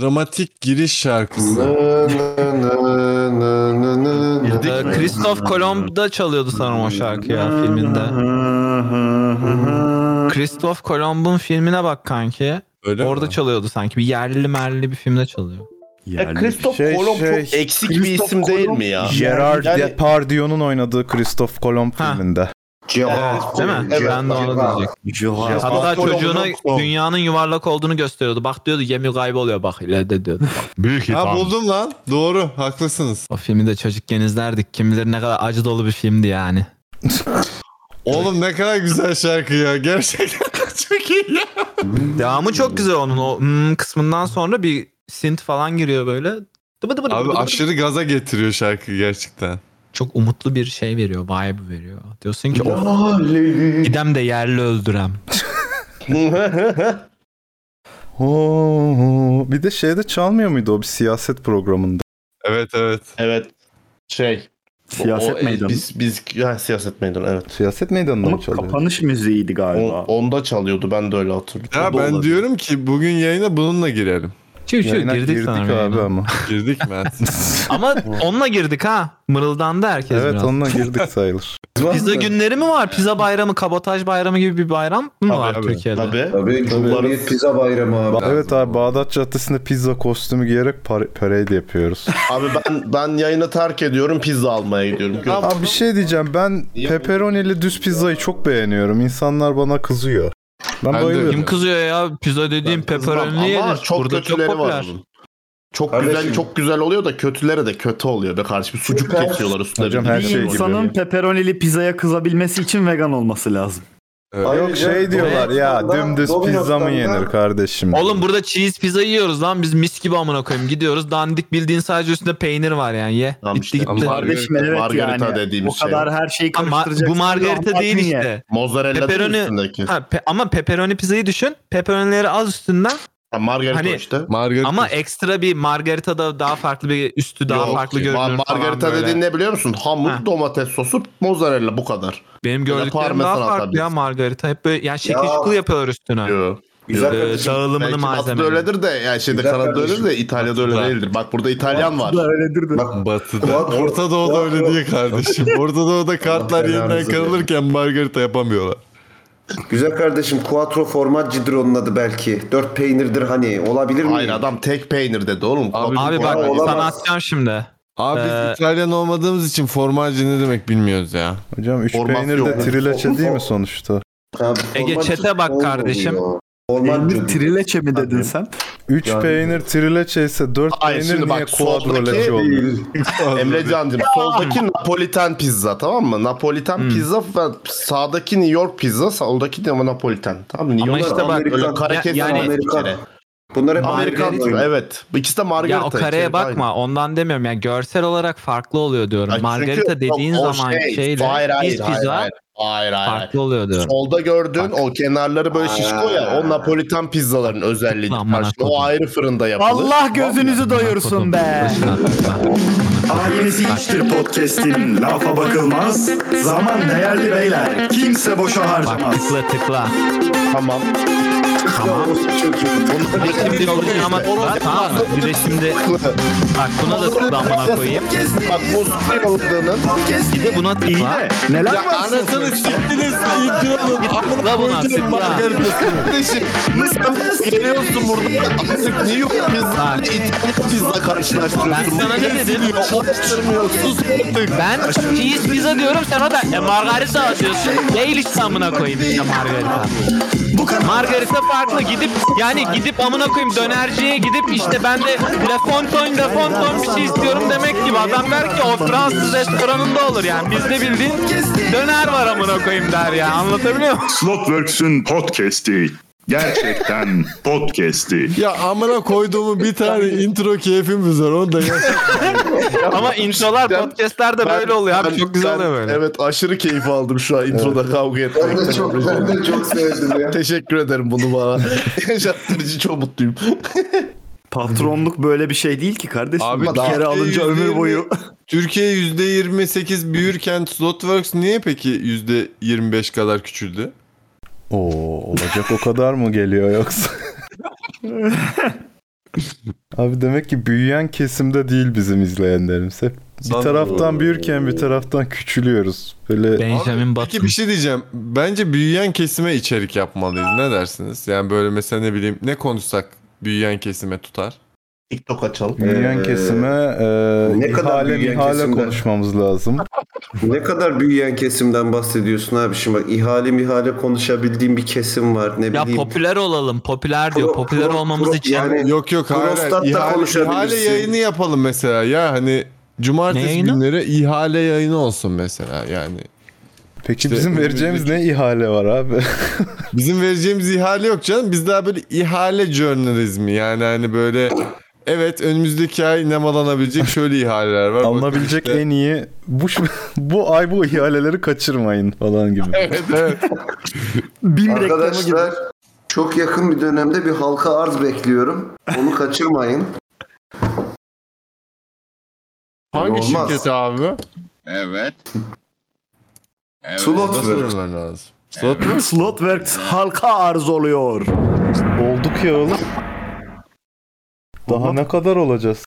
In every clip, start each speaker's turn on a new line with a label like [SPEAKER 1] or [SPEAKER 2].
[SPEAKER 1] Dramatik giriş şarkısı.
[SPEAKER 2] Bildik
[SPEAKER 3] Ee, Christoph Kolomb da çalıyordu sanırım o şarkıyı ya filminde. Christoph Kolomb'un filmine bak kanki.
[SPEAKER 1] Öyle mi?
[SPEAKER 3] Orada çalıyordu sanki. Bir yerli merli bir filmde çalıyor.
[SPEAKER 4] Yani
[SPEAKER 5] Christoph
[SPEAKER 6] şey,
[SPEAKER 5] Kolomb
[SPEAKER 6] şey,
[SPEAKER 5] çok
[SPEAKER 2] Eksik bir
[SPEAKER 5] Christoph
[SPEAKER 2] isim değil
[SPEAKER 5] Kolomb-
[SPEAKER 2] mi ya?
[SPEAKER 6] Gerard
[SPEAKER 5] Yani-
[SPEAKER 6] Depardieu'nun oynadığı Christoph Kolomb
[SPEAKER 3] Ha.
[SPEAKER 6] filminde.
[SPEAKER 3] Evet, değil mi?
[SPEAKER 5] Evet,
[SPEAKER 3] ben de onu
[SPEAKER 5] Gerard.
[SPEAKER 3] diyecektim.
[SPEAKER 2] Gerard.
[SPEAKER 3] Hatta
[SPEAKER 2] Kolomb'un
[SPEAKER 3] çocuğuna
[SPEAKER 1] son.
[SPEAKER 3] dünyanın yuvarlak olduğunu gösteriyordu. Bak diyordu gemi kayboluyor bak ileride diyordu.
[SPEAKER 2] Büyük
[SPEAKER 1] Ha buldum lan. Doğru. Haklısınız.
[SPEAKER 3] O filmi de çocukken izlerdik. Kim bilir ne kadar acı dolu bir filmdi yani.
[SPEAKER 1] Oğlum ne kadar güzel şarkı ya. Gerçekten de çok iyi ya.
[SPEAKER 3] Devamı çok güzel onun. O hmm kısmından sonra bir synth falan giriyor böyle. Dıbı dıbı dıbı
[SPEAKER 1] Abi
[SPEAKER 3] dıbı dıbı.
[SPEAKER 1] aşırı gaza getiriyor şarkı gerçekten.
[SPEAKER 3] Çok umutlu bir şey veriyor. Vibe veriyor. Diyorsun ki "Oh, gidem de yerli öldürem.
[SPEAKER 6] Oo, bir de şeyde çalmıyor muydu o bir siyaset programında?
[SPEAKER 1] Evet evet.
[SPEAKER 2] Evet. Şey.
[SPEAKER 4] Siyaset
[SPEAKER 2] o-
[SPEAKER 4] meydanı.
[SPEAKER 2] Biz, biz, ha, siyaset meydanı evet.
[SPEAKER 6] Siyaset meydanında
[SPEAKER 4] Ama
[SPEAKER 6] mı çalıyor?
[SPEAKER 4] kapanış müziğiydi
[SPEAKER 2] O-
[SPEAKER 4] galiba.
[SPEAKER 2] onda çalıyordu ben de öyle hatırlıyorum.
[SPEAKER 1] Ya
[SPEAKER 2] O da
[SPEAKER 1] ben
[SPEAKER 2] olabilir.
[SPEAKER 1] diyorum ki bugün yayına bununla girelim.
[SPEAKER 3] Çiv çiv
[SPEAKER 6] Yayına
[SPEAKER 3] girdik,
[SPEAKER 6] girdik,
[SPEAKER 3] sanırım
[SPEAKER 6] abi
[SPEAKER 3] yayına.
[SPEAKER 6] ama.
[SPEAKER 1] Girdik mi?
[SPEAKER 3] Ama onunla girdik ha. Mırıldandı herkes
[SPEAKER 6] evet
[SPEAKER 3] biraz.
[SPEAKER 6] onunla girdik sayılır.
[SPEAKER 3] Pizza günleri mi var? Pizza bayramı, kabotaj bayramı gibi bir bayram mı var
[SPEAKER 1] abi,
[SPEAKER 3] Türkiye'de?
[SPEAKER 2] Tabii.
[SPEAKER 7] Tabii Cumhuriyet Pizza Bayramı abi.
[SPEAKER 6] Ba- evet abi Bağdat Caddesi'nde pizza kostümü giyerek par- parade yapıyoruz.
[SPEAKER 2] Abi ben ben yayını terk ediyorum pizza almaya gidiyorum. Gör-
[SPEAKER 6] abi bir şey diyeceğim ben pepperonili düz pizzayı çok beğeniyorum. İnsanlar bana kızıyor. Ben,
[SPEAKER 1] Ben de-
[SPEAKER 6] bayılıyorum.
[SPEAKER 3] Kim kızıyor ya? Pizza dediğim
[SPEAKER 2] Ama
[SPEAKER 3] pepperoni yenir.
[SPEAKER 2] çok
[SPEAKER 3] Burada çok
[SPEAKER 2] kötüleri var
[SPEAKER 3] popüler.
[SPEAKER 2] bunun. Çok güzel
[SPEAKER 7] Kardeşim.
[SPEAKER 2] çok güzel oluyor da kötülere de kötü oluyor be kardeşim. Sucuk
[SPEAKER 7] Süper.
[SPEAKER 2] kesiyorlar üstüne.
[SPEAKER 6] Hocam
[SPEAKER 2] Bir
[SPEAKER 6] her
[SPEAKER 2] de
[SPEAKER 6] şey
[SPEAKER 2] iyi
[SPEAKER 6] gibi.
[SPEAKER 2] oluyor.
[SPEAKER 4] İnsanın pepperonili pizzaya kızabilmesi için vegan olması lazım.
[SPEAKER 1] Evet.
[SPEAKER 6] Yok şey diyorlar ya dümdüz pizza mı yenir kardeşim?
[SPEAKER 3] Oğlum burada cheese pizza yiyoruz lan biz mis gibi amına koyayım gidiyoruz dandik bildiğin sadece üstünde peynir var yani ye.
[SPEAKER 2] Tamam
[SPEAKER 3] Bitti
[SPEAKER 2] işte,
[SPEAKER 3] gitti.
[SPEAKER 2] ama-
[SPEAKER 4] Kardeşim evet
[SPEAKER 2] Margarita
[SPEAKER 4] yani.
[SPEAKER 2] dediğimiz
[SPEAKER 4] o kadar her şeyi
[SPEAKER 3] Ama
[SPEAKER 4] karıştıracaksın.
[SPEAKER 3] bu margarita değil
[SPEAKER 4] Lahmacun ye.
[SPEAKER 3] işte.
[SPEAKER 2] Mozzarella
[SPEAKER 3] Pepperoni-
[SPEAKER 2] değil üstündeki.
[SPEAKER 3] Ha, pe- ama pepperoni pizzayı düşün. Pepperonileri az üstünden
[SPEAKER 2] Ha, margarita
[SPEAKER 3] Hani-
[SPEAKER 2] işte.
[SPEAKER 1] Margarita.
[SPEAKER 3] ama ekstra bir margarita da daha farklı bir üstü daha
[SPEAKER 2] Yok.
[SPEAKER 3] farklı
[SPEAKER 2] Ma-
[SPEAKER 3] görünür falan
[SPEAKER 2] Margarita
[SPEAKER 3] böyle.
[SPEAKER 2] dediğin ne biliyor musun? Hamur,
[SPEAKER 3] Ha. domates
[SPEAKER 2] domates sosu, mozzarella bu kadar.
[SPEAKER 3] Benim
[SPEAKER 2] da
[SPEAKER 3] gördüklerim
[SPEAKER 2] parmesan
[SPEAKER 3] daha farklı
[SPEAKER 2] atabilirsin.
[SPEAKER 3] ya margarita. Hep böyle yani şekil
[SPEAKER 7] Ya.
[SPEAKER 3] şukul yapıyorlar üstüne.
[SPEAKER 2] Diyor.
[SPEAKER 7] Güzel
[SPEAKER 3] Ee,
[SPEAKER 7] kardeşim.
[SPEAKER 3] dağılımını
[SPEAKER 2] Belki
[SPEAKER 3] malzeme.
[SPEAKER 2] Batı'da öyledir de yani şeyde
[SPEAKER 7] Güzel
[SPEAKER 2] Kanada'da
[SPEAKER 7] kardeşim.
[SPEAKER 2] öyledir de İtalya'da öyle
[SPEAKER 1] Batı'da.
[SPEAKER 2] değildir. Bak burada İtalyan var.
[SPEAKER 4] Bu da öyledir de.
[SPEAKER 7] Bak
[SPEAKER 1] Batı'da. Orta Doğu'da öyle değil kardeşim. Orta Doğu'da kartlar
[SPEAKER 7] belanızı
[SPEAKER 1] yeniden
[SPEAKER 7] versin.
[SPEAKER 1] kırılırken margarita yapamıyorlar.
[SPEAKER 7] güzel kardeşim Quattro formaggi'dir onun adı belki. Dört peynirdir hani olabilir mi?
[SPEAKER 2] Hayır adam tek peynir dedi oğlum.
[SPEAKER 1] Abi-
[SPEAKER 3] Abi bak
[SPEAKER 7] Olamaz.
[SPEAKER 3] sana atacağım şimdi.
[SPEAKER 1] Abi
[SPEAKER 3] Ee,
[SPEAKER 1] biz İtalyan olmadığımız için formacı ne demek bilmiyoruz ya.
[SPEAKER 6] Hocam 3
[SPEAKER 2] Format
[SPEAKER 6] peynir
[SPEAKER 2] yok.
[SPEAKER 6] de trileçe değil mi sonuçta?
[SPEAKER 7] Abi,
[SPEAKER 3] Ege,
[SPEAKER 7] formaggi
[SPEAKER 3] chat'e bak
[SPEAKER 7] olmuyor.
[SPEAKER 3] kardeşim.
[SPEAKER 7] Formaggi.
[SPEAKER 4] Peynir trileçe mi dedin
[SPEAKER 7] Tabii.
[SPEAKER 4] sen?
[SPEAKER 6] 3
[SPEAKER 7] Yani-
[SPEAKER 6] peynir trileçe ise 4
[SPEAKER 2] Hayır,
[SPEAKER 6] peynir
[SPEAKER 2] şimdi
[SPEAKER 6] niye
[SPEAKER 2] bak, soldaki
[SPEAKER 6] quadroleçe oluyor?
[SPEAKER 7] Değil.
[SPEAKER 2] Emre Can'cığım soldaki Napoliten pizza tamam mı? Napoliten
[SPEAKER 3] Hmm.
[SPEAKER 2] pizza ve sağdaki New York pizza, soldaki de Napoliten. Tamam mı? New
[SPEAKER 3] Ama
[SPEAKER 2] York
[SPEAKER 3] işte bak
[SPEAKER 2] öyle kare
[SPEAKER 3] Ya-
[SPEAKER 2] kesin
[SPEAKER 3] yani-
[SPEAKER 2] Amerikan.
[SPEAKER 7] Bunlar hep
[SPEAKER 2] Amerikan
[SPEAKER 7] Amerikan
[SPEAKER 3] Margarita-
[SPEAKER 2] türü
[SPEAKER 7] oyunu.
[SPEAKER 2] evet. İkisi de margarita.
[SPEAKER 3] Ya o kareye
[SPEAKER 2] içeri-
[SPEAKER 3] bakma
[SPEAKER 2] Aynen.
[SPEAKER 3] ondan demiyorum yani görsel olarak farklı oluyor diyorum.
[SPEAKER 2] Ya
[SPEAKER 3] margarita
[SPEAKER 2] çünkü
[SPEAKER 3] dediğin
[SPEAKER 2] o- o
[SPEAKER 3] zaman
[SPEAKER 2] şey,
[SPEAKER 3] şeyle
[SPEAKER 2] hayır, hayır,
[SPEAKER 3] cheese
[SPEAKER 2] hayır,
[SPEAKER 3] pizza
[SPEAKER 2] hayır. Hayır hayır. hayır.
[SPEAKER 3] farklı oluyor diyorum.
[SPEAKER 2] Solda gördüğün o kenarları böyle şişko ya o Napolitan pizzaların özelliği.
[SPEAKER 3] Aman Allah'ım.
[SPEAKER 2] O ayrı fırında yapılır.
[SPEAKER 4] Allah gözünüzü doyursun be.
[SPEAKER 8] Ailesi iştir podcast'in lafa bakılmaz. Zaman değerli beyler. Kimse boşa
[SPEAKER 3] Bak
[SPEAKER 8] harcamaz.
[SPEAKER 3] tıkla tıkla.
[SPEAKER 2] Tamam.
[SPEAKER 3] Şimdi yollayın ama tıkla tamam mı? Bir de şimdi bak buna da tıkla amına koyayım.
[SPEAKER 2] Bak bu sıfır yolladığının
[SPEAKER 3] Bir de buna
[SPEAKER 4] İyi
[SPEAKER 3] tıkla.
[SPEAKER 4] de neler var?
[SPEAKER 1] Anasını siktiniz sayıcı olun.
[SPEAKER 3] Tıkla buna tıkla.
[SPEAKER 2] kardeşim. Geliyorsun burada. Artık New York pizza
[SPEAKER 3] Bak.
[SPEAKER 2] ile İtalyan pizza karşılaştırıyorsun.
[SPEAKER 3] Ben sana ne dedim? Ben cheese pizza diyorum sen o da e, margarita atıyorsun. Değil işte amına koyayım işte margarita. Margarita farklı gidip yani gidip amına koyayım dönerciye gidip işte ben de La Fontaine La Fontaine bir şey istiyorum demek gibi adam der ki o Fransız restoranında olur yani bizde bildiğin döner var amına koyayım der ya anlatabiliyor muyum?
[SPEAKER 9] Slotworks'ün podcast'i. Gerçekten podcast'i.
[SPEAKER 1] Ya amına koyduğumu bir tane intro keyfimiz var. Onu da yaşa.
[SPEAKER 3] Ama introlar podcastlerde böyle oluyor abi çok güzel oluyor böyle.
[SPEAKER 2] Evet aşırı keyif aldım şu an introda kavga
[SPEAKER 7] Ben de
[SPEAKER 2] etmekten.
[SPEAKER 7] çok, ben de çok sevdim ya.
[SPEAKER 2] Teşekkür ederim bunu bana. Yaşattığın için çok mutluyum.
[SPEAKER 4] Patronluk böyle bir şey değil ki kardeşim.
[SPEAKER 1] Abi
[SPEAKER 4] bir kere
[SPEAKER 1] Türkiye
[SPEAKER 4] alınca ömür
[SPEAKER 1] %20
[SPEAKER 4] boyu.
[SPEAKER 1] Türkiye %28 büyürken Slotworks niye peki %25 kadar küçüldü?
[SPEAKER 6] Oo olacak o kadar mı geliyor yoksa? Abi demek ki büyüyen kesimde değil bizim izleyenlerimiz. Hep bir
[SPEAKER 1] Lan-
[SPEAKER 6] taraftan büyürken bir taraftan küçülüyoruz. Böyle
[SPEAKER 3] Benjamin
[SPEAKER 1] Peki
[SPEAKER 3] Button.
[SPEAKER 1] bir şey diyeceğim. Bence büyüyen kesime içerik yapmalıyız. Ne dersiniz? Yani böyle mesela ne bileyim ne konuşsak büyüyen kesime tutar.
[SPEAKER 2] TikTok açalım.
[SPEAKER 6] büyüyen
[SPEAKER 7] Ee,
[SPEAKER 6] kesime e,
[SPEAKER 7] ne kadar
[SPEAKER 6] ihale,
[SPEAKER 7] büyüyen
[SPEAKER 6] ihale
[SPEAKER 7] kesimden?
[SPEAKER 6] konuşmamız lazım.
[SPEAKER 7] Ne kadar büyüyen kesimden bahsediyorsun abi şimdi bak ihale mihale konuşabildiğim bir kesim var ne
[SPEAKER 3] Ya
[SPEAKER 7] bileyim.
[SPEAKER 3] popüler olalım. Popüler diyor.
[SPEAKER 7] Pro-
[SPEAKER 3] Popüler
[SPEAKER 7] pro-
[SPEAKER 3] olmamız
[SPEAKER 7] pro-
[SPEAKER 3] için.
[SPEAKER 7] yani-
[SPEAKER 1] Yok yok hayır. hayır.
[SPEAKER 7] Prostat'la
[SPEAKER 1] İhale, ihale
[SPEAKER 7] konuşabilirsin.
[SPEAKER 1] yayını yapalım mesela ya hani cumartesi
[SPEAKER 3] Ne yayını?
[SPEAKER 1] günleri ihale yayını olsun mesela yani.
[SPEAKER 6] Peki
[SPEAKER 1] İşte
[SPEAKER 6] bizim vereceğimiz ne ihale var abi?
[SPEAKER 1] Bizim vereceğimiz ihale yok canım. Biz daha böyle ihale journalizmi yani hani böyle evet önümüzdeki ay nemalanabilecek şöyle ihaleler var. Bakın
[SPEAKER 6] Alınabilecek
[SPEAKER 1] işte-
[SPEAKER 6] en iyi bu bu ay bu ihaleleri kaçırmayın falan gibi.
[SPEAKER 1] Evet evet.
[SPEAKER 4] Bim reklamı gibi.
[SPEAKER 7] Arkadaşlar çok yakın bir dönemde bir halka arz bekliyorum. Onu kaçırmayın.
[SPEAKER 1] Hangi
[SPEAKER 7] Olmaz.
[SPEAKER 1] şirket abi?
[SPEAKER 5] Evet. Evet.
[SPEAKER 7] Slot ver.
[SPEAKER 1] Sorunlar lazım. Slot mu?
[SPEAKER 4] Slotworks halka arz oluyor.
[SPEAKER 6] Olduk ya oğlum. Daha ne kadar olacağız?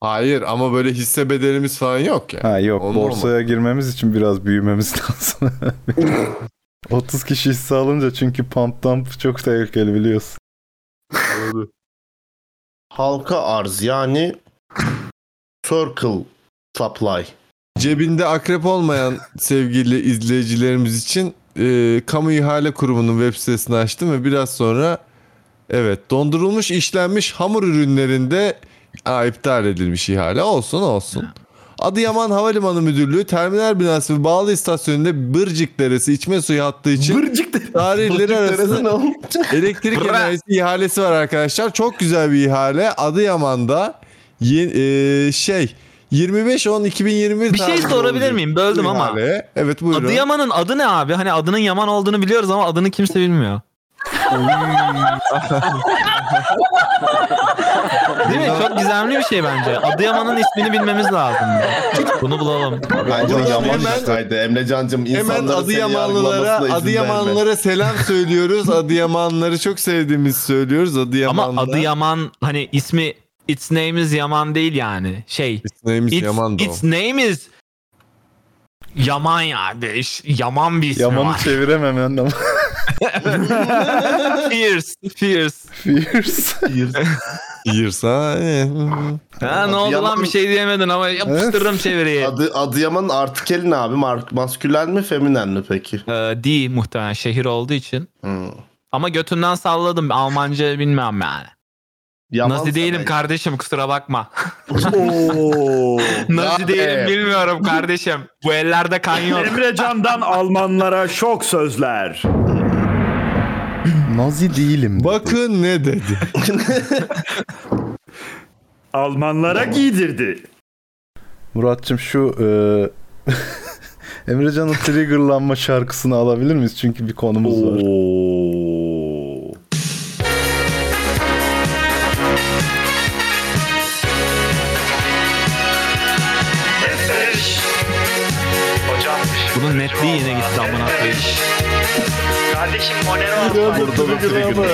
[SPEAKER 1] Hayır ama böyle hisse bedelimiz falan yok ya.
[SPEAKER 6] Ha yok
[SPEAKER 1] Olmaz
[SPEAKER 6] borsaya girmemiz için biraz büyümemiz lazım. 30 kişi hisse alınca çünkü pump dump çok tehlikeli biliyorsun.
[SPEAKER 2] Halka arz yani circle supply.
[SPEAKER 1] Cebinde akrep olmayan sevgili izleyicilerimiz için e, Kamu İhale Kurumu'nun web sitesini açtım ve biraz sonra evet dondurulmuş işlenmiş hamur ürünlerinde Aa, iptal edilmiş ihale olsun olsun. Adıyaman Havalimanı Müdürlüğü terminal binası ve bağlı istasyonunda Bırcık Deresi içme suyu hattı için
[SPEAKER 4] Bırcık de-
[SPEAKER 1] tarihleri arasında Elektrik
[SPEAKER 3] Bra-
[SPEAKER 1] enerjisi ihalesi var arkadaşlar. Çok güzel bir ihale. Adıyaman'da ye- e, şey 25-10-2020
[SPEAKER 3] Bir şey
[SPEAKER 1] tarihinde
[SPEAKER 3] sorabilir
[SPEAKER 1] olacak
[SPEAKER 3] miyim? Böldüm
[SPEAKER 1] bu
[SPEAKER 3] ama.
[SPEAKER 1] ihale. Evet buyurun.
[SPEAKER 3] Adıyaman'ın adı ne abi? Hani adının Yaman olduğunu biliyoruz ama adını kimse bilmiyor. Değil mi? Çok gizemli bir şey bence. Adıyaman'ın ismini bilmemiz lazım. Bunu bulalım.
[SPEAKER 2] Bence
[SPEAKER 1] Buradan
[SPEAKER 2] Yaman
[SPEAKER 1] hemen-
[SPEAKER 2] işteydi Emrecan'cığım.
[SPEAKER 1] Hemen
[SPEAKER 2] insanların seni
[SPEAKER 1] Adıyamanlılara
[SPEAKER 2] yargılamasına izin verme.
[SPEAKER 1] Adıyamanlılara selam söylüyoruz. Adıyamanlıları çok sevdiğimizi söylüyoruz. Adıyaman'da.
[SPEAKER 3] Ama adı Yaman hani ismi its name is Yaman değil yani. Şey
[SPEAKER 1] Neymiş
[SPEAKER 3] its,
[SPEAKER 1] Yaman da o.
[SPEAKER 3] its name is Yaman ya. iş- Yaman bir ismi
[SPEAKER 6] Yaman'ı
[SPEAKER 3] var.
[SPEAKER 6] çevirememen ama
[SPEAKER 3] Fierce. Fierce.
[SPEAKER 6] fierce.
[SPEAKER 1] Years, ha? Eh, hmm.
[SPEAKER 3] Ha, ne oldu lan
[SPEAKER 2] Yaman-
[SPEAKER 3] bir şey diyemedin ama yapıştırırım çeviriyi.
[SPEAKER 2] Adı, Adıyaman'ın artikelin abi Mark, maskülen mi feminen mi peki?
[SPEAKER 3] Ee, D muhtemelen şehir olduğu için.
[SPEAKER 2] Hmm.
[SPEAKER 3] Ama götünden salladım. Almanca bilmem yani.
[SPEAKER 2] Yaman
[SPEAKER 3] Nazi değilim
[SPEAKER 2] Saray.
[SPEAKER 3] kardeşim kusura bakma.
[SPEAKER 4] Oo.
[SPEAKER 3] Nazi
[SPEAKER 2] Ya,
[SPEAKER 3] değilim
[SPEAKER 2] e.
[SPEAKER 3] bilmiyorum kardeşim. Bu ellerde kan yok.
[SPEAKER 4] Emre Can'dan Almanlara şok sözler.
[SPEAKER 6] Nazi değilim.
[SPEAKER 1] Bakın ne dedi.
[SPEAKER 4] Almanlara giydirdi.
[SPEAKER 6] Muratçım şu eee, Emrecan'ın triggerlanma şarkısını alabilir miyiz? Çünkü bir konumuz var.
[SPEAKER 4] Oo.
[SPEAKER 3] Bunun netliği yine gitti amına koyayım.
[SPEAKER 2] Burada da trigger.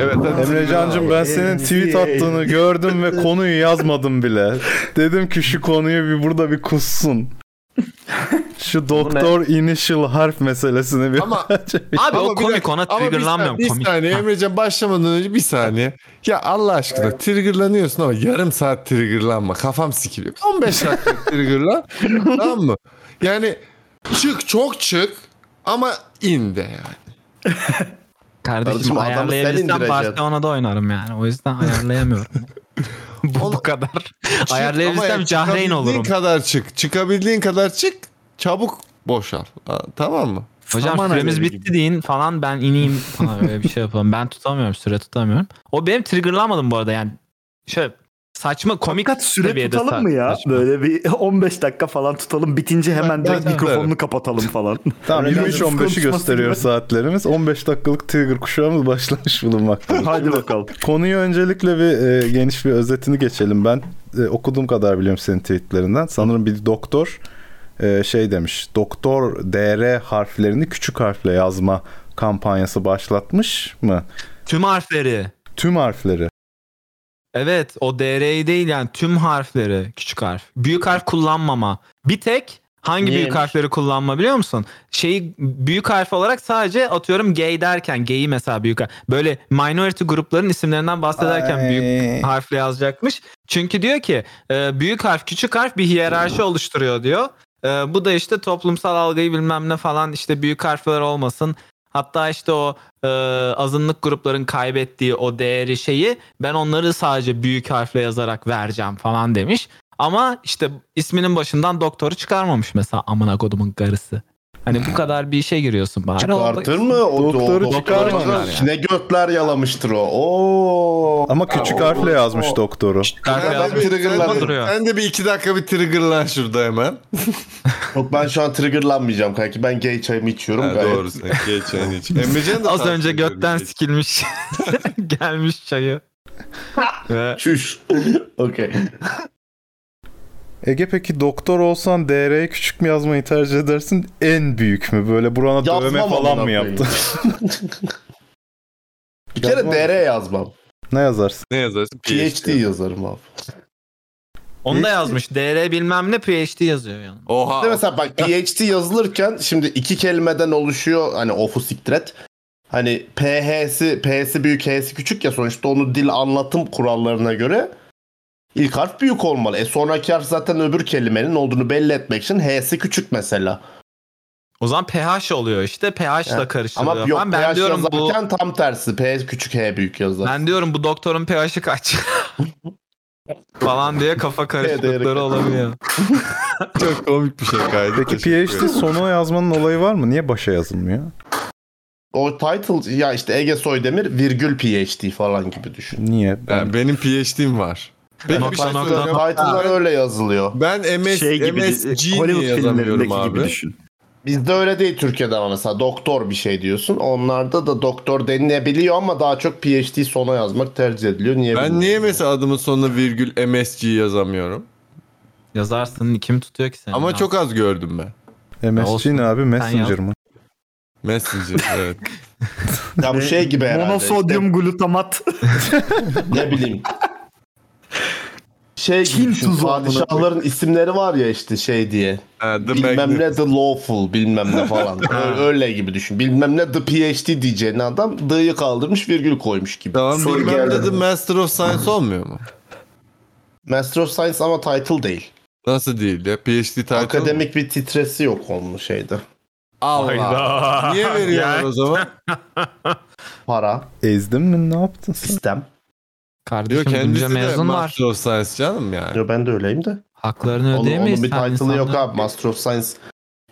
[SPEAKER 1] Evet. hadi.
[SPEAKER 6] Emrecan'cım ben senin tweet attığını gördüm ve konuyu yazmadım bile. Dedim ki şu konuyu bir burada bir kussun. Şu doktor initial harf meselesini bir
[SPEAKER 1] Ama-
[SPEAKER 3] Abi
[SPEAKER 1] Ama
[SPEAKER 3] o
[SPEAKER 1] bir
[SPEAKER 3] komik
[SPEAKER 1] dakika,
[SPEAKER 3] ona
[SPEAKER 1] ama bir saniye-
[SPEAKER 3] triggerlanmıyorum
[SPEAKER 1] Bir
[SPEAKER 3] komik.
[SPEAKER 1] saniye Emrecan başlamadan önce bir saniye. Ya Allah aşkına triggerlanıyorsun ama yarım saat triggerlanma. Kafam sikiliyor. 15 dakika triggerlan. tamam mı? Yani çık çok çık ama in de yani.
[SPEAKER 3] Kardeşim
[SPEAKER 2] Kardeşim, adamı sen
[SPEAKER 3] ayarlayabilsem
[SPEAKER 2] indireceksin.
[SPEAKER 3] Barcelona'da oynarım yani. O yüzden ayarlayamıyorum. bu, bu kadar.
[SPEAKER 1] Çık ama
[SPEAKER 3] ayarlayabilsem
[SPEAKER 1] ya
[SPEAKER 3] Cahreyn
[SPEAKER 1] çıkabildiğin
[SPEAKER 3] olurum.
[SPEAKER 1] kadar çık. Çıkabildiğin kadar çık. Çabuk boşal. Ha, Tamam mı?
[SPEAKER 3] Hocam
[SPEAKER 1] Saman
[SPEAKER 3] süremiz
[SPEAKER 1] alevi
[SPEAKER 3] bitti deyin falan ben ineyim falan öyle bir şey yapalım. Ben tutamıyorum süre tutamıyorum. O benim triggerlanmadım bu arada yani. Şöyle Saçma komik
[SPEAKER 4] Fakat süre
[SPEAKER 3] seviyede sa-
[SPEAKER 4] tutalım mı ya?
[SPEAKER 3] saçma.
[SPEAKER 4] Böyle bir 15 dakika falan tutalım. Bitince hemen
[SPEAKER 1] Ben-
[SPEAKER 4] direkt
[SPEAKER 1] ben-
[SPEAKER 4] mikrofonunu kapatalım falan.
[SPEAKER 6] Tamam
[SPEAKER 4] Öyle
[SPEAKER 6] 23-15'i
[SPEAKER 4] konuşması
[SPEAKER 6] gösteriyor
[SPEAKER 4] gibi.
[SPEAKER 6] saatlerimiz. 15 dakikalık Tiger kuşağımız başlamış bulunmaktadır.
[SPEAKER 4] Hadi bakalım.
[SPEAKER 6] Konuyu öncelikle bir e, geniş bir özetini geçelim. Ben e, okuduğum kadar biliyorum senin tweetlerinden. Sanırım bir doktor e, şey demiş. Doktor DR harflerini küçük harfle yazma kampanyası başlatmış mı?
[SPEAKER 3] Tüm harfleri.
[SPEAKER 6] Tüm harfleri.
[SPEAKER 3] Evet o DR'yi değil yani tüm harfleri küçük harf. Büyük harf kullanmama. Bir tek hangi büyük harfleri kullanma biliyor musun? Şeyi büyük harf olarak sadece atıyorum gay derken gay'i mesela büyük harf. Böyle minority grupların isimlerinden bahsederken büyük harfle yazacakmış. Çünkü diyor ki e, büyük harf küçük harf bir hiyerarşi oluşturuyor diyor. E, bu da işte toplumsal algıyı bilmem ne falan işte büyük harfler olmasın. Hatta işte o e, azınlık grupların kaybettiği o değeri şeyi ben onları sadece büyük harfle yazarak vereceğim falan demiş. Ama işte isminin başından doktoru çıkarmamış mesela amına kodumun karısı. Hani bu kadar bir işe giriyorsun bari.
[SPEAKER 2] Çıkartır mı? O
[SPEAKER 6] Doktoru
[SPEAKER 2] doktoru
[SPEAKER 6] çıkarmaz
[SPEAKER 2] çıkarmaz.
[SPEAKER 6] yani.
[SPEAKER 2] Ne götler yalamıştır o. Oo.
[SPEAKER 6] Ama küçük harfle yazmış doktoru.
[SPEAKER 3] Harfle
[SPEAKER 1] Sen de,
[SPEAKER 3] yazmış.
[SPEAKER 1] bir
[SPEAKER 2] Triggerlandım.
[SPEAKER 3] Duruyor.
[SPEAKER 1] sen de bir iki dakika bir triggerlan şurada hemen.
[SPEAKER 2] Yok ben şu an triggerlanmayacağım kanki. Ben gay çayımı içiyorum.
[SPEAKER 1] Ha,
[SPEAKER 2] gayet.
[SPEAKER 1] doğru sen geçen hiç. Emrecan da
[SPEAKER 3] Az
[SPEAKER 1] takip
[SPEAKER 3] önce
[SPEAKER 1] ediyor
[SPEAKER 3] götten
[SPEAKER 1] geç.
[SPEAKER 3] sikilmiş. Gelmiş çayı. Ve
[SPEAKER 2] Çüş. Okey.
[SPEAKER 6] Ege peki doktor olsan DR'yi küçük mü yazmayı tercih edersin? En büyük mü? Böyle burana
[SPEAKER 2] Yazmam
[SPEAKER 6] dövme falan
[SPEAKER 2] amına
[SPEAKER 6] mı
[SPEAKER 2] koyayım.
[SPEAKER 6] yaptın?
[SPEAKER 2] Bir kere DR yazmam.
[SPEAKER 6] ne yazarsın?
[SPEAKER 1] Ne yazarsın?
[SPEAKER 2] PhD yazarım abi.
[SPEAKER 3] onu da yazmış. DR bilmem ne PhD yazıyor yani.
[SPEAKER 1] Oha.
[SPEAKER 2] Bir de mesela bak PhD yazılırken şimdi iki kelimeden oluşuyor hani ofu siktiret. Hani PH'si, P'si büyük, H'si küçük ya sonuçta onu dil anlatım kurallarına göre ilk harf büyük olmalı. E sonraki harf zaten öbür kelimenin olduğunu belli etmek için H'si küçük mesela.
[SPEAKER 3] O zaman pH oluyor işte. pH ile
[SPEAKER 2] Evet.
[SPEAKER 3] karıştırıyor.
[SPEAKER 2] Ama yok
[SPEAKER 3] falan.
[SPEAKER 2] ben
[SPEAKER 3] ben diyorum bu
[SPEAKER 2] yazarken tam tersi. P küçük, H büyük yazar.
[SPEAKER 3] ben diyorum bu doktorun pH'i kaç? falan diye kafa karışıklıkları olabiliyor.
[SPEAKER 1] çok komik bir şey kaydı.
[SPEAKER 6] Peki
[SPEAKER 1] Teşekkür ederim.
[SPEAKER 6] PhD sonu yazmanın olayı var mı? Niye başa yazılmıyor?
[SPEAKER 2] O title ya işte Ege Soydemir virgül PhD falan gibi düşün.
[SPEAKER 6] Niye? Ben-
[SPEAKER 1] Yani benim PhD'm var. Peki
[SPEAKER 3] Nokta,
[SPEAKER 1] bir şey
[SPEAKER 3] nokta,
[SPEAKER 1] söyleyeceğim.
[SPEAKER 3] nokta.
[SPEAKER 2] Title'lar öyle yazılıyor.
[SPEAKER 1] Ben MS,
[SPEAKER 4] Şey gibi
[SPEAKER 1] MSG
[SPEAKER 4] Hollywood
[SPEAKER 1] niye yazamıyorum
[SPEAKER 4] filmlerindeki
[SPEAKER 1] abi?
[SPEAKER 4] gibi düşün.
[SPEAKER 2] Bizde öyle değil Türkiye'de ama mesela doktor bir şey diyorsun. Onlarda da doktor denilebiliyor ama daha çok PhD sona yazmak tercih ediliyor. Niye
[SPEAKER 1] Ben
[SPEAKER 2] bilmiyorum.
[SPEAKER 1] niye mesela adımın sonuna virgül MSG yazamıyorum?
[SPEAKER 3] Yazarsın kim tutuyor ki seni?
[SPEAKER 1] Ama
[SPEAKER 3] ya?
[SPEAKER 1] çok az gördüm ben.
[SPEAKER 6] MSG
[SPEAKER 3] Olsun.
[SPEAKER 6] ne abi? Messenger
[SPEAKER 3] yaz.
[SPEAKER 6] mı?
[SPEAKER 1] Messenger evet.
[SPEAKER 2] Ya bu şey gibi herhalde.
[SPEAKER 4] Monosodyum glutamat.
[SPEAKER 2] işte, ne bileyim. Şey
[SPEAKER 4] Çin
[SPEAKER 2] gibi düşün,
[SPEAKER 4] tuzu amına
[SPEAKER 2] padişahların isimleri var ya işte şey diye.
[SPEAKER 1] Ha, The
[SPEAKER 2] bilmem
[SPEAKER 1] Magnet.
[SPEAKER 2] ne the lawful bilmem ne falan. Ö- öyle gibi düşün. Bilmem ne the PhD diyeceğin adam the'yi kaldırmış virgül koymuş gibi.
[SPEAKER 1] Tamam
[SPEAKER 7] Soru
[SPEAKER 1] bilmem ne
[SPEAKER 7] geldi.
[SPEAKER 1] The Master of Science olmuyor mu?
[SPEAKER 2] Master of Science ama title değil.
[SPEAKER 1] Nasıl değil ya? PhD title.
[SPEAKER 2] Akademik bir titresi yok onun şeyde.
[SPEAKER 1] Allah. Niye veriyorlar
[SPEAKER 3] Ya.
[SPEAKER 1] o zaman?
[SPEAKER 2] Para,
[SPEAKER 6] Ezdin mi? Ne yaptın sen?
[SPEAKER 2] sistem.
[SPEAKER 1] Diyor
[SPEAKER 3] Kardeşim bunca
[SPEAKER 1] kendisi de
[SPEAKER 3] mezun var.
[SPEAKER 1] Master of Science canım yani.
[SPEAKER 2] Yo, ben de öyleyim de.
[SPEAKER 3] Haklarını
[SPEAKER 2] Onun,
[SPEAKER 3] ödeyemeyiz.
[SPEAKER 2] onun bir
[SPEAKER 3] sen
[SPEAKER 2] title'ı yok
[SPEAKER 3] insanların.
[SPEAKER 2] abi. Master of Science.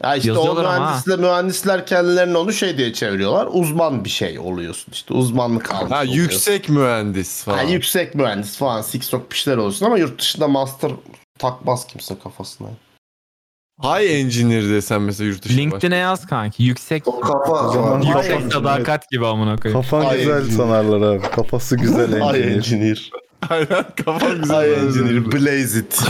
[SPEAKER 2] Ya işte o
[SPEAKER 3] Yazıyorlar ama ha.
[SPEAKER 2] mühendisler, mühendisler kendilerini onu şey diye çeviriyorlar. Uzman bir şey oluyorsun işte. Uzmanlık almış
[SPEAKER 1] Ha
[SPEAKER 2] oluyorsun.
[SPEAKER 1] yüksek mühendis
[SPEAKER 2] Ha,
[SPEAKER 1] falan.
[SPEAKER 2] yüksek mühendis falan. Sik sok bir şeyler olsun ama yurt dışında master takmaz kimse kafasına.
[SPEAKER 1] High engineer desen mesela yurt
[SPEAKER 2] şey.
[SPEAKER 1] dışı. baş-
[SPEAKER 3] LinkedIn'e yaz kanki. Yüksek
[SPEAKER 7] Kafa.
[SPEAKER 6] zaman-
[SPEAKER 7] Kafa.
[SPEAKER 3] yüksek sadakat gibi amına koyayım.
[SPEAKER 6] Kafan
[SPEAKER 2] Ay,
[SPEAKER 6] güzel
[SPEAKER 2] engineer.
[SPEAKER 6] sanarlar abi. Kafası güzel
[SPEAKER 2] Ay
[SPEAKER 6] engineer.
[SPEAKER 2] engineer.
[SPEAKER 1] Aynen kafam güzel.
[SPEAKER 2] Ay engineer. Blaze it.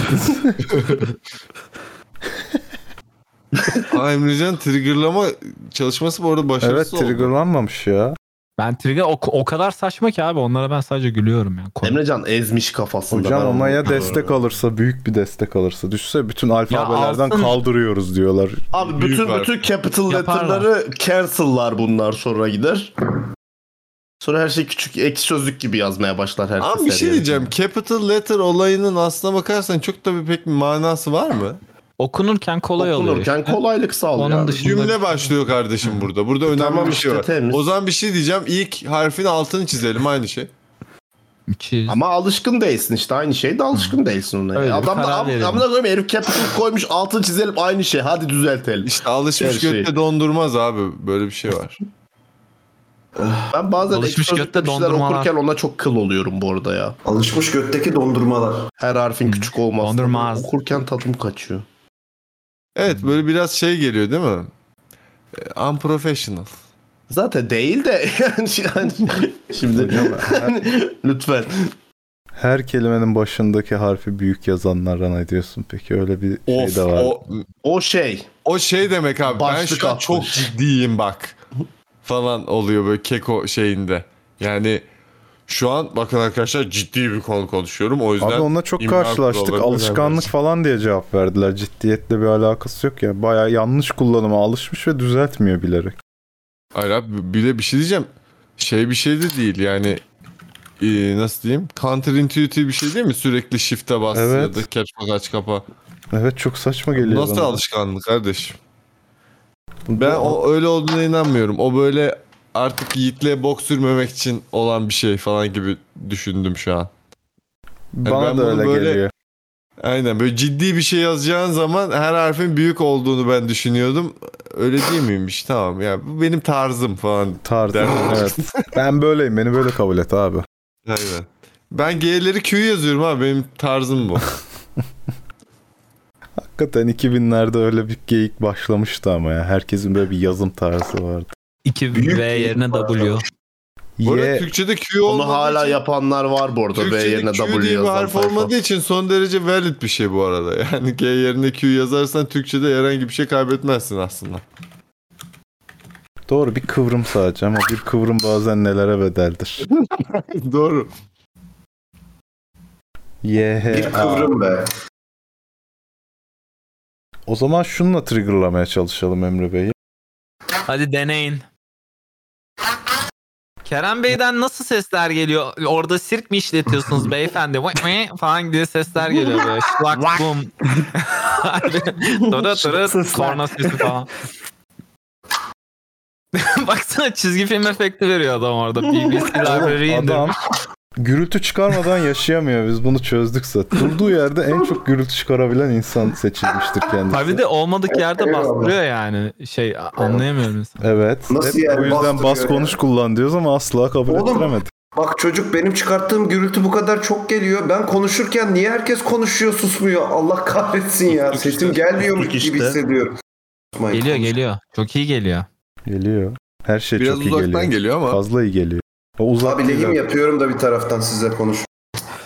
[SPEAKER 1] Aa, Emrecan triggerlama çalışması bu arada başarısız
[SPEAKER 6] Evet
[SPEAKER 1] oldu.
[SPEAKER 6] triggerlanmamış ya.
[SPEAKER 3] Ben trigger o, o kadar saçma ki abi onlara ben sadece gülüyorum yani. Komik.
[SPEAKER 2] Emrecan ezmiş kafasında.
[SPEAKER 6] Hocam
[SPEAKER 2] ben
[SPEAKER 6] ama
[SPEAKER 2] onu
[SPEAKER 6] ya
[SPEAKER 2] biliyorum.
[SPEAKER 6] destek alırsa büyük bir destek alırsa düşse bütün alfabelerden
[SPEAKER 3] alsın.
[SPEAKER 6] kaldırıyoruz diyorlar.
[SPEAKER 2] Abi
[SPEAKER 1] Büyük
[SPEAKER 2] bütün
[SPEAKER 1] harf.
[SPEAKER 2] bütün capital
[SPEAKER 3] Yaparlar.
[SPEAKER 2] letter'ları cancel'lar bunlar sonra gider. Sonra her şey küçük ek sözlük gibi yazmaya başlar her
[SPEAKER 1] Ama bir şey
[SPEAKER 2] seriye.
[SPEAKER 1] diyeceğim. Capital letter olayının aslına bakarsan çok da bir pek bir manası var mı?
[SPEAKER 3] Okunurken kolay oluyor.
[SPEAKER 2] Okunurken
[SPEAKER 3] işte.
[SPEAKER 2] kolaylık sağlıyor.
[SPEAKER 3] Onun
[SPEAKER 2] abi.
[SPEAKER 3] dışında
[SPEAKER 1] Cümle başlıyor kardeşim burada. Burada önemli
[SPEAKER 2] Tamam
[SPEAKER 1] bir şey
[SPEAKER 2] işte,
[SPEAKER 1] var.
[SPEAKER 2] temiz.
[SPEAKER 1] O zaman bir şey diyeceğim. İlk harfin altını çizelim aynı şey.
[SPEAKER 3] Müthiş.
[SPEAKER 2] Ama alışkın değilsin işte aynı şey de alışkın değilsin ona.
[SPEAKER 3] Öyle bir
[SPEAKER 2] Adam
[SPEAKER 3] karar
[SPEAKER 2] da am-
[SPEAKER 3] verelim.
[SPEAKER 2] amına koyayım herif capital koymuş altını çizelim aynı şey hadi düzeltelim.
[SPEAKER 1] İşte alışmış
[SPEAKER 2] Her şey.
[SPEAKER 1] götte dondurmaz abi. Böyle bir şey var.
[SPEAKER 2] Ben bazen
[SPEAKER 3] Alışmış
[SPEAKER 2] ekstra
[SPEAKER 3] götte
[SPEAKER 2] bir şeyler
[SPEAKER 3] dondurmalar.
[SPEAKER 2] okurken ona çok kıl oluyorum bu arada ya.
[SPEAKER 10] Alışmış götteki dondurmalar.
[SPEAKER 2] Her harfin küçük olması.
[SPEAKER 3] dondurma ağzı.
[SPEAKER 2] Okurken tadım kaçıyor.
[SPEAKER 1] Evet böyle biraz şey geliyor değil mi? E, Unprofessional.
[SPEAKER 2] Zaten değil de yani şu an- şimdi
[SPEAKER 6] Hocam, her,
[SPEAKER 2] lütfen.
[SPEAKER 6] her kelimenin başındaki harfi büyük yazanlara ne diyorsun peki? Öyle bir şey
[SPEAKER 2] Of
[SPEAKER 6] de var.
[SPEAKER 2] o, o şey.
[SPEAKER 1] O şey demek abi ben
[SPEAKER 2] Başlık
[SPEAKER 1] şu an
[SPEAKER 2] atmış.
[SPEAKER 1] çok ciddiyim bak falan oluyor böyle keko şeyinde. Yani şu an bakın arkadaşlar ciddi bir konu konuşuyorum o yüzden.
[SPEAKER 6] Abi onunla çok
[SPEAKER 1] imha
[SPEAKER 6] karşılaştık.
[SPEAKER 1] kuralları
[SPEAKER 6] Alışkanlık
[SPEAKER 1] beraber.
[SPEAKER 6] falan diye cevap verdiler. Ciddiyetle bir alakası yok ya. Bayağı yanlış kullanıma alışmış ve düzeltmiyor bilerek.
[SPEAKER 1] Hayır abi bir de bir şey diyeceğim. Şey bir şey de değil yani e, nasıl diyeyim? Counterintuitive bir şey değil mi? Sürekli shift'e bas ya
[SPEAKER 6] Evet.
[SPEAKER 1] da caps aç kapa.
[SPEAKER 6] Evet çok saçma geliyor
[SPEAKER 1] Nasıl
[SPEAKER 6] bana.
[SPEAKER 1] alışkanlık kardeşim?
[SPEAKER 6] Bu-
[SPEAKER 1] Ben o öyle olduğuna inanmıyorum. O böyle artık Yiğit'le bok sürmemek için olan bir şey falan gibi düşündüm şu an.
[SPEAKER 6] bana
[SPEAKER 1] ben
[SPEAKER 6] da
[SPEAKER 1] bunu
[SPEAKER 6] öyle
[SPEAKER 1] böyle-
[SPEAKER 6] geliyor.
[SPEAKER 1] Aynen böyle ciddi bir şey yazacağın zaman her harfin büyük olduğunu ben düşünüyordum. Öyle değil miymiş? Tamam ya bu benim tarzım falan.
[SPEAKER 6] Tarzım
[SPEAKER 1] Derdim.
[SPEAKER 6] evet. Ben böyleyim. Beni böyle kabul et abi.
[SPEAKER 1] Aynen. Ben G'leri Q yazıyorum abi benim tarzım bu.
[SPEAKER 6] Hakikaten 2000'lerde öyle bir geyik başlamıştı ama ya. Herkesin böyle bir yazım tarzı vardı.
[SPEAKER 3] 2 V yerine W.
[SPEAKER 1] Bu arada
[SPEAKER 6] Ye
[SPEAKER 1] Türkçe'de Q
[SPEAKER 2] Onu
[SPEAKER 1] olmadığı
[SPEAKER 2] hala
[SPEAKER 1] için,
[SPEAKER 2] yapanlar var bu arada. B
[SPEAKER 1] Türkçe'de
[SPEAKER 2] yerine
[SPEAKER 1] Q
[SPEAKER 2] W
[SPEAKER 1] diye bir
[SPEAKER 2] yazan
[SPEAKER 1] harf
[SPEAKER 2] tayfa.
[SPEAKER 1] olmadığı için son derece valid bir şey bu arada. Yani G yerine Q yazarsan Türkçe'de herhangi bir şey kaybetmezsin aslında.
[SPEAKER 6] doğru bir kıvrım sadece ama bir kıvrım bazen nelere bedeldir.
[SPEAKER 1] Doğru.
[SPEAKER 6] Ye
[SPEAKER 10] Bir kıvrım be.
[SPEAKER 6] O zaman şununla triggerlamaya çalışalım Emre Bey'i.
[SPEAKER 3] Hadi deneyin. Kerem Bey'den nasıl sesler geliyor? Orada sirk mi işletiyorsunuz beyefendi? Vık vık falan diye sesler geliyor böyle. Şlak bum. Tora tora
[SPEAKER 11] Sesler.
[SPEAKER 3] korna sesi falan. Baksana çizgi film efekti veriyor adam orada. BBC Library'i
[SPEAKER 6] Adam
[SPEAKER 3] indirmiş.
[SPEAKER 6] gürültü çıkarmadan yaşayamıyor. Biz bunu çözdük zaten. Durduğu yerde en çok gürültü çıkarabilen insan seçilmiştir kendisi.
[SPEAKER 3] Tabii de olmadık yerde
[SPEAKER 10] Eyvallah.
[SPEAKER 3] bastırıyor yani. Şey a- anlayamıyorum insan.
[SPEAKER 6] Evet.
[SPEAKER 10] Nasıl
[SPEAKER 6] Hep
[SPEAKER 10] yani?
[SPEAKER 6] o yüzden
[SPEAKER 10] Bastırıyor
[SPEAKER 6] bas
[SPEAKER 10] yani.
[SPEAKER 6] konuş kullan diyoruz ama asla kabul
[SPEAKER 10] Oğlum.
[SPEAKER 6] ettiremedik.
[SPEAKER 10] Bak çocuk benim çıkarttığım gürültü bu kadar çok geliyor. Ben konuşurken niye herkes konuşuyor susmuyor? Allah kahretsin ya.
[SPEAKER 2] Sustuk
[SPEAKER 10] Sesim
[SPEAKER 2] işte.
[SPEAKER 10] gelmiyormuş
[SPEAKER 2] Sustuk
[SPEAKER 10] gibi
[SPEAKER 2] işte.
[SPEAKER 10] hissediyorum. Susmayın.
[SPEAKER 3] Geliyor geliyor. Çok iyi geliyor.
[SPEAKER 6] Geliyor. Her şey
[SPEAKER 1] Biraz
[SPEAKER 6] çok iyi
[SPEAKER 1] uzaktan
[SPEAKER 6] geliyor.
[SPEAKER 1] geliyor. ama.
[SPEAKER 6] Fazla iyi geliyor. O uzak
[SPEAKER 10] Abi lehim
[SPEAKER 6] değil.
[SPEAKER 10] yapıyorum da bir taraftan size konuş.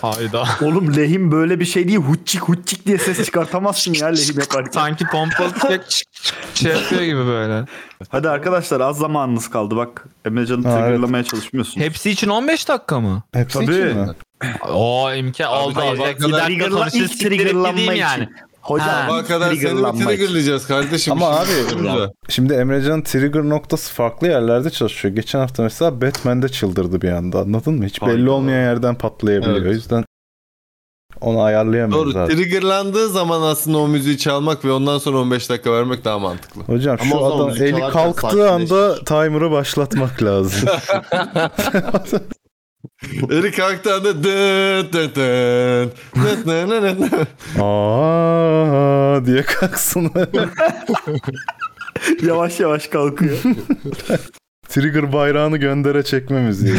[SPEAKER 3] Hayda.
[SPEAKER 11] Oğlum lehim böyle bir şey değil. Huççik huççik diye ses çıkartamazsın ya lehim yaparken.
[SPEAKER 3] Sanki pompalı tüfek çık- çık- şey yapıyor gibi böyle.
[SPEAKER 11] Hadi arkadaşlar az zamanınız kaldı bak. Emrecan'ı
[SPEAKER 6] Ha, evet.
[SPEAKER 11] triggerlamaya çalışmıyorsun.
[SPEAKER 3] Hepsi için 15 dakika mı?
[SPEAKER 6] Hepsi
[SPEAKER 11] Tabii.
[SPEAKER 6] için mi?
[SPEAKER 3] O imkan oldu.
[SPEAKER 1] Abi,
[SPEAKER 3] olacak. Bir
[SPEAKER 1] arkadaş-
[SPEAKER 3] dakika konuşuruz.
[SPEAKER 11] ilk
[SPEAKER 3] Siktir et dediğim
[SPEAKER 11] triggerlanma
[SPEAKER 3] yani.
[SPEAKER 11] için. Hocam
[SPEAKER 3] Ha.
[SPEAKER 1] Bu kadar seni mi
[SPEAKER 11] triggerlanma için.
[SPEAKER 1] triggerlayacağız kardeşim?
[SPEAKER 6] Ama
[SPEAKER 1] Şimdi-
[SPEAKER 6] abi- Şimdi Emrecan'ın trigger noktası farklı yerlerde çalışıyor. Geçen hafta mesela Batman'de çıldırdı bir anda. Anladın mı? Hiç belli olmayan yerden patlayabiliyor.
[SPEAKER 1] Evet.
[SPEAKER 6] O yüzden onu ayarlayamıyoruz
[SPEAKER 1] Doğru.
[SPEAKER 6] abi.
[SPEAKER 1] Triggerlandığı zaman aslında o müziği çalmak ve ondan sonra 15 dakika vermek daha mantıklı.
[SPEAKER 6] Hocam
[SPEAKER 2] Ama o
[SPEAKER 6] şu
[SPEAKER 2] zaman
[SPEAKER 6] adam
[SPEAKER 2] müzik
[SPEAKER 6] eli
[SPEAKER 2] çalarken
[SPEAKER 6] kalktığı anda timer'ı başlatmak lazım.
[SPEAKER 1] Eri kalktı anda dıt dıt dıt, dıt nı nı nı nı.
[SPEAKER 6] Aa diye kalksın.
[SPEAKER 11] yavaş yavaş kalkıyor.
[SPEAKER 6] Trigger bayrağını göndere çekmemiz diye.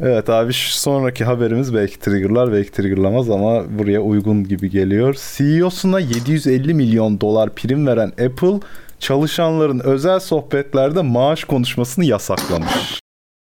[SPEAKER 6] evet abi şu sonraki haberimiz belki triggerlar belki triggerlamaz ama buraya uygun gibi geliyor. E CEO'suna 750 milyon dolar prim veren Apple çalışanların özel sohbetlerde maaş konuşmasını yasaklamış.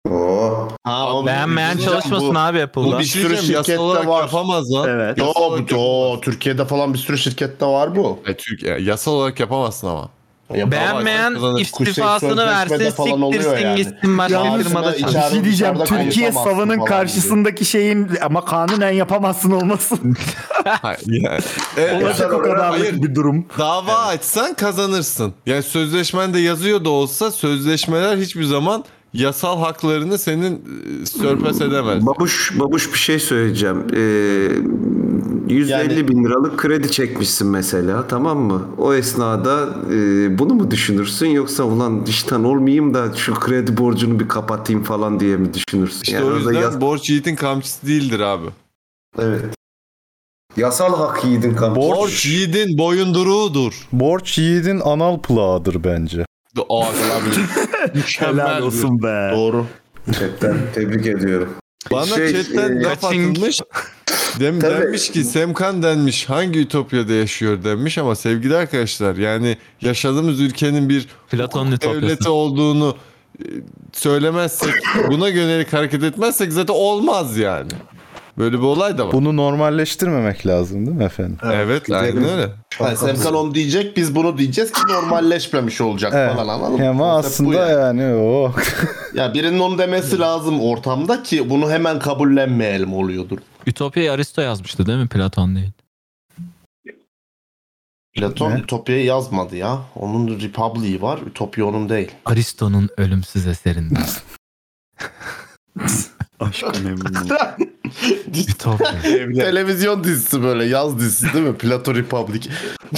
[SPEAKER 10] Oo.
[SPEAKER 2] Ha, o-
[SPEAKER 3] Beğenmeyen
[SPEAKER 2] Hocam,
[SPEAKER 3] çalışmasın
[SPEAKER 2] bu-
[SPEAKER 3] abi
[SPEAKER 1] Bu
[SPEAKER 3] Apple'da.
[SPEAKER 1] bir
[SPEAKER 2] Bir
[SPEAKER 1] sürü
[SPEAKER 2] sürü
[SPEAKER 1] diyeceğim,
[SPEAKER 2] şirkette
[SPEAKER 1] yasal olarak
[SPEAKER 2] var.
[SPEAKER 1] yapamaz lan.
[SPEAKER 11] Evet.
[SPEAKER 2] Yo,
[SPEAKER 1] Yasal
[SPEAKER 2] bu, yo, Türkiye'de falan bir sürü şirkette var bu.
[SPEAKER 1] E, Türk, e, yasal olarak yapamazsın ama.
[SPEAKER 2] Ya,
[SPEAKER 1] Babacan kazanır.
[SPEAKER 3] Beğenmeyen
[SPEAKER 2] Kuzey
[SPEAKER 3] istifasını versin,
[SPEAKER 2] Sözleşme'de falan oluyor
[SPEAKER 3] siktirsin
[SPEAKER 2] yani.
[SPEAKER 3] gitsin başka
[SPEAKER 11] Yalnız
[SPEAKER 3] firmada
[SPEAKER 2] içeride-
[SPEAKER 11] Bir
[SPEAKER 3] çalışsın.
[SPEAKER 11] şey
[SPEAKER 2] Dışarıda
[SPEAKER 11] diyeceğim.
[SPEAKER 2] konuşamazsın
[SPEAKER 11] Türkiye
[SPEAKER 2] falan
[SPEAKER 11] savının
[SPEAKER 2] diyor.
[SPEAKER 11] karşısındaki şeyin ama kanunen yapamazsın olması.
[SPEAKER 1] Hayır, yani. E,
[SPEAKER 11] Olacak o
[SPEAKER 1] Hayır.
[SPEAKER 11] kadarlık bir durum.
[SPEAKER 1] Dava açsan kazanırsın. Yani sözleşmen de yazıyor da olsa sözleşmeler hiçbir zaman yasal haklarını senin e, sörpes edemez.
[SPEAKER 10] Babuş, babuş bir şey söyleyeceğim. Ee, 150
[SPEAKER 2] Yani-
[SPEAKER 10] bin liralık kredi çekmişsin mesela tamam mı? O esnada e, bunu mu düşünürsün yoksa ulan işten olmayayım da şu kredi borcunu bir kapatayım falan diye mi düşünürsün?
[SPEAKER 1] İşte
[SPEAKER 10] Yani
[SPEAKER 1] o
[SPEAKER 10] orada
[SPEAKER 1] yüzden
[SPEAKER 10] yas-
[SPEAKER 1] borç yiğitin kamçısı değildir abi.
[SPEAKER 10] evet. Yasal hak yiğidin kamçısı.
[SPEAKER 1] Borç yiğidin boyunduruğudur.
[SPEAKER 6] Borç yiğidin anal plağıdır bence.
[SPEAKER 1] Ağzına Mükemmel
[SPEAKER 4] Helal
[SPEAKER 1] bir-
[SPEAKER 4] olsun be.
[SPEAKER 2] Doğru.
[SPEAKER 7] Chatten tebrik ediyorum.
[SPEAKER 1] Bana
[SPEAKER 7] Şey,
[SPEAKER 1] chatten
[SPEAKER 7] e,
[SPEAKER 1] laf atılmış. Dem,
[SPEAKER 7] Tabii.
[SPEAKER 1] denmiş ki Semkan denmiş hangi ütopyada yaşıyor denmiş ama sevgili arkadaşlar yani yaşadığımız ülkenin bir
[SPEAKER 3] Platon'un
[SPEAKER 1] devleti olduğunu e, söylemezsek buna yönelik hareket etmezsek zaten olmaz yani. Böyle bir olay da var.
[SPEAKER 6] Bunu normalleştirmemek lazım değil mi efendim?
[SPEAKER 1] Evet aynen öyle.
[SPEAKER 2] Yani Semkan onu diyecek biz bunu diyeceğiz ki normalleşmemiş olacak
[SPEAKER 6] Evet.
[SPEAKER 2] falan anladın mı?
[SPEAKER 6] Ama
[SPEAKER 2] Konsept bu
[SPEAKER 6] aslında
[SPEAKER 2] yani.
[SPEAKER 6] yani oh, o
[SPEAKER 2] Ya birinin onu demesi lazım ortamda ki bunu hemen kabullenmeyelim oluyordur.
[SPEAKER 3] Ütopya'yı Aristo yazmıştı değil mi? Platon değil.
[SPEAKER 2] Platon
[SPEAKER 6] Ne?
[SPEAKER 2] Ütopya'yı yazmadı ya. Onun Republic'i var. Ütopya onun değil.
[SPEAKER 3] Aristo'nun ölümsüz eserinden.
[SPEAKER 4] Aşk memnun.
[SPEAKER 3] Ütopya.
[SPEAKER 2] Televizyon dizisi böyle yaz dizisi değil mi? Platon Republic.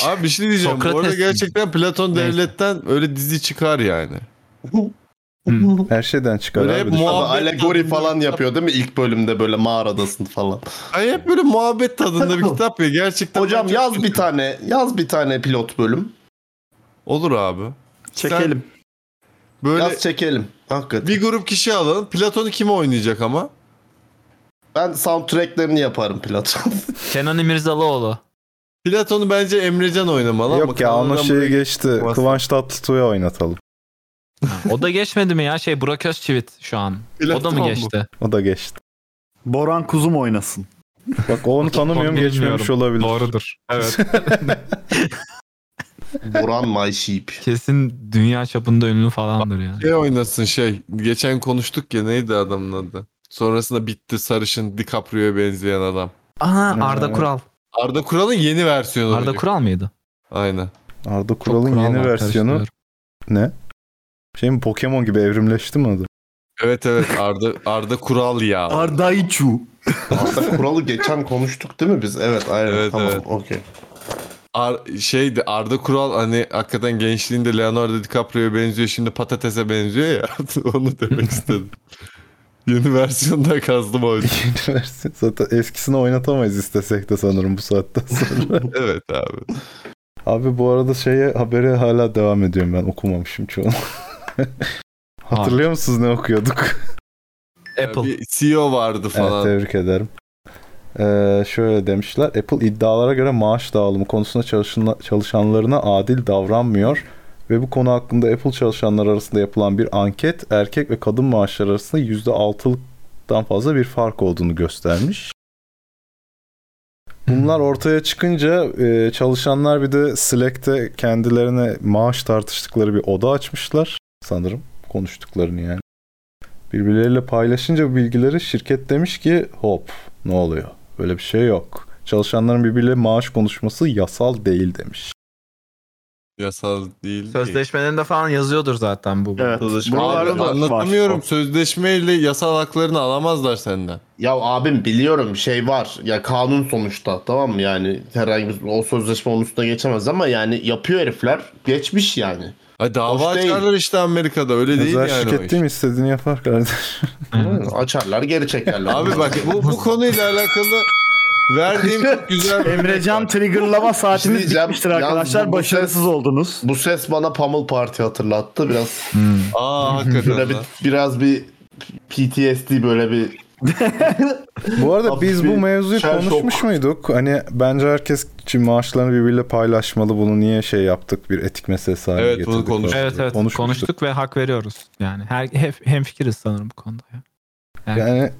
[SPEAKER 1] Abi bir şey diyeceğim. Bu arada
[SPEAKER 3] Sokrates mi?
[SPEAKER 1] gerçekten Platon
[SPEAKER 3] Neyse.
[SPEAKER 1] devletten öyle dizi çıkar yani.
[SPEAKER 6] her şeyden çıkar
[SPEAKER 1] Öyle
[SPEAKER 6] abi.
[SPEAKER 1] hep
[SPEAKER 2] Ama
[SPEAKER 1] Muhabbet
[SPEAKER 2] alegori
[SPEAKER 1] tadında-
[SPEAKER 2] falan yapıyor değil mi? İlk bölümde böyle mağaradasın falan.
[SPEAKER 1] Ay hep böyle muhabbet tadında bir kitap ya gerçekten.
[SPEAKER 2] Hocam
[SPEAKER 1] bence-
[SPEAKER 2] yaz bir tane. Yaz bir tane pilot bölüm.
[SPEAKER 1] Olur abi.
[SPEAKER 4] Çekelim.
[SPEAKER 1] Böyle
[SPEAKER 2] Yaz çekelim. Hakikaten.
[SPEAKER 1] bir grup kişi alalım. Platon'u kim oynayacak ama?
[SPEAKER 2] Ben soundtracklerini yaparım Platon.
[SPEAKER 3] Kenan İmirzalıoğlu.
[SPEAKER 1] Platon'u bence Emrecan oynamalı ama
[SPEAKER 6] Yok ya onun
[SPEAKER 1] kanaldan
[SPEAKER 6] şeyi
[SPEAKER 1] buraya-
[SPEAKER 6] geçti.
[SPEAKER 1] Bas-
[SPEAKER 6] Kıvanç Tatlıtuğ'ya oynatalım.
[SPEAKER 3] O da geçmedi mi ya? Şey Burak Özçivit şu an. O da
[SPEAKER 1] Platon
[SPEAKER 3] mı
[SPEAKER 1] bu.
[SPEAKER 3] geçti?
[SPEAKER 6] O da geçti.
[SPEAKER 4] Boran Kuzum oynasın.
[SPEAKER 6] Bak onu tanımıyorum
[SPEAKER 3] bilmiyorum.
[SPEAKER 6] geçmemiş olabilir.
[SPEAKER 3] Doğrudur. Evet.
[SPEAKER 2] Buran My Sheep.
[SPEAKER 3] Kesin dünya çapında ünlü falandır ya.
[SPEAKER 1] Şey oynasın şey. Geçen konuştuk ya neydi adamın adı? Sonrasında bitti sarışın DiCaprio'ya benzeyen adam.
[SPEAKER 3] Aha Arda
[SPEAKER 6] Ee,
[SPEAKER 3] Kural.
[SPEAKER 1] Arda Kural'ın yeni versiyonu.
[SPEAKER 3] Arda
[SPEAKER 1] olacak.
[SPEAKER 3] Kural mıydı?
[SPEAKER 1] Aynen.
[SPEAKER 6] Arda
[SPEAKER 3] Çok
[SPEAKER 6] Kural'ın
[SPEAKER 3] Kural
[SPEAKER 6] yeni
[SPEAKER 3] var,
[SPEAKER 6] versiyonu
[SPEAKER 3] karıştırıyorum.
[SPEAKER 6] şey mi Pokemon gibi evrimleşti mi adı?
[SPEAKER 1] Evet evet Arda Arda Kural ya.
[SPEAKER 4] Ardaiçu.
[SPEAKER 2] Aslında kuralı geçen konuştuk değil mi biz? Evet aynen
[SPEAKER 1] Evet,
[SPEAKER 2] tamam
[SPEAKER 1] evet.
[SPEAKER 2] okey.
[SPEAKER 1] Ar- şeydi Arda Kural hani hakikaten gençliğinde Leonardo DiCaprio'ya benziyor şimdi patatese benziyor ya onu demek istedim. Yeni versiyonda kazdım o yüzden.
[SPEAKER 6] Yeni versiyon. Zaten eskisini oynatamayız istesek de sanırım bu saatten sonra.
[SPEAKER 1] Evet abi.
[SPEAKER 6] abi bu arada şeye habere hala devam ediyorum ben okumamışım çoğunu. Hatırlıyor musunuz ne okuyorduk?
[SPEAKER 3] Apple.
[SPEAKER 1] Ee, Bir CEO vardı
[SPEAKER 6] Evet
[SPEAKER 1] falan.
[SPEAKER 6] tebrik ederim. Ee, şöyle demişler. Apple iddialara göre maaş dağılımı konusunda çalışan, çalışanlarına adil davranmıyor. Ve bu konu hakkında Apple çalışanlar arasında yapılan bir anket erkek ve kadın maaşları arasında %6'lıktan fazla bir fark olduğunu göstermiş. Bunlar
[SPEAKER 1] Hmm.
[SPEAKER 6] ortaya çıkınca e, çalışanlar bir de Slack'te kendilerine maaş tartıştıkları bir oda açmışlar sanırım konuştuklarını yani. Birbirleriyle paylaşınca bu bilgileri şirket demiş ki hop ne oluyor? Böyle bir şey yok. Çalışanların birbirleriyle maaş konuşması yasal değil demiş.
[SPEAKER 1] Yasal değil. ki.
[SPEAKER 3] Sözleşmelerinde falan yazıyordur zaten bu.
[SPEAKER 4] Evet.
[SPEAKER 2] Sözleşme-
[SPEAKER 4] Buralarda
[SPEAKER 1] Abi,
[SPEAKER 4] da var.
[SPEAKER 1] anlatamıyorum. Sözleşmeyle yasal haklarını alamazlar senden.
[SPEAKER 2] Ya abim biliyorum şey var ya kanun sonuçta tamam mı yani herhangi bir o sözleşme onun üstüne geçemez ama yani yapıyor herifler geçmiş yani.
[SPEAKER 1] Ay dava
[SPEAKER 2] Hoş değil.
[SPEAKER 1] açarlar işte Amerika'da öyle değil
[SPEAKER 6] Özel
[SPEAKER 1] yani. o
[SPEAKER 6] şirket
[SPEAKER 1] iş.
[SPEAKER 6] değil mi istediğini yapar kardeş.
[SPEAKER 2] Açarlar geri çekerler.
[SPEAKER 1] Abi bak bu, bu konuyla alakalı verdiğim çok güzel
[SPEAKER 4] Emrecan triggerlama saatimiz
[SPEAKER 2] şey diyeceğim.
[SPEAKER 4] bitmiştir
[SPEAKER 2] Yalnız
[SPEAKER 4] arkadaşlar.
[SPEAKER 2] bu- bu
[SPEAKER 4] Başarısız
[SPEAKER 2] ses-
[SPEAKER 4] oldunuz.
[SPEAKER 2] bu ses bana Pamul Parti hatırlattı biraz.
[SPEAKER 3] Hmm.
[SPEAKER 1] Aa hakikaten.
[SPEAKER 2] Böyle bir,
[SPEAKER 1] lan.
[SPEAKER 2] biraz bir PTSD böyle bir
[SPEAKER 6] Bu arada
[SPEAKER 2] Hafif
[SPEAKER 6] biz
[SPEAKER 2] bir
[SPEAKER 6] bu mevzuyu
[SPEAKER 2] şer şok.
[SPEAKER 6] konuşmuş muyduk? Hani bence herkes için maaşlarını birbiriyle paylaşmalı. Bunu niye şey yaptık? Bir etik meselesi haline
[SPEAKER 1] Evet, bunu
[SPEAKER 6] getirdik.
[SPEAKER 1] konuştuk.
[SPEAKER 6] falan.
[SPEAKER 3] Evet evet
[SPEAKER 6] Konuşmuştuk.
[SPEAKER 3] konuştuk ve hak veriyoruz. Yani her hep hemfikiriz sanırım bu konuda ya. Yani,
[SPEAKER 6] Yani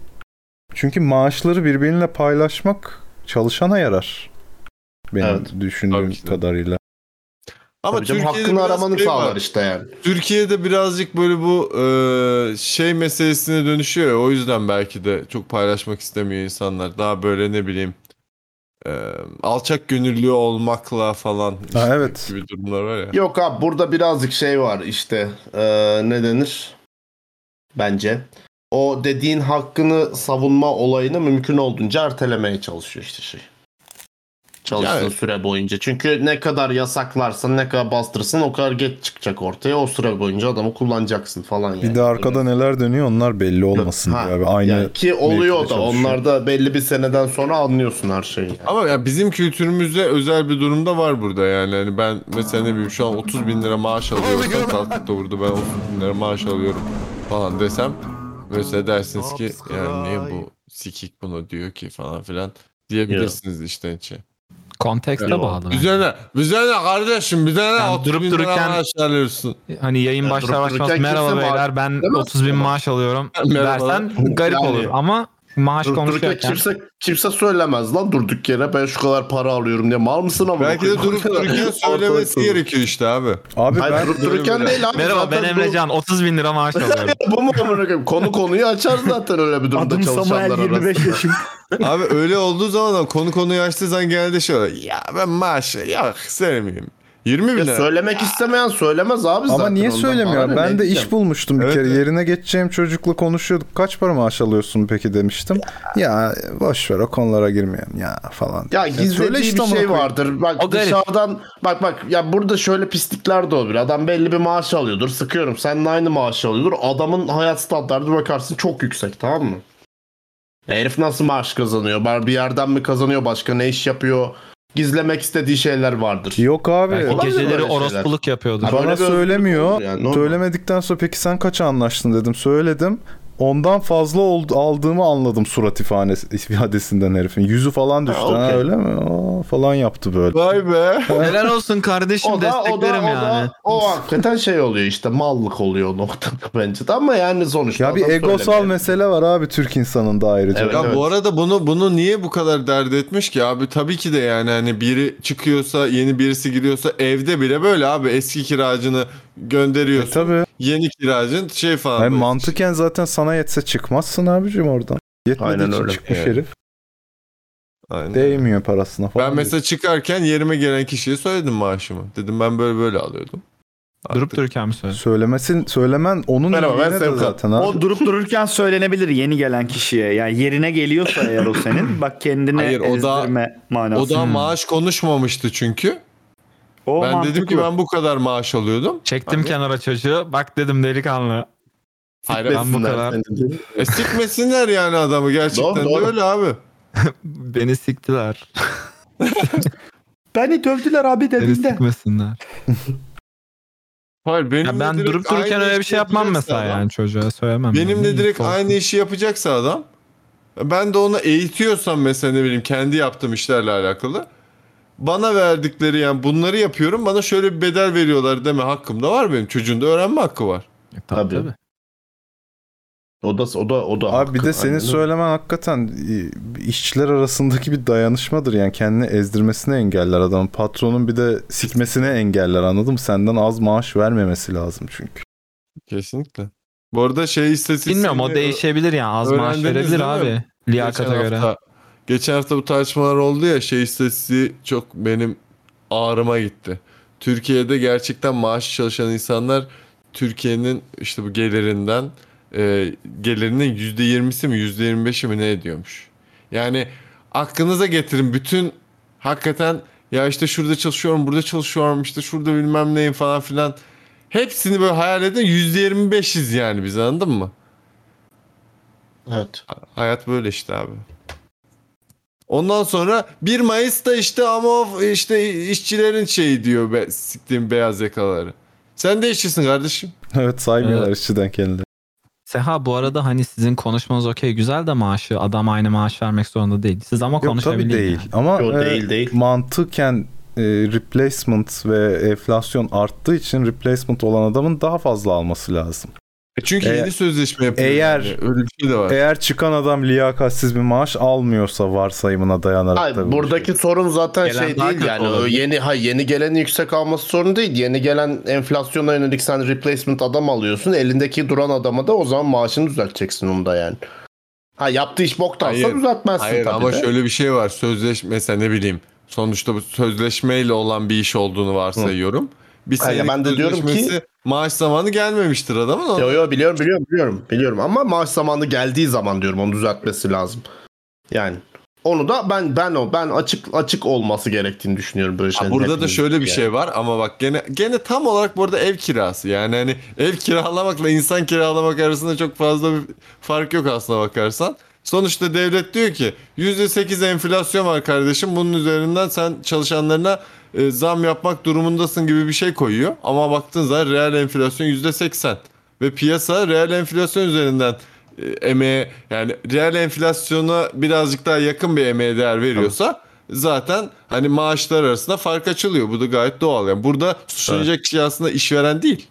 [SPEAKER 6] çünkü maaşları birbiriyle paylaşmak çalışana yarar. Benim
[SPEAKER 2] Evet.
[SPEAKER 6] düşündüğüm
[SPEAKER 1] Tabii ki de.
[SPEAKER 6] kadarıyla.
[SPEAKER 1] Ama
[SPEAKER 2] Tabii canım, hakkını
[SPEAKER 1] biraz
[SPEAKER 2] aramanı
[SPEAKER 1] şey var.
[SPEAKER 2] sağlar işte yani.
[SPEAKER 1] Türkiye'de birazcık böyle bu e, şey meselesine dönüşüyor ya, o yüzden belki de çok paylaşmak istemiyor insanlar. Daha böyle ne bileyim e, alçak gönüllü olmakla falan
[SPEAKER 6] Ha, evet.
[SPEAKER 1] gibi durumlar var ya.
[SPEAKER 2] Yok abi burada birazcık şey var işte eee, ne denir bence. O dediğin hakkını savunma olayını mümkün olduğunca ertelemeye çalışıyor işte şey. Çalıştığı
[SPEAKER 1] Evet.
[SPEAKER 2] süre boyunca. Çünkü ne kadar yasaklarsan ne kadar bastırırsan o kadar geç çıkacak ortaya. O süre boyunca adamı kullanacaksın falan yani.
[SPEAKER 6] Bir de arkada neler dönüyor onlar belli olmasın
[SPEAKER 2] Ha,
[SPEAKER 6] diye abi. Aynı
[SPEAKER 2] yani ki oluyor
[SPEAKER 6] mevkide
[SPEAKER 2] da
[SPEAKER 6] çalışıyor.
[SPEAKER 2] onlarda belli bir seneden sonra anlıyorsun her şeyi. yani.
[SPEAKER 1] Ama ya bizim kültürümüzde özel bir durumda var burada yani. Hani ben mesela ne bileyim şu an 30 bin lira maaş alıyorum. Sen kalkıp da vurdu ben 30 bin lira maaş alıyorum falan desem. Mesela dersiniz ki yani niye bu sikik bunu diyor ki falan filan diyebilirsiniz işten içe.
[SPEAKER 3] Kontekste bağlı.
[SPEAKER 1] Bize ne? Bize ne kardeşim? Bize ne?
[SPEAKER 3] Yani
[SPEAKER 1] 30
[SPEAKER 3] durup
[SPEAKER 1] bin lira
[SPEAKER 3] dururken-
[SPEAKER 1] maaş alıyorsun.
[SPEAKER 3] Hani yayın başlar
[SPEAKER 2] durup
[SPEAKER 3] başlamaz
[SPEAKER 2] dururken
[SPEAKER 3] merhaba
[SPEAKER 2] kimse
[SPEAKER 3] beyler ben
[SPEAKER 2] demez.
[SPEAKER 3] 30 bin maaş alıyorum
[SPEAKER 1] Merhaba.
[SPEAKER 3] dersen garip
[SPEAKER 2] Yani-
[SPEAKER 3] olur ama maaş
[SPEAKER 2] Durduk yere
[SPEAKER 3] konuşuyorken
[SPEAKER 2] kimse kimse söylemez lan durduk yere ben şu kadar para alıyorum diye mal mısın ama
[SPEAKER 1] Belki de durup dururken söylemesi gerekiyor işte abi.
[SPEAKER 6] Abi
[SPEAKER 2] Hayır,
[SPEAKER 6] ben
[SPEAKER 2] durup dururken
[SPEAKER 1] Böyle-
[SPEAKER 2] değil abi.
[SPEAKER 3] merhaba ben
[SPEAKER 2] Zaten
[SPEAKER 3] Emrecan 30 bin lira maaş alıyorum.
[SPEAKER 2] bu- Bu mu amına koyayım? Konu konuyu açar zaten öyle bir durumda
[SPEAKER 4] Adım Samuel
[SPEAKER 2] çalışanlar
[SPEAKER 4] 25
[SPEAKER 2] arasında.
[SPEAKER 4] yaşım.
[SPEAKER 1] Abi öyle olduğu zaman da konu konuyu açtığı zaman genelde şey oluyor. Ya ben maaşı yok sevmeyeyim. 20 bin
[SPEAKER 2] Ya
[SPEAKER 1] lira.
[SPEAKER 2] söylemek istemeyen söylemez abi zaten.
[SPEAKER 6] ama niye
[SPEAKER 2] ondan
[SPEAKER 6] söylemiyor?
[SPEAKER 2] bana ne,
[SPEAKER 6] Ben
[SPEAKER 2] ne
[SPEAKER 6] de
[SPEAKER 2] diyeceğim?
[SPEAKER 6] iş bulmuştum bir
[SPEAKER 1] Evet,
[SPEAKER 6] kere.
[SPEAKER 1] evet.
[SPEAKER 6] Yerine geçeceğim çocukla konuşuyorduk. Kaç para maaş alıyorsun peki demiştim. Ya boş ver o konulara girmeyelim ya falan.
[SPEAKER 2] Ya
[SPEAKER 6] söyle
[SPEAKER 2] gizlediği
[SPEAKER 6] işte
[SPEAKER 2] bir
[SPEAKER 6] amına
[SPEAKER 2] şey
[SPEAKER 6] koyayım.
[SPEAKER 2] vardır. Bak
[SPEAKER 3] O garip.
[SPEAKER 2] dışarıdan bak bak ya burada şöyle pislikler de olabilir. Adam belli bir maaş alıyordur. Sıkıyorum. Seninle aynı maaş alıyordur. Adamın hayat standartı bakarsın çok yüksek tamam mı? Ya herif nasıl maaş kazanıyor? Bar bir yerden mi kazanıyor? Başka ne iş yapıyor? Gizlemek istediği şeyler vardır.
[SPEAKER 6] Yok abi.
[SPEAKER 3] Belki
[SPEAKER 2] Olabilir
[SPEAKER 3] geceleri
[SPEAKER 2] böyle şeyler.
[SPEAKER 3] orospuluk yapıyordur.
[SPEAKER 2] Abi- Böyle
[SPEAKER 6] Bana
[SPEAKER 2] bir özgürlük
[SPEAKER 6] söylemiyor.
[SPEAKER 2] olur yani, normal.
[SPEAKER 6] Söylemedikten sonra peki sen kaça anlaştın dedim. Söyledim. Ondan fazla oldu, aldığımı anladım surat ifadesi- ifadesinden herifin. Yüzü falan düştü. Ha,
[SPEAKER 2] okey.
[SPEAKER 6] öyle mi? Aa, falan yaptı böyle.
[SPEAKER 1] Vay be.
[SPEAKER 3] Helal olsun kardeşim
[SPEAKER 2] O da, o da,
[SPEAKER 3] desteklerim
[SPEAKER 2] o
[SPEAKER 3] yani.
[SPEAKER 2] da, o hakikaten şey oluyor işte mallık oluyor o noktada bence de ama yani sonuçta
[SPEAKER 6] Ya bir
[SPEAKER 2] adam
[SPEAKER 6] egosal
[SPEAKER 2] söylemiyor.
[SPEAKER 6] mesele var abi Türk insanın da ayrıca.
[SPEAKER 2] Evet.
[SPEAKER 1] Ya bu arada bunu bunu niye bu kadar dert etmiş ki abi? Tabii ki de yani hani biri çıkıyorsa, yeni birisi giriyorsa evde bile böyle abi eski kiracını gönderiyorsun.
[SPEAKER 6] E, Tabii.
[SPEAKER 1] Yeni kiracın şey falan.
[SPEAKER 6] Yani
[SPEAKER 1] böyle.
[SPEAKER 6] mantıken zaten sana yetse çıkmazsın abicim oradan. Yetmediği
[SPEAKER 2] Aynen
[SPEAKER 6] için
[SPEAKER 2] öyle.
[SPEAKER 6] çıkmış
[SPEAKER 1] Evet.
[SPEAKER 6] herif.
[SPEAKER 1] Aynen.
[SPEAKER 6] Değmiyor parasına falan.
[SPEAKER 1] Ben mesela çıkarken yerime gelen kişiye söyledim maaşımı. Dedim ben böyle böyle alıyordum.
[SPEAKER 3] Durup dururken mi söyledin?
[SPEAKER 6] Söylemesin, söylemen onun
[SPEAKER 2] Merhaba, ben
[SPEAKER 6] iyiliğine de
[SPEAKER 2] Sevkan.
[SPEAKER 6] zaten abi.
[SPEAKER 4] O durup dururken söylenebilir yeni gelen kişiye. Yani yerine geliyorsa eğer o senin bak kendine
[SPEAKER 1] Hayır, o da-
[SPEAKER 4] ezdirme manası.
[SPEAKER 1] O
[SPEAKER 3] Hmm.
[SPEAKER 1] da maaş konuşmamıştı çünkü.
[SPEAKER 4] O
[SPEAKER 1] ben dedim ki
[SPEAKER 4] mantıklı.
[SPEAKER 1] ben bu kadar maaş alıyordum.
[SPEAKER 3] Çektim
[SPEAKER 1] Abi.
[SPEAKER 3] kenara çocuğu. Bak dedim delikanlı.
[SPEAKER 1] Hayır
[SPEAKER 3] Ben bu kadar.
[SPEAKER 1] E, sikmesinler yani adamı gerçekten
[SPEAKER 2] Doğru,
[SPEAKER 1] de
[SPEAKER 2] doğru.
[SPEAKER 1] öyle abi.
[SPEAKER 3] Beni siktiler.
[SPEAKER 4] Beni dövdüler abi
[SPEAKER 3] Beni
[SPEAKER 4] dedim de.
[SPEAKER 3] sikmesinler.
[SPEAKER 1] Hayır benim
[SPEAKER 3] Ya ben
[SPEAKER 1] de direkt
[SPEAKER 3] durup dururken
[SPEAKER 1] aynı
[SPEAKER 3] öyle bir
[SPEAKER 1] işi
[SPEAKER 3] şey yapmam
[SPEAKER 1] yapacaksa
[SPEAKER 3] mesela
[SPEAKER 1] adam-
[SPEAKER 3] yani çocuğa söylemem.
[SPEAKER 1] Benim
[SPEAKER 3] yani.
[SPEAKER 1] de direkt
[SPEAKER 3] Korkun.
[SPEAKER 1] aynı işi yapacaksa adam ben de onu eğitiyorsam mesela ne bileyim kendi yaptığım işlerle alakalı bana verdikleri yani bunları yapıyorum bana şöyle bir bedel veriyorlar deme hakkım da var benim çocuğun da öğrenme hakkı var.
[SPEAKER 3] E, Tabii.
[SPEAKER 2] Tabii.
[SPEAKER 3] tabii.
[SPEAKER 2] O da o da o da
[SPEAKER 6] Abi bir
[SPEAKER 2] hakkı,
[SPEAKER 6] de senin
[SPEAKER 2] aynen öyle.
[SPEAKER 6] söylemen hakikaten e, işçiler arasındaki bir dayanışmadır. Yani kendini ezdirmesine engeller adamın. Patronun bir de sikmesine engeller anladın mı? Senden az maaş vermemesi lazım çünkü.
[SPEAKER 1] Kesinlikle. Bu arada şey istatistiğini
[SPEAKER 3] Bilmiyorum o değişebilir yani. Az maaş
[SPEAKER 1] Öğrendiniz
[SPEAKER 3] verebilir
[SPEAKER 1] değil mi?
[SPEAKER 3] abi.
[SPEAKER 1] geçen
[SPEAKER 3] Liyakata göre.
[SPEAKER 1] hafta- geçen hafta bu tartışmalar oldu ya şey istatistiği çok benim ağrıma gitti. Türkiye'de gerçekten maaş çalışan insanlar Türkiye'nin işte bu gelirinden e, gelirinin %20'si mi %25'i mi ne ediyormuş. Yani aklınıza getirin bütün hakikaten ya işte şurada çalışıyorum burada çalışıyorum işte şurada bilmem neyim falan filan. Hepsini böyle hayal edin %25'iz yani biz anladın mı?
[SPEAKER 2] Evet.
[SPEAKER 1] Hayat böyle işte abi. Ondan sonra 1 Mayıs'ta işte ama of işte işçilerin şeyi diyor be, siktiğim beyaz yakaları. Sen de işçisin kardeşim.
[SPEAKER 6] Evet saymıyorlar işçiden kendileri.
[SPEAKER 3] Seha bu arada hani sizin konuşmanız okey güzel de maaşı adam aynı maaş vermek zorunda değil. Siz ama
[SPEAKER 6] Yok
[SPEAKER 3] konuşabilir.
[SPEAKER 6] tabii değil.
[SPEAKER 3] yani.
[SPEAKER 6] Ama
[SPEAKER 2] Yo,
[SPEAKER 6] e,
[SPEAKER 2] değil değil.
[SPEAKER 6] mantıken e, replacement ve enflasyon arttığı için replacement olan adamın daha fazla alması lazım.
[SPEAKER 1] E çünkü
[SPEAKER 6] E-
[SPEAKER 1] yeni sözleşme yapıyor.
[SPEAKER 6] eğer-
[SPEAKER 1] yani. Öyle bir şey de var.
[SPEAKER 6] Eğer çıkan adam liyakatsiz bir maaş almıyorsa varsayımına dayanarak
[SPEAKER 2] Hayır,
[SPEAKER 6] tabii.
[SPEAKER 2] buradaki sorun zaten
[SPEAKER 3] Gelen
[SPEAKER 2] şey
[SPEAKER 3] daha
[SPEAKER 2] değil
[SPEAKER 3] kötü
[SPEAKER 2] yani o
[SPEAKER 3] olabilir.
[SPEAKER 2] yeni ha yeni gelen yüksek alması sorun değil. Yeni gelen enflasyona yönelik sen replacement adam alıyorsun. Elindeki duran adama da o zaman maaşını düzelteceksin onu da yani. Ha yaptığı iş boktansa
[SPEAKER 1] Hayır,
[SPEAKER 2] düzeltmezsin
[SPEAKER 1] Hayır
[SPEAKER 2] tabii
[SPEAKER 1] ama
[SPEAKER 2] de.
[SPEAKER 1] şöyle bir şey var. Sözleşme mesela ne bileyim. Sonuçta bu sözleşmeyle olan bir iş olduğunu varsayıyorum. Bir
[SPEAKER 2] Hayır,
[SPEAKER 1] senelik
[SPEAKER 2] ben de diyorum ki-
[SPEAKER 1] sözleşmesi maaş zamanı gelmemiştir adamın.
[SPEAKER 2] Yo yo biliyorum biliyorum biliyorum biliyorum ama maaş zamanı geldiği zaman diyorum onu düzeltmesi lazım. Yani Onu da ben ben o ben açık açık olması gerektiğini düşünüyorum böyle
[SPEAKER 1] Ha,
[SPEAKER 2] şeylerin.
[SPEAKER 1] burada da
[SPEAKER 2] hepimizin
[SPEAKER 1] şöyle bir
[SPEAKER 2] yani.
[SPEAKER 1] şey var ama bak gene gene tam olarak bu arada ev kirası. Yani hani ev kiralamakla insan kiralamak arasında çok fazla bir fark yok aslına bakarsan. Sonuçta devlet diyor ki %8 enflasyon var kardeşim. Bunun üzerinden sen çalışanlarına e, zam yapmak durumundasın gibi bir şey koyuyor. Ama baktığın zaman reel enflasyon %80 ve piyasa reel enflasyon üzerinden e, emeğe yani reel enflasyona birazcık daha yakın bir emeğe değer veriyorsa zaten hani maaşlar arasında fark açılıyor. Bu da gayet doğal. Yani burada suçlanacak kişi aslında işveren değil.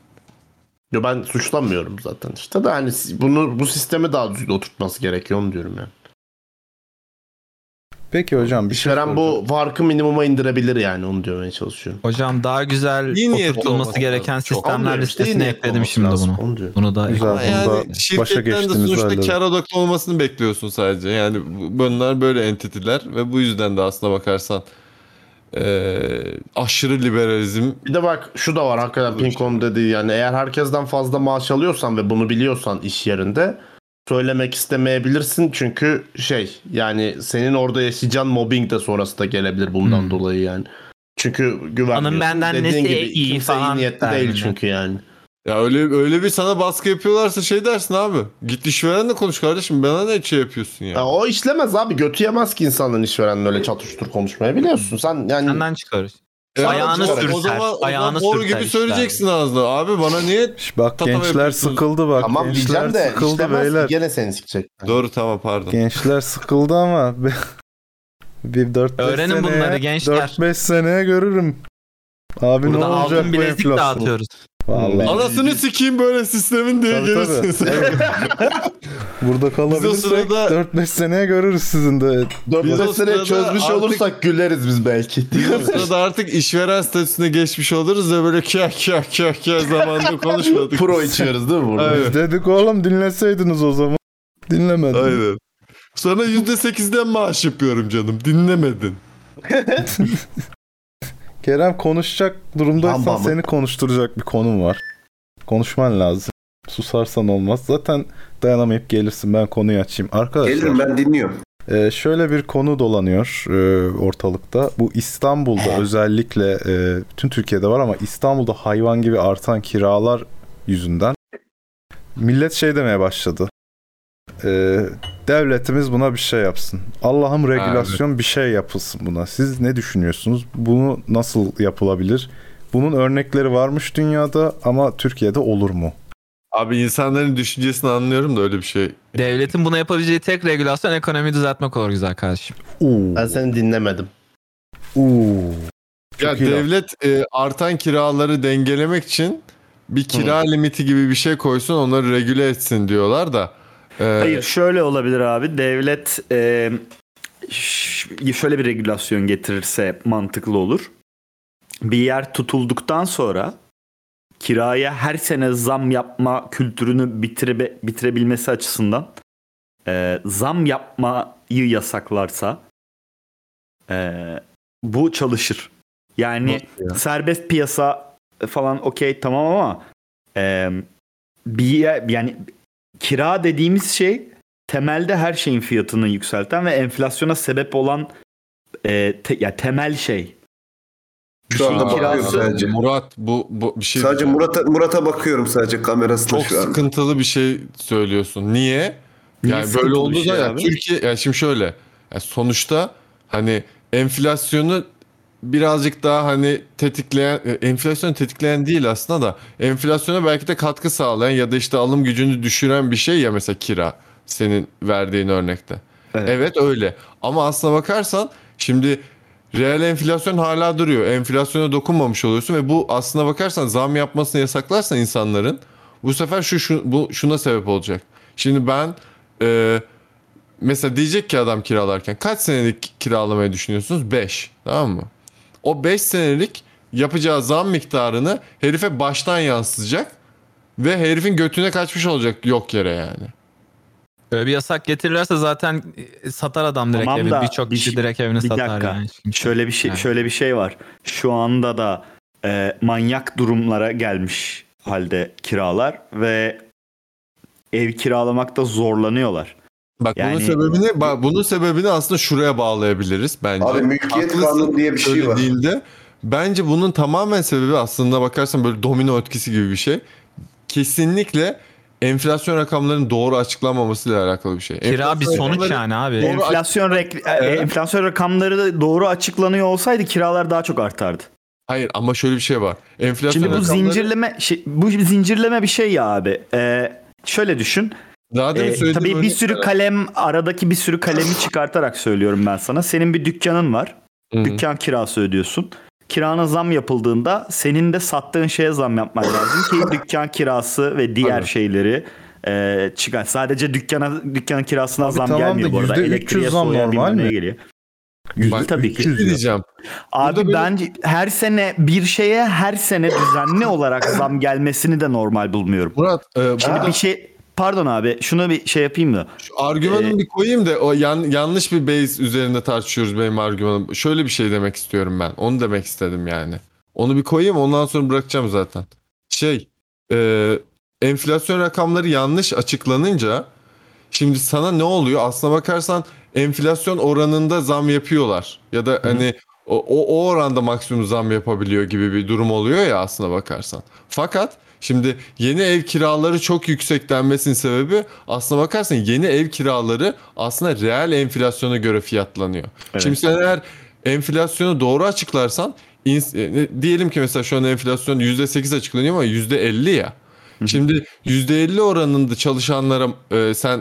[SPEAKER 2] Yo, ben suçlanmıyorum zaten işte de hani siz- bunu bu sistemi daha düzgün oturtması gerekiyor onu diyorum yani.
[SPEAKER 6] Peki hocam bir şey
[SPEAKER 2] İşveren bu farkı minimuma indirebilir yani onu diye çalışıyorum.
[SPEAKER 3] Hocam daha güzel
[SPEAKER 1] İyi niyetli olması
[SPEAKER 3] oturtulması gereken
[SPEAKER 1] lazım. Çok.
[SPEAKER 3] sistemler
[SPEAKER 2] Anlıyorum işte, iyi
[SPEAKER 3] listesine
[SPEAKER 2] niyetli
[SPEAKER 3] ekledim
[SPEAKER 2] olması
[SPEAKER 3] şimdi
[SPEAKER 2] lazım,
[SPEAKER 3] bunu.
[SPEAKER 2] onu diyorum.
[SPEAKER 3] Bunu da
[SPEAKER 6] Güzel.
[SPEAKER 1] Ama yani
[SPEAKER 6] Bunda başa
[SPEAKER 1] şirketten de
[SPEAKER 6] geçtiğiniz
[SPEAKER 1] sonuçta
[SPEAKER 6] halde.
[SPEAKER 1] kar odaklı olmasını bekliyorsun sadece. Yani bu- bunlar böyle entitiler ve bu yüzden de aslına bakarsan eee, aşırı liberalizm
[SPEAKER 2] Bir de bak şu da var hakikaten Pinkom dediği yani eğer herkesten fazla maaş alıyorsan ve bunu biliyorsan iş yerinde söylemek istemeyebilirsin çünkü şey yani senin orada yaşayacağın mobbing de sonrası da gelebilir bundan
[SPEAKER 3] Hmm.
[SPEAKER 2] dolayı yani. Çünkü güvenmiyorsun.
[SPEAKER 3] Hanım benden
[SPEAKER 2] Dediğin
[SPEAKER 3] nesi
[SPEAKER 2] gibi
[SPEAKER 3] iyi
[SPEAKER 2] kimse
[SPEAKER 3] falan
[SPEAKER 2] niyetli değil
[SPEAKER 3] derdinde.
[SPEAKER 2] çünkü yani.
[SPEAKER 1] ya öyle öyle bir sana baskı yapıyorlarsa şey dersin abi. Git işverenle konuş kardeşim. Bana ne şey yapıyorsun ya?
[SPEAKER 2] Ya o işlemez abi götü yemez ki insanların işverenle öyle çatıştır konuşmaya biliyorsun. Sen yani
[SPEAKER 3] Senden çıkarır.
[SPEAKER 1] Ya
[SPEAKER 3] Ayağını
[SPEAKER 1] o zaman-
[SPEAKER 3] sürter,
[SPEAKER 1] O zaman,
[SPEAKER 3] ayağını
[SPEAKER 1] boru
[SPEAKER 3] sürter
[SPEAKER 1] gibi
[SPEAKER 3] işler.
[SPEAKER 1] söyleyeceksin ağzına. Abi bana niye
[SPEAKER 6] Şş, Bak
[SPEAKER 1] Tatava
[SPEAKER 6] gençler
[SPEAKER 1] yapıyorsunuz.
[SPEAKER 6] sıkıldı bak.
[SPEAKER 2] tamam
[SPEAKER 6] gençler
[SPEAKER 2] diyeceğim de
[SPEAKER 6] sıkıldı
[SPEAKER 2] işlemez ki,
[SPEAKER 6] beyler.
[SPEAKER 2] gene seni sikecek.
[SPEAKER 1] Doğru tamam pardon.
[SPEAKER 6] Gençler sıkıldı ama bir 4
[SPEAKER 3] Öğrenin bunları gençler.
[SPEAKER 6] 4-5 seneye görürüm. Abi
[SPEAKER 3] Burada
[SPEAKER 6] ne olacak
[SPEAKER 3] altın
[SPEAKER 6] bu
[SPEAKER 3] bilezik
[SPEAKER 6] enflasyon?
[SPEAKER 3] dağıtıyoruz.
[SPEAKER 6] Vallahi.
[SPEAKER 1] Anasını sikeyim böyle sistemin diye
[SPEAKER 6] Tabii,
[SPEAKER 1] gelirsiniz.
[SPEAKER 6] Burada kalabilirsek
[SPEAKER 1] sırada-
[SPEAKER 6] 4-5 seneye görürüz sizin de.
[SPEAKER 1] Biz o sırada
[SPEAKER 2] Dörtlesini çözmüş
[SPEAKER 1] artık-
[SPEAKER 2] olursak güleriz biz belki.
[SPEAKER 1] Bizim sırada artık işveren statüsüne geçmiş oluruz da böyle kah kah kah kah zamanında konuşmadık.
[SPEAKER 2] Pro içiyoruz değil mi burada?
[SPEAKER 1] Evet.
[SPEAKER 6] Dedik oğlum dinleseydiniz o zaman. Dinlemedin.
[SPEAKER 1] Aynen. Sana %8'den maaş yapıyorum canım. Dinlemedin.
[SPEAKER 6] Kerem konuşacak durumdaysan
[SPEAKER 2] Bam bam.
[SPEAKER 6] seni konuşturacak bir konum var. Konuşman lazım. Susarsan olmaz. Zaten dayanamayıp gelirsin. Ben konuyu açayım. Arkadaşlar.
[SPEAKER 7] Gelirim ben dinliyorum.
[SPEAKER 6] Ee, şöyle bir konu dolanıyor e, ortalıkta. Bu İstanbul'da özellikle e, bütün Türkiye'de var ama İstanbul'da hayvan gibi artan kiralar yüzünden millet şey demeye başladı. Ee, devletimiz buna bir şey yapsın. Allah'ım regülasyon bir şey yapılsın buna. Siz ne düşünüyorsunuz? Bunu nasıl yapılabilir? Bunun örnekleri varmış dünyada ama Türkiye'de olur mu?
[SPEAKER 1] Abi insanların düşüncesini anlıyorum da öyle bir şey.
[SPEAKER 3] Devletin buna yapabileceği tek regülasyon ekonomiyi düzeltmek olur güzel kardeşim.
[SPEAKER 6] Uuu.
[SPEAKER 2] Ben seni dinlemedim.
[SPEAKER 6] Uuu.
[SPEAKER 1] Ya
[SPEAKER 6] Çok iyi laf.
[SPEAKER 1] devlet e, artan kiraları dengelemek için bir kira limiti gibi bir şey koysun onları regüle etsin diyorlar da. Ee,
[SPEAKER 4] Hayır şöyle olabilir abi. Devlet e, ş- şöyle bir regülasyon getirirse mantıklı olur. Bir yer tutulduktan sonra kiraya her sene zam yapma kültürünü bitire, bitirebilmesi açısından e, zam yapmayı yasaklarsa e, bu çalışır. Yani serbest piyasa falan okey tamam ama e, bir yer- yani kira dediğimiz şey temelde her şeyin fiyatını yükselten ve enflasyona sebep olan e, te- ya temel şey.
[SPEAKER 7] Şu anda
[SPEAKER 4] Şeyin
[SPEAKER 7] bakıyorum
[SPEAKER 4] kirası-
[SPEAKER 7] sadece.
[SPEAKER 1] Murat bu, bu bir şey
[SPEAKER 7] Sadece Murat'a Murat'a bakıyorum sadece kamerasına
[SPEAKER 1] çok
[SPEAKER 7] şu an.
[SPEAKER 1] sıkıntılı bir şey söylüyorsun. Niye?
[SPEAKER 4] Niye
[SPEAKER 1] Yani böyle
[SPEAKER 4] sıkıntılı
[SPEAKER 1] olduğu
[SPEAKER 4] bir şey
[SPEAKER 1] zaman ya
[SPEAKER 4] abi?
[SPEAKER 1] Türkiye ya şimdi şöyle ya sonuçta hani enflasyonu birazcık daha hani tetikleyen e, enflasyonu tetikleyen değil aslında da enflasyona belki de katkı sağlayan ya da işte alım gücünü düşüren bir şey ya mesela kira senin verdiğin örnekte. Evet,
[SPEAKER 4] Evet.
[SPEAKER 1] öyle. Ama aslına bakarsan şimdi reel enflasyon hala duruyor. Enflasyona dokunmamış oluyorsun ve bu aslına bakarsan zam yapmasını yasaklarsan insanların bu sefer şu, şu bu şuna sebep olacak. Şimdi ben e, mesela diyecek ki adam kiralarken kaç senelik kiralamayı düşünüyorsunuz? 5. Tamam mı? O 5 senelik yapacağı zam miktarını herife baştan yansıtacak ve herifin götüne kaçmış olacak yok yere yani.
[SPEAKER 3] Böyle bir yasak getirirlerse zaten e, satar adam direkt
[SPEAKER 4] Tamam
[SPEAKER 3] evi.
[SPEAKER 4] da
[SPEAKER 3] Birçok
[SPEAKER 4] bir- şey-
[SPEAKER 3] kişi direkt evini
[SPEAKER 4] bir
[SPEAKER 3] satar
[SPEAKER 4] dakika.
[SPEAKER 3] yani. Çünkü-
[SPEAKER 4] Şöyle bir şey
[SPEAKER 3] Evet.
[SPEAKER 4] şöyle bir şey var. Şu anda da e, manyak durumlara gelmiş halde kiralar ve ev kiralamakta zorlanıyorlar.
[SPEAKER 1] Bak
[SPEAKER 11] Yani-
[SPEAKER 1] bunun sebebini bak bunun sebebini aslında şuraya bağlayabiliriz bence.
[SPEAKER 10] Abi mülkiyet
[SPEAKER 1] Haklısın
[SPEAKER 10] kanunu diye bir şey var.
[SPEAKER 1] söylediğinde. Bence bunun tamamen sebebi aslında bakarsan böyle domino etkisi gibi bir şey. Kesinlikle enflasyon rakamlarının doğru açıklanmamasıyla alakalı bir şey.
[SPEAKER 3] Kira bir
[SPEAKER 1] Enflasyon
[SPEAKER 3] sonuç
[SPEAKER 1] rakamları-
[SPEAKER 3] yani abi.
[SPEAKER 1] Doğru
[SPEAKER 11] Enflasyon, rekl- e, enflasyon rakamları da doğru açıklanıyor olsaydı kiralar daha çok artardı.
[SPEAKER 1] Hayır ama şöyle bir şey var. Enflasyon
[SPEAKER 11] Şimdi bu
[SPEAKER 1] rakamları-
[SPEAKER 11] zincirleme şey, bu zincirleme bir şey ya abi.
[SPEAKER 4] E,
[SPEAKER 11] Ee, şöyle düşün.
[SPEAKER 1] Daha demin
[SPEAKER 11] Ee,
[SPEAKER 1] söylediğim
[SPEAKER 11] tabii bir
[SPEAKER 1] örnek-
[SPEAKER 11] sürü kalem aradaki bir sürü kalemi çıkartarak söylüyorum ben sana. Senin bir dükkanın var.
[SPEAKER 1] Hı hı.
[SPEAKER 11] Dükkan kirası ödüyorsun. Kirana zam yapıldığında senin de sattığın şeye zam yapman lazım ki dükkan kirası ve diğer
[SPEAKER 1] Tabii.
[SPEAKER 11] şeyleri e, çıkar. Sadece dükkana dükkan kirasına zam
[SPEAKER 6] tamam da
[SPEAKER 11] gelmiyor bu arada.
[SPEAKER 6] yüzde üç yüz
[SPEAKER 11] Elektriğe
[SPEAKER 6] zam
[SPEAKER 11] suya
[SPEAKER 6] normal
[SPEAKER 11] bilmem neye
[SPEAKER 6] mi?
[SPEAKER 11] geliyor.
[SPEAKER 1] Bak,
[SPEAKER 11] tabii ki.
[SPEAKER 1] Ne diyeceğim?
[SPEAKER 11] Abi
[SPEAKER 1] Burada böyle-
[SPEAKER 11] bence her sene bir şeye her sene düzenli olarak zam gelmesini de normal bulmuyorum.
[SPEAKER 1] Murat e,
[SPEAKER 11] Şimdi
[SPEAKER 1] burada
[SPEAKER 11] bir şey pardon abi şunu bir şey yapayım da.
[SPEAKER 1] şu argümanımı bir koyayım da o yan, yanlış bir base üzerinde tartışıyoruz benim argümanım. Şöyle bir şey demek istiyorum ben. Onu demek istedim yani. Onu bir koyayım ondan sonra bırakacağım zaten. Şey e, enflasyon rakamları yanlış açıklanınca şimdi sana ne oluyor? Aslına bakarsan enflasyon oranında zam yapıyorlar. Ya da hani o, o, o oranda maksimum zam yapabiliyor gibi bir durum oluyor ya aslına bakarsan. Fakat şimdi yeni ev kiraları çok yüksek denmesinin sebebi aslına bakarsan yeni ev kiraları aslında reel enflasyona göre fiyatlanıyor. Şimdi sen eğer enflasyonu doğru açıklarsan ins- e, diyelim ki mesela şu an enflasyon %8 açıklanıyor ama %50 ya. Şimdi %50 oranında çalışanlara e, sen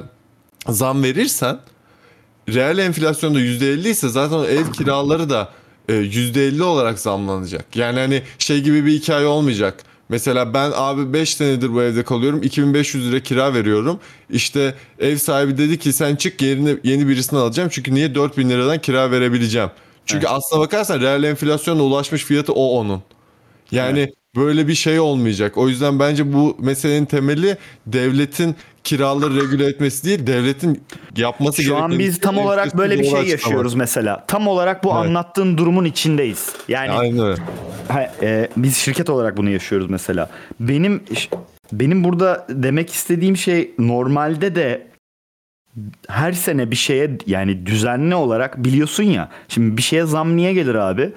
[SPEAKER 1] zam verirsen reel enflasyonda %50 ise zaten o ev kiraları da e, %50 olarak zamlanacak. Yani hani şey gibi bir hikaye olmayacak. Mesela ben abi 5 senedir bu evde kalıyorum. 2500 lira kira veriyorum. İşte ev sahibi dedi ki sen çık yerine yeni birisini alacağım. Çünkü niye 4000 liradan kira verebileceğim? Çünkü aslına bakarsan reel enflasyona ulaşmış fiyatı o onun. Yani böyle bir şey olmayacak. O yüzden bence bu meselenin temeli devletin kiraları regüle etmesi değil, devletin yapması
[SPEAKER 11] Şu an
[SPEAKER 1] gereken-
[SPEAKER 11] biz tam olarak böyle bir şey
[SPEAKER 1] Doğru
[SPEAKER 11] yaşıyoruz mesela. Tam olarak bu
[SPEAKER 1] Evet.
[SPEAKER 11] anlattığın durumun içindeyiz.
[SPEAKER 1] açıklama.
[SPEAKER 11] Yani
[SPEAKER 1] Aynen öyle.
[SPEAKER 11] Ha, e, biz şirket olarak bunu yaşıyoruz mesela. Benim benim burada demek istediğim şey normalde de her sene bir şeye yani düzenli olarak biliyorsun ya. Şimdi bir şeye zam niye gelir abi?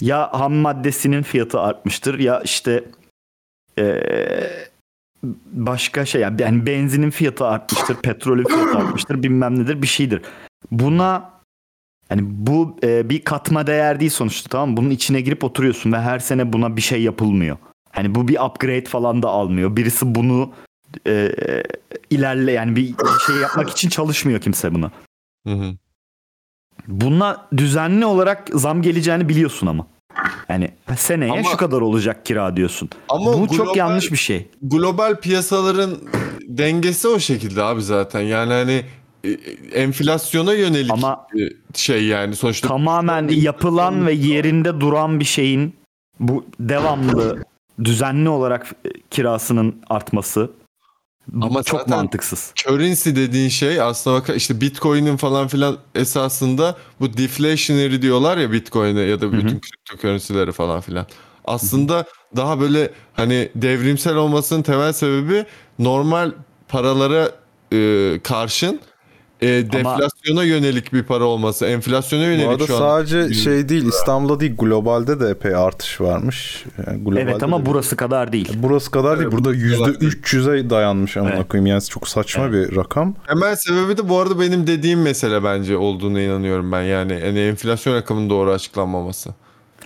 [SPEAKER 11] Ya ham maddesinin fiyatı artmıştır ya işte e, başka şey yani ben- benzinin fiyatı artmıştır, petrolün fiyatı artmıştır, bilmem nedir bir şeydir. Buna yani bu e, bir katma değer değil sonuçta tamam mı? Bunun içine girip oturuyorsun ve her sene buna bir şey yapılmıyor. Hani bu bir upgrade falan da almıyor. Birisi bunu e, e, ilerle yani bir şey yapmak için çalışmıyor kimse buna.
[SPEAKER 1] Hı hı.
[SPEAKER 11] Buna düzenli olarak zam geleceğini biliyorsun ama. Yani seneye
[SPEAKER 1] Ama-
[SPEAKER 11] şu kadar olacak kira diyorsun.
[SPEAKER 1] Ama
[SPEAKER 11] bu çok
[SPEAKER 1] global-
[SPEAKER 11] yanlış bir şey.
[SPEAKER 1] Global piyasaların dengesi o şekilde abi zaten. Yani hani e, enflasyona yönelik
[SPEAKER 11] Ama-
[SPEAKER 1] e, şey yani sonuçta
[SPEAKER 11] tamamen yapılan ve yerinde duran bir şeyin bu devamlı düzenli olarak e, kirasının artması
[SPEAKER 1] Ama
[SPEAKER 11] Ama çok
[SPEAKER 1] zaten-
[SPEAKER 11] mantıksız.
[SPEAKER 1] currency dediğin şey aslında bak işte Bitcoin'in falan filan esasında bu deflationary diyorlar ya Bitcoin'e ya da bütün kriptokörnsilere falan filan. Aslında daha böyle hani devrimsel olmasının temel sebebi normal paralara e, karşın e, deflasyona yönelik bir para olması. Enflasyona
[SPEAKER 6] Bu
[SPEAKER 1] yönelik
[SPEAKER 6] arada
[SPEAKER 1] şu an.
[SPEAKER 6] sadece şey değil İstanbul'da değil globalde de epey artış varmış. Yani globalde
[SPEAKER 11] Evet
[SPEAKER 6] de-
[SPEAKER 11] ama burası kadar değil.
[SPEAKER 6] burası kadar değil. Burada %300'e dayanmış amına
[SPEAKER 11] Evet.
[SPEAKER 6] koyayım. Yani çok saçma bir rakam.
[SPEAKER 1] Temel sebebi de bu arada benim dediğim mesele bence olduğuna inanıyorum ben. Yani, yani enflasyon rakamının doğru açıklanmaması.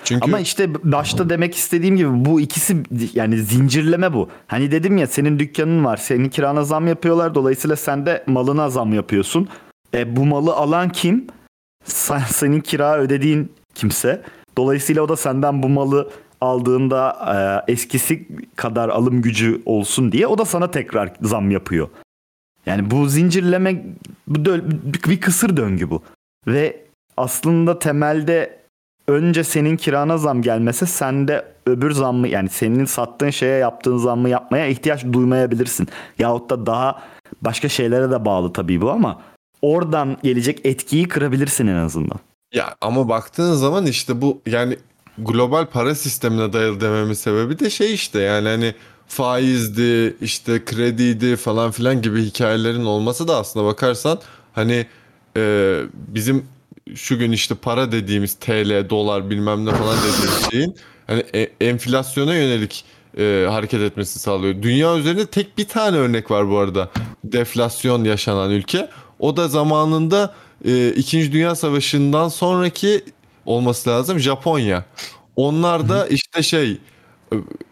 [SPEAKER 1] Çünkü
[SPEAKER 11] Ama işte başta demek istediğim gibi bu ikisi yani zincirleme bu. Hani dedim ya senin dükkanın var. Senin kirana zam yapıyorlar. Dolayısıyla sen de malına zam yapıyorsun. E, bu malı alan kim? Sen, senin kira ödediğin kimse. Dolayısıyla o da senden bu malı aldığında e, eskisi kadar alım gücü olsun diye o da sana tekrar zam yapıyor. Yani bu zincirleme bu dö- bir kısır döngü bu. Ve aslında temelde önce senin kirana zam gelmese sen de öbür zammı yani senin sattığın şeye yaptığın zammı yapmaya ihtiyaç duymayabilirsin. Yahut da daha başka şeylere de bağlı tabii bu ama oradan gelecek etkiyi kırabilirsin en azından.
[SPEAKER 1] Ya ama baktığın zaman işte bu yani global para sistemine dayalı dememin sebebi de şey işte yani hani faizdi işte krediydi falan filan gibi hikayelerin olması da aslına bakarsan Hani e, bizim şu gün işte para dediğimiz TL, dolar bilmem ne falan dediğimiz şeyin hani e- enflasyona yönelik e, hareket etmesi sağlıyor. Dünya üzerinde tek bir tane örnek var bu arada. Deflasyon yaşanan ülke. O da zamanında e, İkinci Dünya Savaşı'ndan sonraki olması lazım Japonya. Onlar da işte şey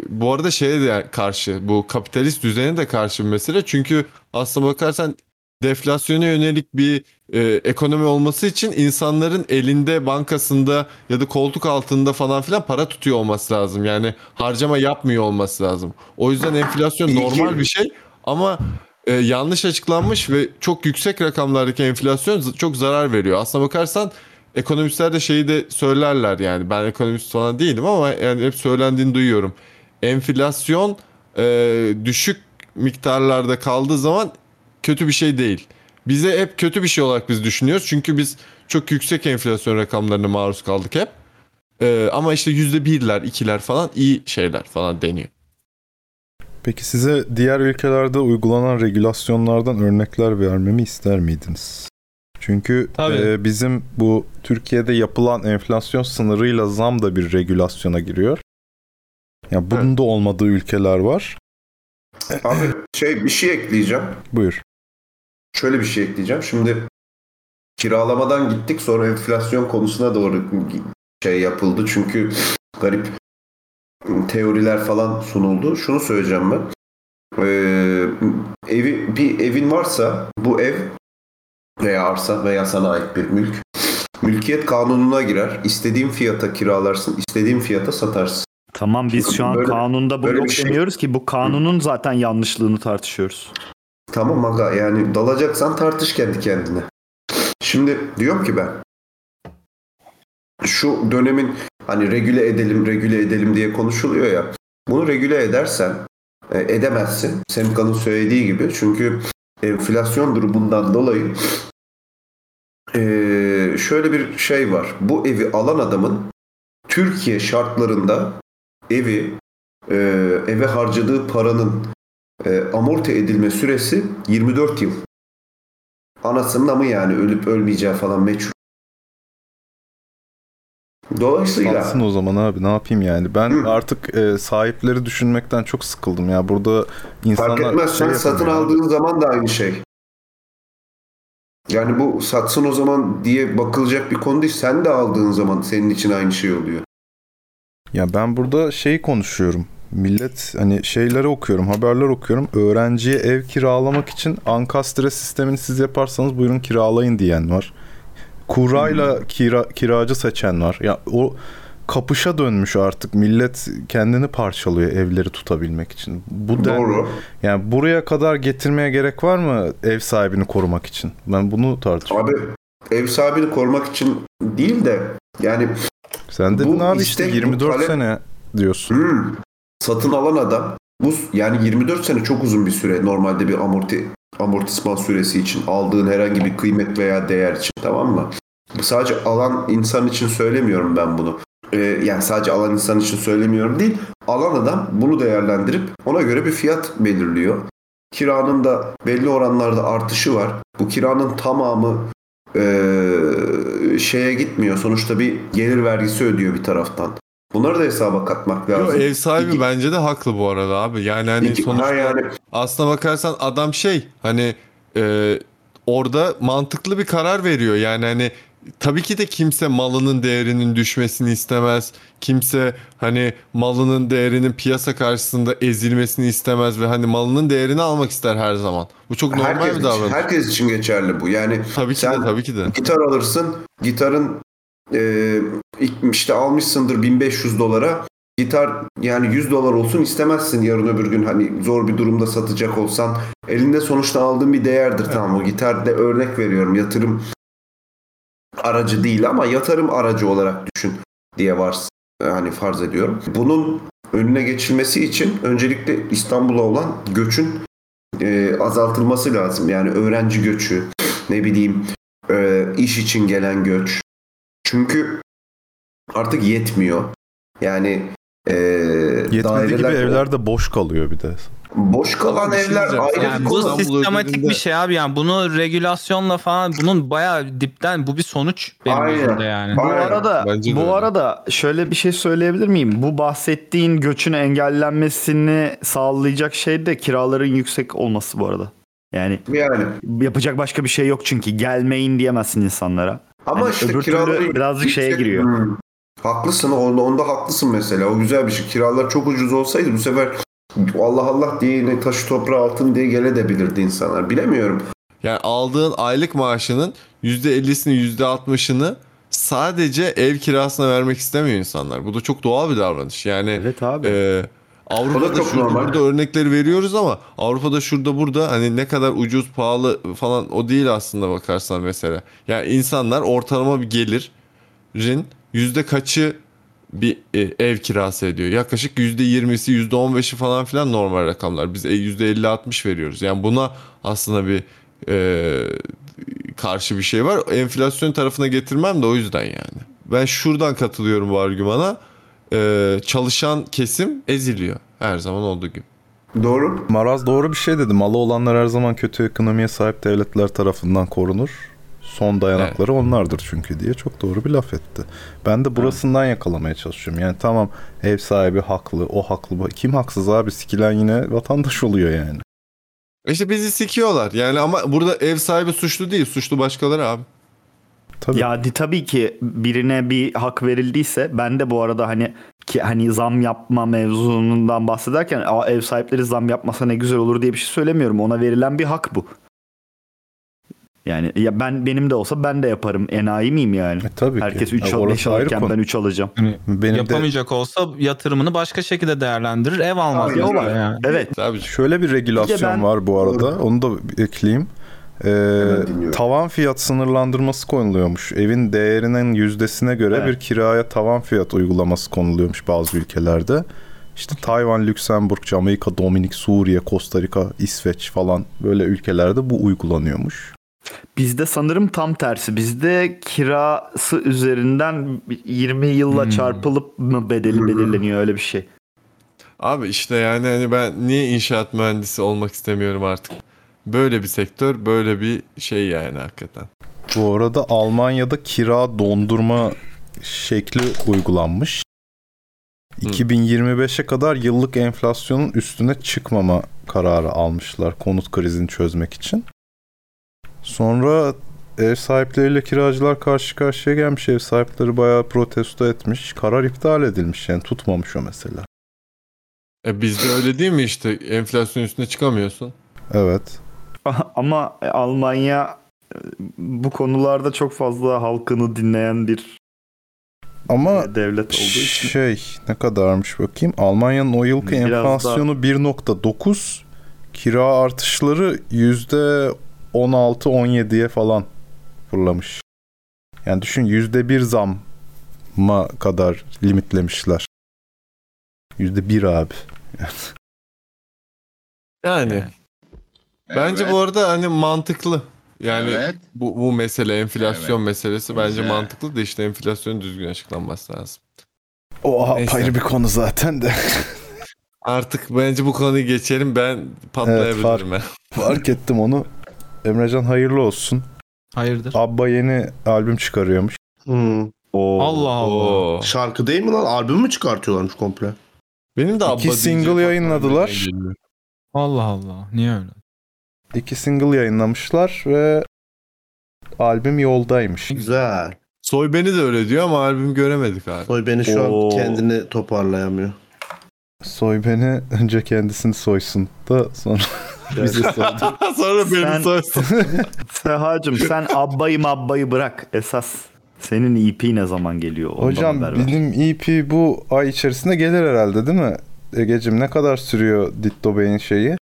[SPEAKER 1] bu arada şeye de karşı bu kapitalist düzene de karşı bir mesele. Çünkü aslına bakarsan deflasyona yönelik bir e, ekonomi olması için insanların elinde bankasında ya da koltuk altında falan filan para tutuyor olması lazım. Yani harcama yapmıyor olması lazım. O yüzden enflasyon normal bir şey ama e, yanlış açıklanmış ve çok yüksek rakamlardaki enflasyon z- çok zarar veriyor. Aslına bakarsan ekonomistler de şeyi de söylerler yani ben ekonomist falan değilim ama yani hep söylendiğini duyuyorum. Enflasyon e, düşük miktarlarda kaldığı zaman kötü bir şey değil. Bize hep kötü bir şey olarak biz düşünüyoruz. Çünkü biz çok yüksek enflasyon rakamlarına maruz kaldık hep. E, ama işte yüzde birler, ikiler falan iyi şeyler falan deniyor.
[SPEAKER 6] Peki size diğer ülkelerde uygulanan regülasyonlardan örnekler vermemi ister miydiniz? Çünkü
[SPEAKER 12] Tabii.
[SPEAKER 6] e, bizim bu Türkiye'de yapılan enflasyon sınırıyla zam da bir regülasyona giriyor. Ya bunun da olmadığı ülkeler var.
[SPEAKER 10] Abi şey bir şey ekleyeceğim.
[SPEAKER 6] Buyur.
[SPEAKER 10] Şöyle bir şey ekleyeceğim. Şimdi kiralamadan gittik sonra enflasyon konusuna doğru şey yapıldı. Çünkü garip teoriler falan sunuldu. Şunu söyleyeceğim ben. Ee, evi, bir evin varsa bu ev veya arsa veya sana ait bir mülk mülkiyet kanununa girer. İstediğin fiyata kiralarsın, istediğin fiyata satarsın.
[SPEAKER 4] Tamam biz şu an
[SPEAKER 10] Böyle-
[SPEAKER 4] kanunda bunu
[SPEAKER 10] böyle
[SPEAKER 4] yok
[SPEAKER 10] bir şey-
[SPEAKER 4] demiyoruz ki bu kanunun zaten yanlışlığını tartışıyoruz.
[SPEAKER 10] Tamam aga yani dalacaksan tartış kendi kendine. Şimdi diyorum ki ben şu dönemin hani regüle edelim regüle edelim diye konuşuluyor ya. Bunu regüle edersen e, edemezsin. Semkan'ın söylediği gibi. Çünkü enflasyon durumundan dolayı e, şöyle bir şey var. Bu evi alan adamın Türkiye şartlarında evi e, eve harcadığı paranın e, amorti edilme süresi 24 yıl. Anasının amı yani ölüp ölmeyeceği falan meçhul. Dolayısıyla
[SPEAKER 6] Satsın o zaman abi ne yapayım yani. Ben artık e, sahipleri düşünmekten çok sıkıldım ya. Burada insanlar...
[SPEAKER 10] fark etmez
[SPEAKER 6] şey
[SPEAKER 10] sen satın
[SPEAKER 6] yapamıyor.
[SPEAKER 10] aldığın zaman da aynı şey. Yani bu satsın o zaman diye bakılacak bir konu değil. Sen de aldığın zaman senin için aynı şey oluyor.
[SPEAKER 6] Ya ben burada şeyi konuşuyorum. Millet hani şeyleri okuyorum, haberler okuyorum. Öğrenciye ev kiralamak için ankastre sistemini siz yaparsanız buyurun kiralayın diyen var. Kurayla kira, kiracı seçen var. Ya o kapışa dönmüş artık. Millet kendini parçalıyor evleri tutabilmek için. Bu denli-
[SPEAKER 10] Doğru.
[SPEAKER 6] Yani buraya kadar getirmeye gerek var mı ev sahibini korumak için? Ben bunu tartışıyorum.
[SPEAKER 10] Abi ev sahibini korumak için değil de yani
[SPEAKER 6] Sen dedin
[SPEAKER 10] bu
[SPEAKER 6] abi işte
[SPEAKER 10] istek, bu
[SPEAKER 6] 24
[SPEAKER 10] talep-
[SPEAKER 6] sene diyorsun.
[SPEAKER 10] Hmm. Satın alan adam bu yani 24 sene çok uzun bir süre normalde bir amorti amortisman süresi için aldığın herhangi bir kıymet veya değer için tamam mı? Bu sadece alan insan için söylemiyorum ben bunu. Ee, yani sadece alan insan için söylemiyorum değil. Alan adam bunu değerlendirip ona göre bir fiyat belirliyor. Kiranın da belli oranlarda artışı var. Bu kiranın tamamı ee, şeye gitmiyor. Sonuçta bir gelir vergisi ödüyor bir taraftan. Bunları da hesaba katmak lazım.
[SPEAKER 1] Yo, ev sahibi bence de haklı bu arada abi. Yani hani
[SPEAKER 10] İki-
[SPEAKER 1] sonuçta
[SPEAKER 10] Ha yani.
[SPEAKER 1] aslına bakarsan adam şey hani e, orada mantıklı bir karar veriyor. Yani hani tabii ki de kimse malının değerinin düşmesini istemez. Kimse hani malının değerinin piyasa karşısında ezilmesini istemez ve hani malının değerini almak ister her zaman. Bu çok normal
[SPEAKER 10] herkes,
[SPEAKER 1] bir
[SPEAKER 10] için,
[SPEAKER 1] davranış.
[SPEAKER 10] herkes için geçerli bu. Yani
[SPEAKER 1] Tabii ki
[SPEAKER 10] sen
[SPEAKER 1] de tabii ki de.
[SPEAKER 10] gitar alırsın, gitarın e, ilk- işte almışsındır 1500 dolara. Gitar yani 100 dolar olsun istemezsin yarın öbür gün hani zor bir durumda satacak olsan. Elinde sonuçta aldığın bir değerdir tamam o gitar de örnek veriyorum yatırım aracı değil ama yatırım aracı olarak düşün diye varsın. Hani farz ediyorum. Bunun önüne geçilmesi için öncelikle İstanbul'a olan göçün e, azaltılması lazım. Yani öğrenci göçü, ne bileyim e, iş için gelen göç. Çünkü artık yetmiyor. Yani e,
[SPEAKER 6] Yetmediği gibi
[SPEAKER 10] daireler-
[SPEAKER 6] evler de boş kalıyor bir de.
[SPEAKER 13] Boş kalan evler ayrı
[SPEAKER 3] Yani bu sistematik bir şey abi yani bunu regülasyonla falan bunun bayağı dipten bu bir sonuç benim gözümde yani.
[SPEAKER 11] Bu arada bu arada şöyle bir şey söyleyebilir miyim? Bu bahsettiğin göçün engellenmesini sağlayacak şey de kiraların yüksek olması bu arada. Yani, yapacak başka bir şey yok çünkü gelmeyin diyemezsin insanlara.
[SPEAKER 13] Ama
[SPEAKER 11] Hani
[SPEAKER 13] işte
[SPEAKER 11] öbür
[SPEAKER 13] kiraları
[SPEAKER 11] türlü birazcık şeye
[SPEAKER 13] yüksek-
[SPEAKER 11] giriyor.
[SPEAKER 13] Hmm. Haklısın onda, onda haklısın mesela. O güzel bir şey. Kiralar çok ucuz olsaydı bu sefer Allah Allah diye yine taşı toprağı altın diye gele de bilirdi insanlar. Bilemiyorum.
[SPEAKER 1] Yani aldığın aylık maaşının %50'sini %60'ını sadece ev kirasına vermek istemiyor insanlar. Bu da çok doğal bir davranış. Yani
[SPEAKER 11] Evet abi.
[SPEAKER 1] Ee, Avrupa'da
[SPEAKER 13] O da çok
[SPEAKER 1] şurada
[SPEAKER 13] normal.
[SPEAKER 1] burada örnekleri veriyoruz ama Avrupa'da şurada burada hani ne kadar ucuz pahalı falan o değil aslında bakarsan mesela. Yani insanlar ortalama bir gelirin yüzde kaçı bir e, ev kirası ediyor. Yaklaşık yüzde yirmisi yüzde on beşi falan filan normal rakamlar. Biz e, yüzde elli altmış veriyoruz. Yani buna aslında bir e, karşı bir şey var. Enflasyon tarafına getirmem de o yüzden yani. Ben şuradan katılıyorum bu argümana. Ee, çalışan kesim eziliyor her zaman olduğu gibi.
[SPEAKER 13] Doğru.
[SPEAKER 6] Maraz doğru bir şey dedi. Malı olanlar her zaman kötü ekonomiye sahip devletler tarafından korunur. Son dayanakları onlardır çünkü diye çok doğru bir laf etti. Ben de burasından yakalamaya çalışıyorum. Yani tamam ev sahibi haklı, o haklı. bu- Kim haksız abi? Sikilen yine vatandaş oluyor yani.
[SPEAKER 1] İşte bizi sikiyorlar. Yani ama burada ev sahibi suçlu değil, suçlu başkaları abi.
[SPEAKER 11] Ya di- tabii ki birine bir hak verildiyse ben de bu arada hani ki hani zam yapma mevzundan bahsederken "Aa, ev sahipleri zam yapmasa ne güzel olur diye bir şey söylemiyorum. Ona verilen bir hak bu. Yani ya ben benim de olsa ben de yaparım. Enayi miyim yani?
[SPEAKER 6] E, tabii
[SPEAKER 11] Herkes
[SPEAKER 6] ki.
[SPEAKER 11] 3
[SPEAKER 6] Ya orası
[SPEAKER 11] 5
[SPEAKER 6] ayrı
[SPEAKER 11] alırken
[SPEAKER 6] konu.
[SPEAKER 11] ben 3 alacağım.
[SPEAKER 6] Benim de-
[SPEAKER 3] Yapamayacak olsa yatırımını başka şekilde değerlendirir. Ev almaz.
[SPEAKER 6] Aynen
[SPEAKER 3] mesela
[SPEAKER 6] öyle.
[SPEAKER 3] yani.
[SPEAKER 11] Evet.
[SPEAKER 6] Şöyle bir regülasyon
[SPEAKER 3] Bir de ben-
[SPEAKER 6] var bu arada. Onu da ekleyeyim. Ee, tavan fiyat sınırlandırması konuluyormuş. Evin değerinin yüzdesine göre
[SPEAKER 11] Evet.
[SPEAKER 6] bir kiraya tavan fiyat uygulaması konuluyormuş bazı ülkelerde. İşte Tayvan, Lüksemburg, Jamaika, Dominik, Suriye, Costa Rica, İsveç falan böyle ülkelerde bu uygulanıyormuş.
[SPEAKER 11] Bizde sanırım tam tersi. Bizde kirası üzerinden 20 yılla çarpılıp mı bedeli belirleniyor öyle bir şey.
[SPEAKER 1] Abi işte yani hani ben niye inşaat mühendisi olmak istemiyorum artık. Böyle bir sektör, böyle bir şey yani hakikaten.
[SPEAKER 6] Bu arada Almanya'da kira dondurma şekli uygulanmış. 2025'e kadar yıllık enflasyonun üstüne çıkmama kararı almışlar konut krizini çözmek için. Sonra ev sahipleriyle kiracılar karşı karşıya gelmiş. Ev sahipleri bayağı protesto etmiş. Karar iptal edilmiş yani tutmamış o mesela.
[SPEAKER 1] E bizde öyle değil mi işte enflasyon üstüne çıkamıyorsun.
[SPEAKER 6] Evet.
[SPEAKER 11] Ah, Ama Almanya e, bu konularda çok fazla halkını dinleyen bir
[SPEAKER 6] Ama
[SPEAKER 11] devlet olduğu için.
[SPEAKER 6] şey ne kadarmış bakayım. Almanya'nın o yılki
[SPEAKER 11] Biraz
[SPEAKER 6] enflasyonu 1.9. Kira artışları %16-17'ye falan fırlamış. Yani düşün %1 zamma kadar limitlemişler. %1 abi.
[SPEAKER 1] Yani. Bence bu arada hani mantıklı. Yani
[SPEAKER 2] Evet.
[SPEAKER 1] bu, bu mesele enflasyon meselesi bence
[SPEAKER 2] Evet.
[SPEAKER 1] mantıklı da işte enflasyon düzgün açıklanması lazım.
[SPEAKER 6] Oha
[SPEAKER 1] Neyse.
[SPEAKER 6] ayrı bir konu zaten de.
[SPEAKER 1] Artık bence bu konuyu geçelim ben patlayabilirim
[SPEAKER 6] fark,
[SPEAKER 1] ben.
[SPEAKER 6] fark ettim onu. Emrecan hayırlı olsun.
[SPEAKER 3] Hayırdır?
[SPEAKER 6] Abba yeni albüm çıkarıyormuş.
[SPEAKER 10] Allah
[SPEAKER 1] Allah.
[SPEAKER 10] Hmm. Şarkı değil mi lan? Albüm mü çıkartıyorlarmış komple?
[SPEAKER 1] Benim de
[SPEAKER 6] İki single yayınladılar.
[SPEAKER 3] Allah Allah. Niye öyle?
[SPEAKER 6] İki single yayınlamışlar ve albüm yoldaymış.
[SPEAKER 10] Güzel.
[SPEAKER 1] Soy beni de öyle diyor ama albüm göremedik abi.
[SPEAKER 10] Soy beni şu
[SPEAKER 6] Oo.
[SPEAKER 10] an kendini toparlayamıyor.
[SPEAKER 6] Soy beni önce kendisini soysun da sonra bizi soydu.
[SPEAKER 1] Sonra
[SPEAKER 11] beni Sehacım sen abbayı mabbayı bırak esas. Senin EP ne zaman geliyor? Ondan
[SPEAKER 6] Hocam
[SPEAKER 11] haber ver.
[SPEAKER 6] bizim EP bu ay içerisinde gelir herhalde değil mi? Egecim ne kadar sürüyor Ditto Bey'in şeyi?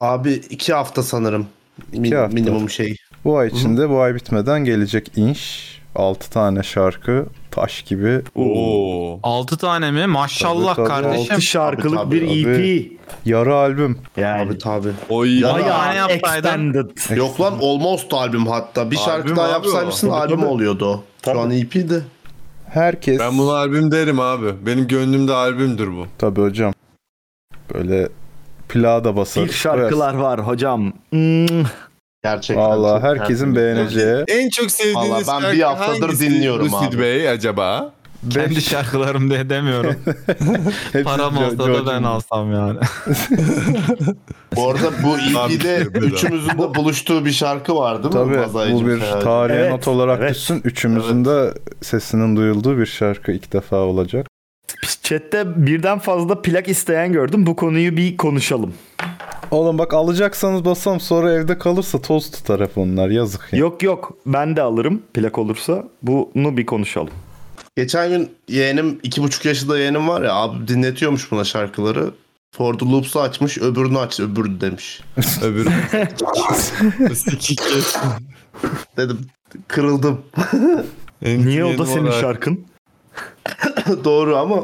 [SPEAKER 10] Abi iki hafta sanırım. Min-
[SPEAKER 6] İki hafta.
[SPEAKER 10] Minimum şey.
[SPEAKER 6] Bu ay içinde bu ay bitmeden gelecek inş. 6 tane şarkı taş gibi.
[SPEAKER 1] Oo.
[SPEAKER 3] 6 tane mi? Maşallah
[SPEAKER 6] Tabii, tabii.
[SPEAKER 3] kardeşim.
[SPEAKER 6] Altı
[SPEAKER 11] şarkılık E
[SPEAKER 6] bir EP. Yarı albüm.
[SPEAKER 11] Yani.
[SPEAKER 10] Tabii tabii.
[SPEAKER 1] O iyi.
[SPEAKER 10] Ya
[SPEAKER 3] Bayağı ne yapsaydın?
[SPEAKER 10] Yok lan Almost albüm hatta. Bir şarkı
[SPEAKER 1] Albüm
[SPEAKER 10] daha
[SPEAKER 1] abi
[SPEAKER 10] yapsaymışsın
[SPEAKER 1] o.
[SPEAKER 10] albüm oluyordu o. Şu an
[SPEAKER 2] E
[SPEAKER 10] EP'di.
[SPEAKER 6] Herkes.
[SPEAKER 1] Ben bunu albüm derim abi. Benim gönlümde albümdür bu.
[SPEAKER 6] Tabii hocam. Böyle plağa da basarız.
[SPEAKER 4] Bir şarkılar var hocam.
[SPEAKER 11] Hmm.
[SPEAKER 2] Gerçekten.
[SPEAKER 6] Valla
[SPEAKER 2] çok
[SPEAKER 6] herkesin
[SPEAKER 2] tertemiz.
[SPEAKER 6] beğeneceği.
[SPEAKER 1] En çok sevdiğiniz
[SPEAKER 2] Valla ben
[SPEAKER 1] şarkı
[SPEAKER 2] bir haftadır
[SPEAKER 1] hangisi
[SPEAKER 2] dinliyorum
[SPEAKER 1] Lucid
[SPEAKER 2] abi.
[SPEAKER 1] Bey acaba?
[SPEAKER 12] Kendi şarkılarım diye demiyorum. Param
[SPEAKER 1] Jo-
[SPEAKER 12] olsa da ben
[SPEAKER 1] Jojo'nun.
[SPEAKER 12] alsam yani.
[SPEAKER 2] Bu arada bu EP'de
[SPEAKER 1] Abi,
[SPEAKER 2] üçümüzün de buluştuğu bir şarkı var değil mi?
[SPEAKER 6] Tabii bu
[SPEAKER 2] Mazaycığım,
[SPEAKER 6] bir
[SPEAKER 2] Ferhat?
[SPEAKER 6] tarihe not olarak düşsün. Üçümüzün de sesinin duyulduğu bir şarkı ilk defa olacak.
[SPEAKER 4] Chat'te birden fazla plak isteyen gördüm. Bu konuyu bir konuşalım.
[SPEAKER 6] Oğlum bak alacaksanız basam sonra evde kalırsa toz tutar hep onlar yazık. Ya.
[SPEAKER 4] Yok yok ben de alırım plak olursa. Bunu bir konuşalım.
[SPEAKER 2] Geçen gün yeğenim, iki buçuk yaşında yeğenim var ya abi dinletiyormuş buna şarkıları. For the Loops'u açmış, öbürünü aç, öbürü demiş.
[SPEAKER 1] Öbürü.
[SPEAKER 2] Dedim, kırıldım.
[SPEAKER 4] Niye o da senin şarkın?
[SPEAKER 2] Doğru ama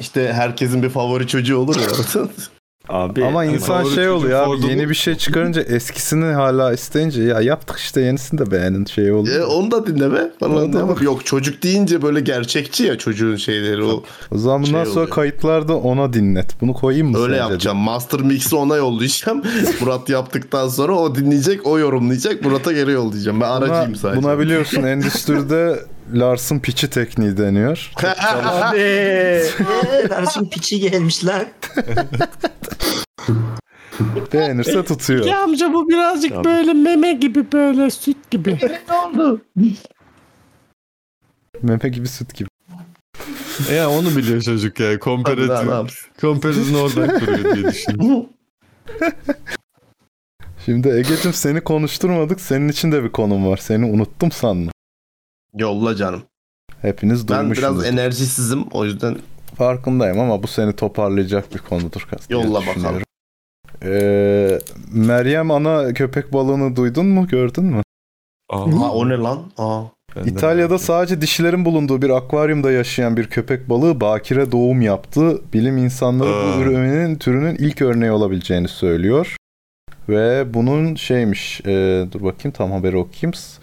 [SPEAKER 2] işte herkesin bir favori çocuğu olur ya.
[SPEAKER 4] Abi
[SPEAKER 6] Ama insan şey oluyor abi yeni bir şey çıkarınca eskisini hala isteyince ya yaptık işte yenisini de beğenin şey oldu.
[SPEAKER 2] E, onu da dinleme. Bana da bak. Yok çocuk deyince böyle gerçekçi ya çocuğun şeyleri o.
[SPEAKER 6] O zaman bundan
[SPEAKER 2] Şey
[SPEAKER 6] sonra
[SPEAKER 2] oluyor.
[SPEAKER 6] kayıtlarda ona dinlet. Bunu koyayım mı?
[SPEAKER 2] Öyle
[SPEAKER 6] sence de?
[SPEAKER 2] yapacağım. Master Mix'i ona yollayacağım. Murat yaptıktan sonra o dinleyecek, o yorumlayacak. Murat'a geri yollayacağım. Ben aracıyım
[SPEAKER 6] Buna,
[SPEAKER 2] sadece.
[SPEAKER 6] buna biliyorsun endüstride Lars'ın piçi tekniği deniyor.
[SPEAKER 14] Lars'ın piçi gelmişler.
[SPEAKER 6] Beğenirse tutuyor.
[SPEAKER 14] amca bu birazcık
[SPEAKER 6] Tabii.
[SPEAKER 14] böyle meme gibi böyle süt gibi. ne oldu?
[SPEAKER 6] Meme gibi süt gibi.
[SPEAKER 1] Ya onu biliyor çocuk ya.
[SPEAKER 2] Tabii,
[SPEAKER 1] Komparatif.
[SPEAKER 2] tamam.
[SPEAKER 1] Komparison oradan kuruyor diye düşündüm.
[SPEAKER 6] Şimdi Ege'cim seni konuşturmadık. Senin için de bir konum var. Seni unuttum sanma.
[SPEAKER 2] Yolla canım.
[SPEAKER 6] Hepiniz
[SPEAKER 2] Ben
[SPEAKER 6] duymuşsunuz.
[SPEAKER 2] biraz enerjisizim o yüzden
[SPEAKER 6] Farkındayım ama bu seni toparlayacak bir konudur. diye
[SPEAKER 2] Yolla
[SPEAKER 6] düşünüyorum.
[SPEAKER 2] bakalım.
[SPEAKER 6] Ee, Meryem ana köpek balığını duydun mu? Gördün mü?
[SPEAKER 2] Aa, o ne lan? Aa.
[SPEAKER 6] İtalya'da sadece dişilerin bulunduğu bir akvaryumda yaşayan bir köpek balığı bakire doğum yaptı. Bilim insanları
[SPEAKER 1] Aa.
[SPEAKER 6] bu ürünün türünün ilk örneği olabileceğini söylüyor. Ve bunun şeymiş, e, dur bakayım tam haberi okuyayım. S-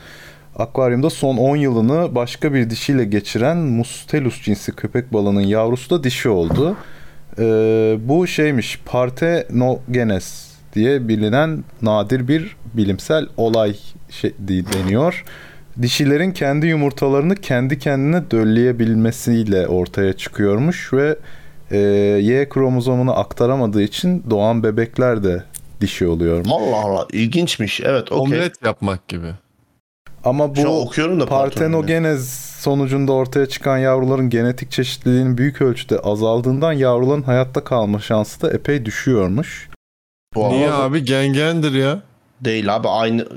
[SPEAKER 6] Akvaryumda son 10 yılını başka bir dişiyle geçiren Mustelus cinsi köpek balığının yavrusu da dişi oldu. E, bu şeymiş, partenogenes diye bilinen nadir bir bilimsel olay şey, deniyor. Dişilerin kendi yumurtalarını kendi kendine dölleyebilmesiyle ortaya çıkıyormuş ve e, Y kromozomunu aktaramadığı için doğan bebekler de dişi oluyormuş.
[SPEAKER 2] Allah Allah ilginçmiş. Evet okey.
[SPEAKER 1] Omlet yapmak gibi.
[SPEAKER 6] Ama
[SPEAKER 2] Şu an
[SPEAKER 6] bu
[SPEAKER 2] okuyorum da
[SPEAKER 6] partenogenez sonucunda ortaya çıkan yavruların genetik çeşitliliğinin büyük ölçüde azaldığından yavruların hayatta kalma şansı da epey düşüyormuş.
[SPEAKER 2] Bu
[SPEAKER 1] Niye
[SPEAKER 2] arada-
[SPEAKER 1] abi gengendir ya?
[SPEAKER 2] Değil abi aynı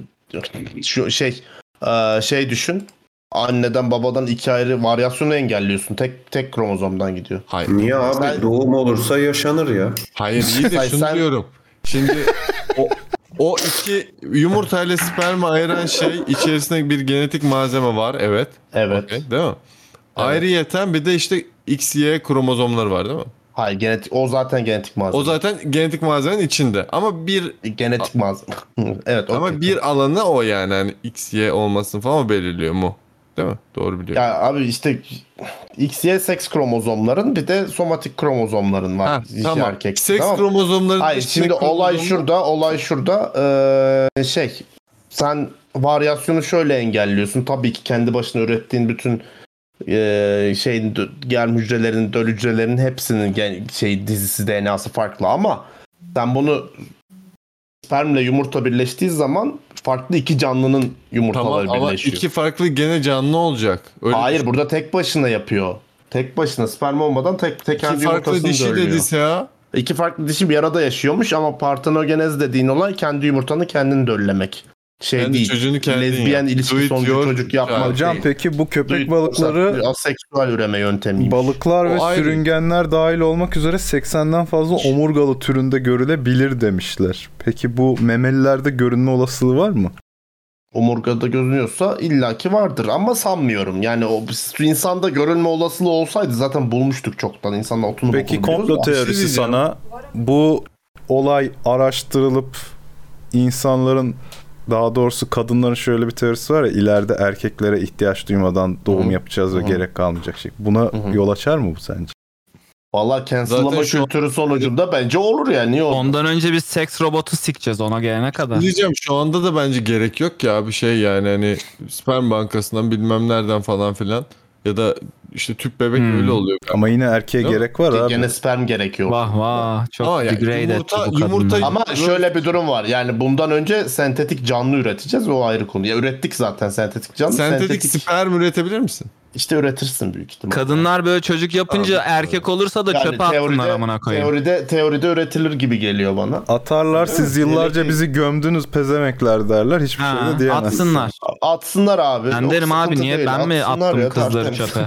[SPEAKER 2] şu şey eee, şey düşün. Anneden babadan iki ayrı varyasyonu engelliyorsun. Tek tek kromozomdan gidiyor.
[SPEAKER 1] Hayır.
[SPEAKER 10] Niye abi?
[SPEAKER 2] Sen-
[SPEAKER 10] Doğum olursa yaşanır ya.
[SPEAKER 1] Hayır iyi de
[SPEAKER 2] Hayır,
[SPEAKER 1] şunu
[SPEAKER 2] sen-
[SPEAKER 1] diyorum. Şimdi o, o iki yumurtayla sperma ayıran şey içerisinde bir genetik malzeme var evet.
[SPEAKER 2] Evet.
[SPEAKER 1] Okey, değil mi? Ayrıyeten bir de işte XY kromozomları var değil mi?
[SPEAKER 2] Hayır genetik o zaten genetik malzeme.
[SPEAKER 1] O zaten genetik malzemenin içinde. Ama bir
[SPEAKER 2] genetik malzeme. evet.
[SPEAKER 1] ama
[SPEAKER 2] okey.
[SPEAKER 1] bir alana o yani hani XY olmasını falan belirliyor mu? Değil mi? Doğru biliyorum.
[SPEAKER 2] Ya abi işte XY seks kromozomların bir de somatik kromozomların var.
[SPEAKER 1] Ha,
[SPEAKER 2] Dişi
[SPEAKER 1] tamam.
[SPEAKER 2] erkek.
[SPEAKER 1] Seks
[SPEAKER 2] tamam mı?
[SPEAKER 1] kromozomların
[SPEAKER 2] Hayır
[SPEAKER 1] dışında
[SPEAKER 2] şimdi olay
[SPEAKER 1] kromozomlar-
[SPEAKER 2] şurada, olay şurada. Ee, şey, sen varyasyonu şöyle engelliyorsun. Tabii ki kendi başına ürettiğin bütün ee, şeyin dö- germ hücrelerinin, döl hücrelerinin hepsinin gen- şey dizisi DNA'sı farklı ama sen bunu spermle yumurta birleştiği zaman farklı iki canlının yumurtaları
[SPEAKER 1] Tamam ama
[SPEAKER 2] birleşiyor.
[SPEAKER 1] iki farklı gene canlı olacak. Öyle şey
[SPEAKER 2] Hayır burada tek başına yapıyor. Tek başına sperm olmadan tek tek kendi
[SPEAKER 1] iki farklı
[SPEAKER 2] yumurtasını
[SPEAKER 1] dişi
[SPEAKER 2] dövüyor.
[SPEAKER 1] dediyse ya.
[SPEAKER 2] İki farklı dişi bir arada yaşıyormuş ama partenogenez dediğin olay kendi yumurtanı kendin döllemek. Şey
[SPEAKER 1] Kendi
[SPEAKER 2] değil.
[SPEAKER 1] çocuğunu kendin
[SPEAKER 2] lezbiyen
[SPEAKER 1] yap.
[SPEAKER 2] ilişki
[SPEAKER 1] Do it
[SPEAKER 2] sonucu
[SPEAKER 1] your
[SPEAKER 2] çocuk yapma.
[SPEAKER 1] child.
[SPEAKER 6] Hocam
[SPEAKER 2] değil.
[SPEAKER 6] peki bu
[SPEAKER 2] Do
[SPEAKER 6] köpek
[SPEAKER 2] it-
[SPEAKER 6] balıkları
[SPEAKER 2] aseksüel üreme yöntemiymiş.
[SPEAKER 6] Balıklar ve
[SPEAKER 1] O ayrı.
[SPEAKER 6] sürüngenler dahil olmak üzere 80'den fazla omurgalı türünde görülebilir demişler. Peki bu memelilerde görünme olasılığı var mı?
[SPEAKER 2] Omurgada gözünüyorsa illaki vardır ama sanmıyorum. Yani o insanda görülme olasılığı olsaydı zaten bulmuştuk çoktan. İnsanın otunu
[SPEAKER 6] Peki
[SPEAKER 2] bokunu
[SPEAKER 6] komplo
[SPEAKER 2] biliyoruz da.
[SPEAKER 1] Bir şey
[SPEAKER 6] teorisi
[SPEAKER 1] diyeceğim.
[SPEAKER 6] sana bu olay araştırılıp insanların daha doğrusu kadınların şöyle bir teorisi var ya ileride erkeklere ihtiyaç duymadan doğum yapacağız ve gerek kalmayacak şey. Buna yol açar mı bu sence?
[SPEAKER 2] Valla cancellama
[SPEAKER 3] Zaten şu an-
[SPEAKER 2] kültürü sonucunda bence olur yani. Niye olmaz?
[SPEAKER 3] Ondan önce biz seks robotu sikeceğiz ona gelene kadar.
[SPEAKER 1] şey Diyeceğim şu anda da bence gerek yok ya bir şey yani hani sperm bankasından bilmem nereden falan filan ya da işte tüp bebek
[SPEAKER 11] Hmm.
[SPEAKER 1] öyle oluyor.
[SPEAKER 6] Ama yine erkeğe
[SPEAKER 1] Değil mi?
[SPEAKER 6] gerek var abi.
[SPEAKER 2] Gene sperm gerekiyor.
[SPEAKER 3] Vah vah çok
[SPEAKER 1] Ama yani degrade etti yumurta- bu kadını. yumurta-
[SPEAKER 2] Ama şöyle bir durum var. Yani bundan önce sentetik canlı üreteceğiz o ayrı konu. Ya ürettik zaten sentetik canlı.
[SPEAKER 1] Sentetik sperm üretebilir misin?
[SPEAKER 2] İşte üretirsin büyük ihtimal.
[SPEAKER 3] Kadınlar böyle çocuk yapınca erkek olursa da çöpe atsınlar amına koyayım.
[SPEAKER 2] Teoride, teoride üretilir gibi geliyor bana.
[SPEAKER 6] Atarlar siz
[SPEAKER 2] Evet,
[SPEAKER 6] yıllarca bizi gömdünüz pezemekler derler. Hiçbir
[SPEAKER 3] Ha,
[SPEAKER 6] şey de diyemezsin.
[SPEAKER 3] atsınlar.
[SPEAKER 2] Atsınlar abi.
[SPEAKER 3] Ben
[SPEAKER 2] O
[SPEAKER 3] derim abi
[SPEAKER 2] sıkıntı
[SPEAKER 3] niye
[SPEAKER 2] değil.
[SPEAKER 3] ben mi
[SPEAKER 2] Atsınlar
[SPEAKER 3] attım
[SPEAKER 2] ya,
[SPEAKER 3] kızları
[SPEAKER 2] tertemiz.
[SPEAKER 3] çöpe?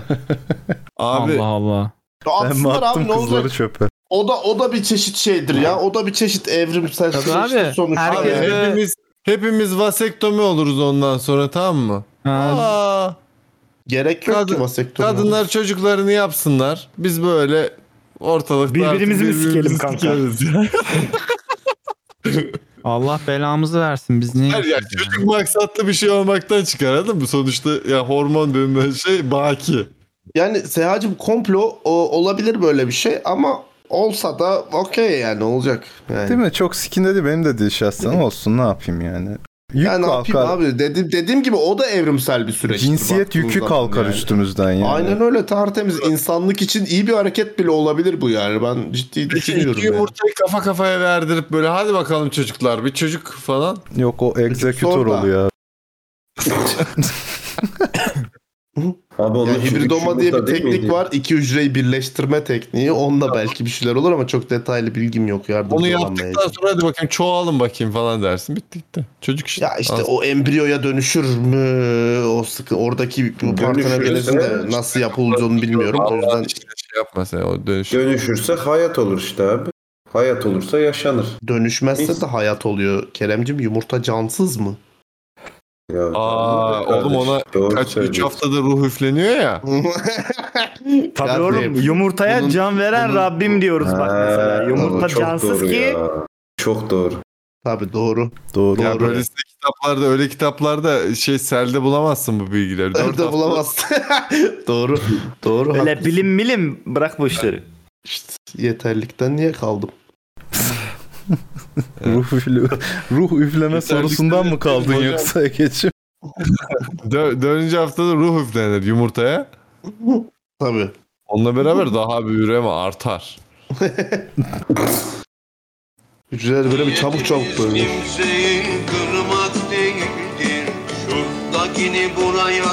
[SPEAKER 1] Abi-
[SPEAKER 3] Allah Allah.
[SPEAKER 6] Ben mi
[SPEAKER 2] Atsınlar abi,
[SPEAKER 6] attım
[SPEAKER 2] ne olacak?
[SPEAKER 6] kızları çöpe?
[SPEAKER 2] O da o da bir çeşit şeydir ya. O da bir çeşit evrimsel
[SPEAKER 3] Tabii
[SPEAKER 2] süreçtir
[SPEAKER 3] abi.
[SPEAKER 2] sonuçta.
[SPEAKER 3] Herkes
[SPEAKER 2] yani.
[SPEAKER 3] de-
[SPEAKER 1] Hepimiz hepimiz vasektomi oluruz ondan sonra tamam mı? Aa,
[SPEAKER 2] Gerek yok ki vasektomi.
[SPEAKER 1] kadınlar çocuklarını yapsınlar. Biz böyle ortalıkta
[SPEAKER 11] Birbirimizi mi sikelim kanka?
[SPEAKER 3] Allah belamızı versin biz niye?
[SPEAKER 1] Her ya çocuk maksatlı bir şey olmaktan çıkar anladın mı? Sonuçta ya hormon denilen şey baki.
[SPEAKER 2] Yani Sehacım komplo o, olabilir böyle bir şey ama olsa da okey yani olacak. Yani.
[SPEAKER 6] Değil mi? Çok sikin dedi benim de şahsen olsun ne yapayım yani. Yük
[SPEAKER 2] Ya ne yapayım
[SPEAKER 6] kalkar.
[SPEAKER 2] abi? Dedi, dediğim gibi o da evrimsel bir süreç.
[SPEAKER 6] Cinsiyet yükü kalkar üstümüzden yani.
[SPEAKER 2] Aynen öyle tertemiz. insanlık için iyi bir hareket bile olabilir bu yani. Ben ciddi düşünüyorum.
[SPEAKER 1] İki yumurtayı kafa kafaya verdirip böyle hadi bakalım çocuklar bir çocuk falan.
[SPEAKER 6] Yok o egzekütör
[SPEAKER 1] Sonra-
[SPEAKER 6] oluyor.
[SPEAKER 10] Abi
[SPEAKER 2] yani.
[SPEAKER 10] onun
[SPEAKER 2] Yani hibridoma diye bir teknik var. İki hücreyi birleştirme tekniği. Onunla belki bir şeyler olur ama çok detaylı bilgim yok. Yardımcı
[SPEAKER 1] Onu
[SPEAKER 2] olamayacağım.
[SPEAKER 1] yaptıktan sonra hadi bakayım çoğalın bakayım falan dersin. Bitti gitti. Çocuk işte.
[SPEAKER 2] Ya işte
[SPEAKER 1] Al.
[SPEAKER 2] o embriyoya dönüşür mü? O sıkı oradaki bu partenogenezin de nasıl yapılacağını bilmiyorum. O yüzden
[SPEAKER 1] şey yapma sen o dönüş.
[SPEAKER 10] Dönüşürse hayat olur işte abi. Hayat olursa yaşanır.
[SPEAKER 2] dönüşmezse de hayat oluyor. Keremcim yumurta cansız mı?
[SPEAKER 1] Aa, oğlum ona kaç 3 haftada ruh üfleniyor ya.
[SPEAKER 11] Tabii
[SPEAKER 1] Ya
[SPEAKER 11] oğlum
[SPEAKER 1] Zeynep,
[SPEAKER 11] yumurtaya
[SPEAKER 1] bunun-
[SPEAKER 11] can veren
[SPEAKER 1] bunun-
[SPEAKER 11] Rabbim diyoruz bak
[SPEAKER 10] Ha,
[SPEAKER 11] mesela. Yumurta
[SPEAKER 10] oğlum çok
[SPEAKER 11] cansız
[SPEAKER 10] doğru
[SPEAKER 11] ki
[SPEAKER 10] ya. Çok doğru.
[SPEAKER 2] Tabii doğru.
[SPEAKER 6] Doğru.
[SPEAKER 1] Ya böylesi kitaplarda öyle kitaplarda şey selde bulamazsın bu bilgileri. Dört
[SPEAKER 2] Nerede
[SPEAKER 1] hafta-
[SPEAKER 2] bulamazsın. doğru. Doğru.
[SPEAKER 11] öyle
[SPEAKER 2] haklısın.
[SPEAKER 11] bilim milim bırak bu işleri.
[SPEAKER 2] Yeterlikten niye kaldım?
[SPEAKER 6] ruh, üfle- ruh üfleme sorusundan mı kaldın
[SPEAKER 1] Hocam-
[SPEAKER 6] yoksa Ege'ciğim?
[SPEAKER 1] Dö- dördüncü haftada ruh üflenir yumurtaya.
[SPEAKER 2] Tabii.
[SPEAKER 1] Onunla beraber daha bir üreme artar.
[SPEAKER 2] Hücreler böyle bir çabuk çabuk bölünür.
[SPEAKER 15] kırmak değildir. Şuradakini buraya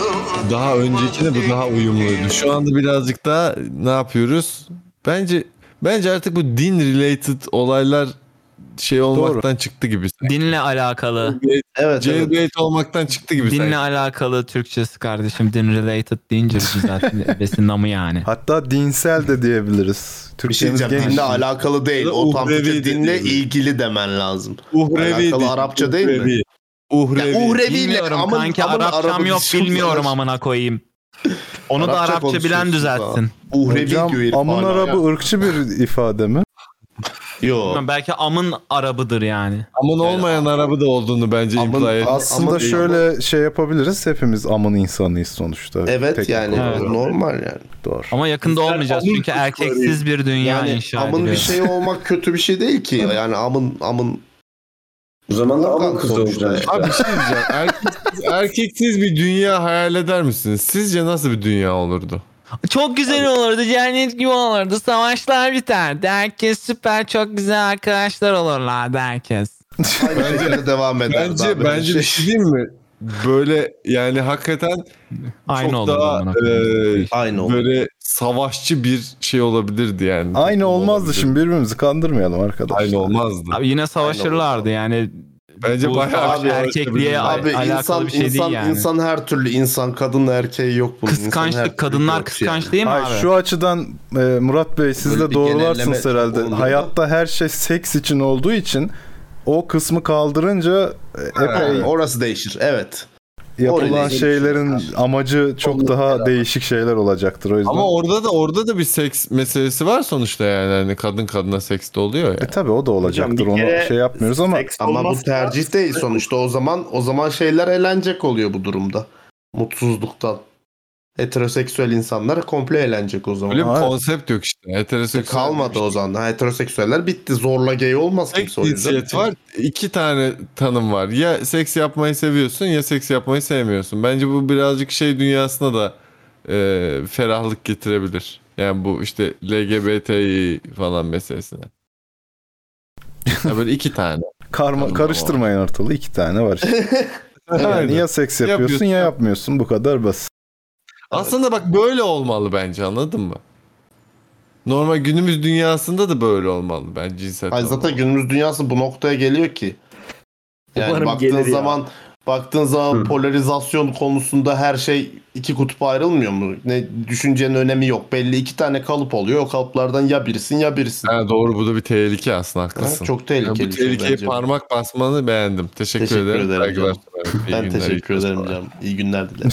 [SPEAKER 1] Daha öncekine bu daha uyumluydu. Şu anda birazcık daha ne yapıyoruz? Bence bence artık bu din related olaylar şey olmaktan çıktı gibi.
[SPEAKER 3] Dinle alakalı.
[SPEAKER 2] Evet.
[SPEAKER 1] Jailbait olmaktan çıktı gibi.
[SPEAKER 3] Dinle
[SPEAKER 1] sanki.
[SPEAKER 3] alakalı Türkçesi kardeşim. Din related deyince bizim zaten besin namı yani.
[SPEAKER 6] Hatta dinsel de diyebiliriz.
[SPEAKER 2] Bir şey
[SPEAKER 6] Türkçemiz
[SPEAKER 2] diyeceğim.
[SPEAKER 6] geniş.
[SPEAKER 2] Dinle alakalı değil. O tam
[SPEAKER 1] Uhrevi
[SPEAKER 2] bir dinle
[SPEAKER 1] dediğimiz.
[SPEAKER 2] ilgili demen lazım.
[SPEAKER 1] Uhrevi
[SPEAKER 2] Alakalı
[SPEAKER 1] değil,
[SPEAKER 2] Arapça değil mi?
[SPEAKER 1] uhrevi. Uhrevi.
[SPEAKER 2] Ya uhreviyle
[SPEAKER 3] Bilmiyorum
[SPEAKER 2] amın,
[SPEAKER 3] kanki
[SPEAKER 2] amın
[SPEAKER 3] Arapçam
[SPEAKER 2] Arap'ı
[SPEAKER 3] yok
[SPEAKER 2] düşün-
[SPEAKER 3] bilmiyorum amına koyayım. Onu da Arapça bilen
[SPEAKER 2] konuşuyorsun
[SPEAKER 3] düzeltsin.
[SPEAKER 2] daha. Uhrevi
[SPEAKER 6] Hocam,
[SPEAKER 2] diyor herif
[SPEAKER 6] amın
[SPEAKER 2] hala ya.
[SPEAKER 6] arabı ırkçı bir ifade mi?
[SPEAKER 2] Yo.
[SPEAKER 3] Bilmiyorum, Belki amın arabıdır yani.
[SPEAKER 1] Amın olmayan arabı da olduğunu bence imply ediyor.
[SPEAKER 6] Aslında şöyle şey yapabiliriz. Hepimiz amın insanıyız sonuçta.
[SPEAKER 2] Evet
[SPEAKER 6] Tek-
[SPEAKER 2] yani
[SPEAKER 6] Doğru.
[SPEAKER 2] normal yani.
[SPEAKER 6] Doğru.
[SPEAKER 3] Ama yakında olmayacağız çünkü erkeksiz bir dünya
[SPEAKER 2] Yani
[SPEAKER 3] inşa
[SPEAKER 2] amın bir
[SPEAKER 3] ediliyor.
[SPEAKER 2] şey olmak kötü bir şey değil ki. Yani amın amın
[SPEAKER 10] O zaman da amın
[SPEAKER 2] Kanka
[SPEAKER 10] kızı
[SPEAKER 2] sonuçta
[SPEAKER 10] olacaksın.
[SPEAKER 1] Abi bir şey diyeceğim. Erkeksiz, erkeksiz bir dünya hayal eder misiniz? Sizce nasıl bir dünya olurdu?
[SPEAKER 3] Çok güzel olurdu. Cennet gibi olurdu. Savaşlar biterdi. Herkes süper çok güzel arkadaşlar olurlardı herkes.
[SPEAKER 2] aynı şekilde devam eder.
[SPEAKER 1] Bence bence bir şey diyeyim mi? Böyle yani hakikaten
[SPEAKER 3] Aynı
[SPEAKER 1] çok
[SPEAKER 3] olur
[SPEAKER 1] daha
[SPEAKER 3] amına
[SPEAKER 1] e,
[SPEAKER 2] Aynı olur.
[SPEAKER 1] böyle savaşçı bir şey olabilirdi yani.
[SPEAKER 6] Aynı olmazdı şimdi birbirimizi kandırmayalım arkadaşlar.
[SPEAKER 1] Aynı olmazdı.
[SPEAKER 3] Abi yine savaşırlardı yani.
[SPEAKER 1] Bence
[SPEAKER 3] Bu
[SPEAKER 1] bayağı bir
[SPEAKER 3] erkekliğe al-
[SPEAKER 2] Abi
[SPEAKER 3] alakalı
[SPEAKER 2] insan
[SPEAKER 3] bir şey değil
[SPEAKER 2] insan
[SPEAKER 3] yani.
[SPEAKER 2] insan her türlü insan kadın erkeği yok bunun. İnsan her türlü
[SPEAKER 3] Kıskançlık. Kadınlar
[SPEAKER 2] yok
[SPEAKER 3] kıskanç
[SPEAKER 2] yani.
[SPEAKER 3] değil mi
[SPEAKER 6] Hayır,
[SPEAKER 3] abi?
[SPEAKER 6] şu açıdan e, Murat Bey siz
[SPEAKER 2] Böyle
[SPEAKER 6] de
[SPEAKER 2] bir
[SPEAKER 6] doğrularsınız
[SPEAKER 2] genelleme
[SPEAKER 6] herhalde.
[SPEAKER 2] olduğunda-
[SPEAKER 6] Hayatta her şey seks için olduğu için o kısmı kaldırınca e,
[SPEAKER 2] Ha, şey
[SPEAKER 6] epey
[SPEAKER 2] orası değişir. Evet.
[SPEAKER 6] yapılan
[SPEAKER 2] oraya
[SPEAKER 6] şeylerin amacı çok daha değişik şeyler olacaktır o yüzden.
[SPEAKER 1] Ama orada da orada da bir seks meselesi var sonuçta yani. Hani kadın kadına seks de oluyor ya.
[SPEAKER 6] E tabi o da olacaktır. Onu
[SPEAKER 11] kere
[SPEAKER 6] şey yapmıyoruz ama
[SPEAKER 2] Ama bu tercih değil sonuçta. O zaman o zaman şeyler elenecek oluyor bu durumda. Mutsuzluktan. heteroseksüel insanlar komple eğlenecek o zaman. E,
[SPEAKER 1] Öyle bir konsept yok işte. Heteroseksüel
[SPEAKER 2] kalmadı o zaman. Heteroseksüeller bitti. Zorla gay olmaz
[SPEAKER 1] Tek
[SPEAKER 2] kimse o yüzden.
[SPEAKER 1] cinsiyet var. iki tane tanım var. Ya seks yapmayı seviyorsun ya seks yapmayı sevmiyorsun. Bence bu birazcık şey dünyasına da e, ferahlık getirebilir. Yani bu işte LGBTİ falan meselesine. Ya böyle iki tane.
[SPEAKER 6] Karma, karıştırmayın ortalığı. iki tane var işte. yani
[SPEAKER 1] Aynen.
[SPEAKER 6] ya seks yapıyorsun,
[SPEAKER 1] Yapıyorsun.
[SPEAKER 6] ya yapmıyorsun. Bu kadar basit.
[SPEAKER 1] Aslında bak böyle olmalı bence anladın mı? Normal günümüz dünyasında da böyle olmalı bence cinsel
[SPEAKER 2] Hayır,
[SPEAKER 1] tanım.
[SPEAKER 2] zaten günümüz dünyası bu noktaya geliyor ki. Yani
[SPEAKER 1] Umarım
[SPEAKER 2] baktığın
[SPEAKER 1] gelir ya.
[SPEAKER 2] zaman baktığın zaman polarizasyon konusunda her şey iki kutba ayrılmıyor mu? Ne düşüncenin önemi yok. Belli iki tane kalıp oluyor. O kalıplardan ya birisin ya birisin.
[SPEAKER 1] Ha, doğru bu da bir tehlike aslında haklısın.
[SPEAKER 2] Ha, çok
[SPEAKER 1] Yani
[SPEAKER 2] tehlikeli
[SPEAKER 1] bu
[SPEAKER 2] bir şey
[SPEAKER 1] tehlikeye
[SPEAKER 2] bence.
[SPEAKER 1] parmak basmanı beğendim. Teşekkür,
[SPEAKER 2] Teşekkür
[SPEAKER 1] ederim.
[SPEAKER 2] ederim
[SPEAKER 1] Saygılar
[SPEAKER 2] canım.
[SPEAKER 1] sunarım. İyi
[SPEAKER 2] Ben
[SPEAKER 1] günler, iyi
[SPEAKER 2] teşekkür ederim canım. İyi günler dilerim.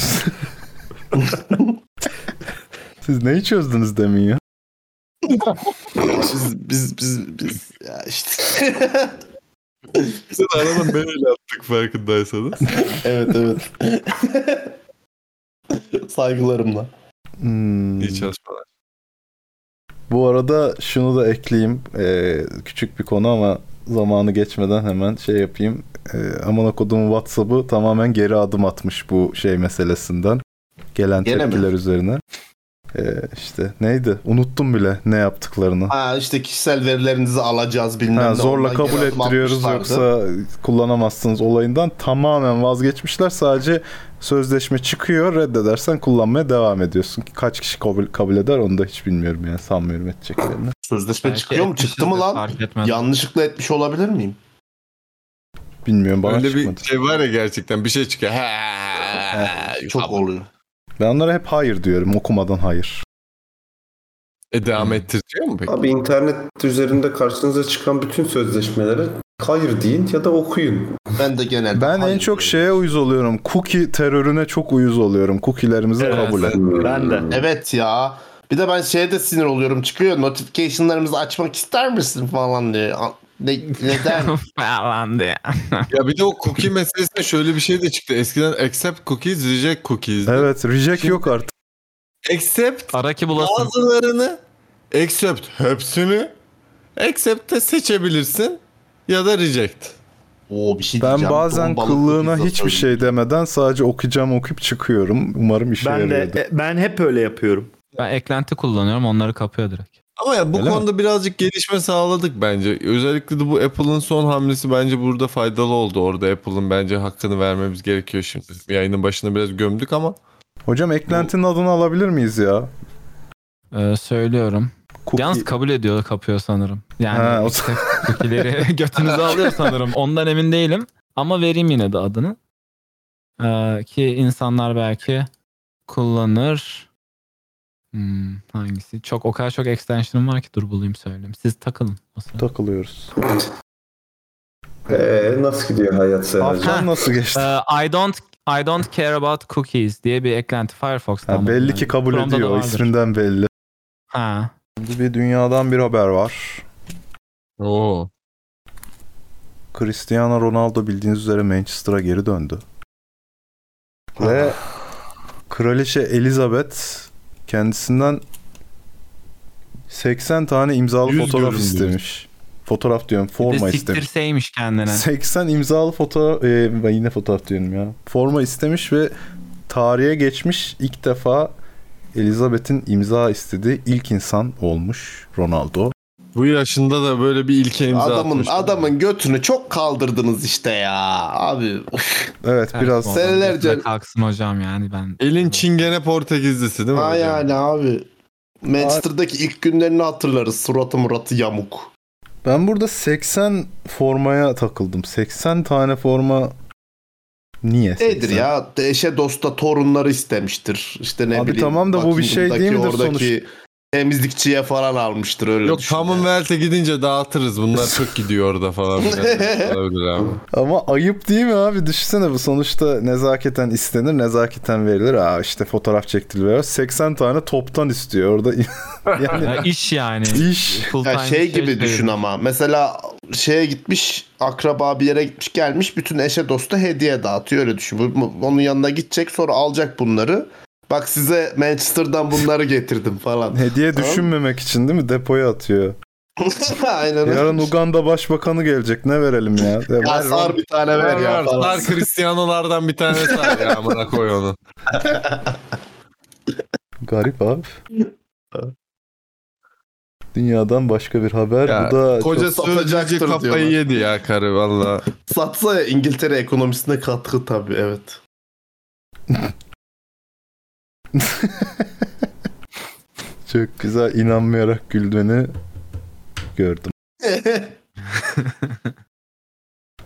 [SPEAKER 6] Siz neyi çözdünüz demin ya?
[SPEAKER 2] biz, biz, biz, biz ya işte.
[SPEAKER 1] Sen arada böyle attık farkındaysanız.
[SPEAKER 2] evet evet. Saygılarımla.
[SPEAKER 6] Hmm.
[SPEAKER 1] İyi çalışmalar.
[SPEAKER 6] Bu arada şunu da ekleyeyim. Ee, küçük bir konu ama zamanı geçmeden hemen şey yapayım. Ee, aman okuduğum WhatsApp'ı tamamen geri adım atmış bu şey meselesinden. Gelen
[SPEAKER 2] Gene mi?
[SPEAKER 6] tepkiler üzerine. Ee, işte neydi? Unuttum bile ne yaptıklarını.
[SPEAKER 2] Ha işte kişisel verilerinizi alacağız bilmem
[SPEAKER 6] Ha,
[SPEAKER 2] ne.
[SPEAKER 6] zorla
[SPEAKER 2] Ondan
[SPEAKER 6] kabul
[SPEAKER 2] geri adım
[SPEAKER 6] ettiriyoruz
[SPEAKER 2] atmışlardı.
[SPEAKER 6] yoksa kullanamazsınız olayından tamamen vazgeçmişler. Sadece sözleşme çıkıyor reddedersen kullanmaya devam ediyorsun. Kaç kişi kabul, kabul eder onu da hiç bilmiyorum yani sanmıyorum edeceklerini.
[SPEAKER 2] Sözleşme çıkıyor mu? Çıktı mı lan? Yanlışlıkla etmiş olabilir miyim?
[SPEAKER 6] Bilmiyorum bana
[SPEAKER 1] Öyle
[SPEAKER 6] çıkmadı.
[SPEAKER 1] bir şey var ya gerçekten bir şey çıkıyor. Ha,
[SPEAKER 2] çok oluyor.
[SPEAKER 6] Ben onlara hep hayır diyorum okumadan hayır.
[SPEAKER 1] E
[SPEAKER 2] Hmm.
[SPEAKER 1] devam ettiriyor mu peki?
[SPEAKER 10] Abi internet üzerinde karşınıza çıkan bütün sözleşmelere hayır deyin ya da okuyun.
[SPEAKER 2] Ben de genelde
[SPEAKER 6] Ben en çok şey şeye uyuz oluyorum. Cookie terörüne çok uyuz oluyorum. Cookie'lerimizi kabul et.
[SPEAKER 2] Evet ya. Bir de ben şeye de sinir oluyorum. Çıkıyor notification'larımızı açmak ister misin falan diye. A- Ne, neden?
[SPEAKER 1] Falan diye. ya bir de o cookie meselesinde şöyle bir şey de çıktı. Eskiden accept cookies, reject cookies.
[SPEAKER 6] Evet reject yok artık.
[SPEAKER 1] Accept bazılarını, accept hepsini, accept de seçebilirsin ya da reject.
[SPEAKER 2] Oo bir şey
[SPEAKER 6] Ben bazen kıllığına hiçbir şey demeden sadece okuyacağım okuyup çıkıyorum. Umarım işe
[SPEAKER 3] Ben de-
[SPEAKER 6] yarıyordur.
[SPEAKER 11] e,
[SPEAKER 4] ben hep öyle yapıyorum.
[SPEAKER 3] Ben eklenti kullanıyorum onları kapıyor direkt.
[SPEAKER 1] Ama ya bu
[SPEAKER 3] Öyle mi?
[SPEAKER 1] konuda birazcık gelişme sağladık bence. Özellikle de bu Apple'ın son hamlesi bence burada faydalı oldu. Orada Apple'ın bence hakkını vermemiz gerekiyor şimdi. Yayının başına biraz gömdük ama.
[SPEAKER 6] Hocam eklentinin adını alabilir miyiz ya?
[SPEAKER 3] Ee, söylüyorum. Yalnız kabul ediyor kapıyor sanırım. Yani
[SPEAKER 6] Ha, o
[SPEAKER 3] işte cookie'leri götünüze alıyor sanırım. Ondan emin değilim. Ama vereyim yine de adını. Ee, ki insanlar belki kullanır. Hmm, hangisi? Çok o kadar çok extension'ım var ki dur bulayım söyleyeyim. Siz takılın. o sırada.
[SPEAKER 6] Takılıyoruz.
[SPEAKER 10] Ee, nasıl gidiyor hayat Seracığım?
[SPEAKER 3] Ha,
[SPEAKER 6] Ee, nasıl geçti?
[SPEAKER 3] e, I don't I don't care about cookies diye bir eklenti Firefox'ta.
[SPEAKER 6] Ha, belli ki kabul ediyor. isminden belli.
[SPEAKER 3] Ha.
[SPEAKER 6] Şimdi bir dünyadan bir haber var.
[SPEAKER 1] Oo.
[SPEAKER 6] Cristiano Ronaldo bildiğiniz üzere Manchester'a geri döndü. Ve Kraliçe Elizabeth kendisinden 80 tane imzalı
[SPEAKER 3] Yüz görün
[SPEAKER 6] fotoğraf
[SPEAKER 3] diyor.
[SPEAKER 6] istemiş. Fotoğraf diyorum, forma istemiş.
[SPEAKER 3] Siktirseymiş kendine.
[SPEAKER 6] 80 imzalı fotoğraf, e, ben yine fotoğraf diyorum ya. Forma istemiş ve tarihe geçmiş ilk defa Elizabeth'in imza istediği ilk insan olmuş Ronaldo.
[SPEAKER 1] Bu yaşında da böyle bir ilke imza
[SPEAKER 2] Adamın
[SPEAKER 1] atmış.
[SPEAKER 2] adamın götünü çok kaldırdınız işte ya. Abi.
[SPEAKER 6] Evet
[SPEAKER 2] biraz- Senelerce-
[SPEAKER 3] kalksın hocam yani ben.
[SPEAKER 1] Elin çingene Portekizlisi değil mi?
[SPEAKER 2] ha
[SPEAKER 1] hocam?
[SPEAKER 2] yani abi. Manchester'daki ilk günlerini hatırlarız. Suratı muratı yamuk.
[SPEAKER 6] Ben burada 80 formaya takıldım. 80 tane forma niye?
[SPEAKER 2] Nedir
[SPEAKER 6] 80?
[SPEAKER 2] ya? Eşe dosta torunları istemiştir. İşte ne
[SPEAKER 6] Abi
[SPEAKER 2] bileyim.
[SPEAKER 6] tamam da bu bir şey
[SPEAKER 2] Buckingham'daki
[SPEAKER 6] değil midir
[SPEAKER 2] oradaki temizlikçiye falan almıştır öyle.
[SPEAKER 1] Yok Commonwealth'e gidince dağıtırız. Bunlar çok gidiyor orada falan. filan. Olabilir abi.
[SPEAKER 6] Ama ayıp değil mi abi? Düşünsene bu sonuçta nezaketen istenir, nezaketen verilir. Aa işte fotoğraf çektiriliyor. 80 tane toptan istiyor orada.
[SPEAKER 3] Ya iş yani.
[SPEAKER 6] İş.
[SPEAKER 3] Full
[SPEAKER 2] Ya
[SPEAKER 3] time
[SPEAKER 2] şey gibi
[SPEAKER 3] şey
[SPEAKER 2] düşün
[SPEAKER 3] değil.
[SPEAKER 2] ama. Mesela şeye gitmiş, akraba bir yere gitmiş, gelmiş bütün eşe dosta hediye dağıtıyor öyle düşün. Bu- bu- Onun yanına gidecek, sonra alacak bunları. Bak size Manchester'dan bunları getirdim falan.
[SPEAKER 6] Hediye düşünmemek için değil mi? Depoya atıyor.
[SPEAKER 2] Aynen öyle.
[SPEAKER 6] Yarın Uganda Başbakanı gelecek. Ne verelim ya? De-
[SPEAKER 2] Ya
[SPEAKER 6] ver,
[SPEAKER 2] sar
[SPEAKER 6] ver.
[SPEAKER 2] bir tane ver ya. falan.
[SPEAKER 1] Sar Cristiano'lardan bir tane sar ya amına koy onu.
[SPEAKER 6] Garip abi. Dünyadan başka bir haber.
[SPEAKER 1] Ya,
[SPEAKER 6] Bu da
[SPEAKER 1] koca
[SPEAKER 6] çok-
[SPEAKER 1] sözcücü
[SPEAKER 2] satacaktır
[SPEAKER 1] kafayı
[SPEAKER 2] diyorlar.
[SPEAKER 1] yedi ya karı valla.
[SPEAKER 2] Satsa ya, İngiltere ekonomisine katkı tabii evet.
[SPEAKER 6] çok güzel inanmayarak güldüğünü gördüm.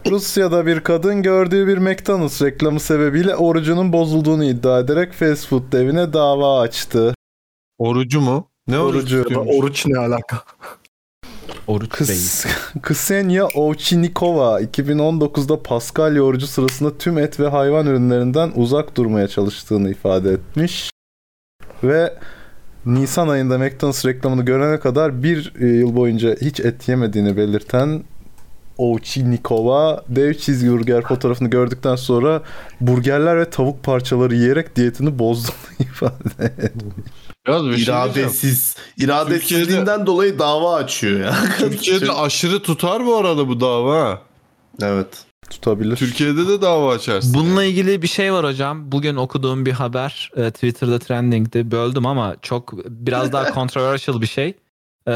[SPEAKER 6] Rusya'da bir kadın gördüğü bir McDonald's reklamı sebebiyle orucunun bozulduğunu iddia ederek fast food devine dava açtı.
[SPEAKER 1] Orucu mu? Ne
[SPEAKER 6] orucu?
[SPEAKER 16] Oruç ne alaka?
[SPEAKER 6] Oruç Ksenia Ovchinikova 2019'da Paskalya orucu sırasında tüm et ve hayvan ürünlerinden uzak durmaya çalıştığını ifade etmiş. Ve Nisan ayında McDonald's reklamını görene kadar bir e, yıl boyunca hiç et yemediğini belirten Ovchinikova dev cheeseburger fotoğrafını gördükten sonra burgerler ve tavuk parçaları yiyerek diyetini bozduğunu ifade etmiş.
[SPEAKER 2] şey iradesiz. iradesizliğinden dolayı dava açıyor ya.
[SPEAKER 1] Türkiye'de aşırı tutar bu arada bu dava.
[SPEAKER 2] Evet.
[SPEAKER 6] Tutabilir.
[SPEAKER 1] Türkiye'de de dava açarsın.
[SPEAKER 3] Bununla ilgili bir şey var hocam. Bugün okuduğum bir haber e, Twitter'da trendingdi. Böldüm ama çok biraz daha controversial bir şey. E,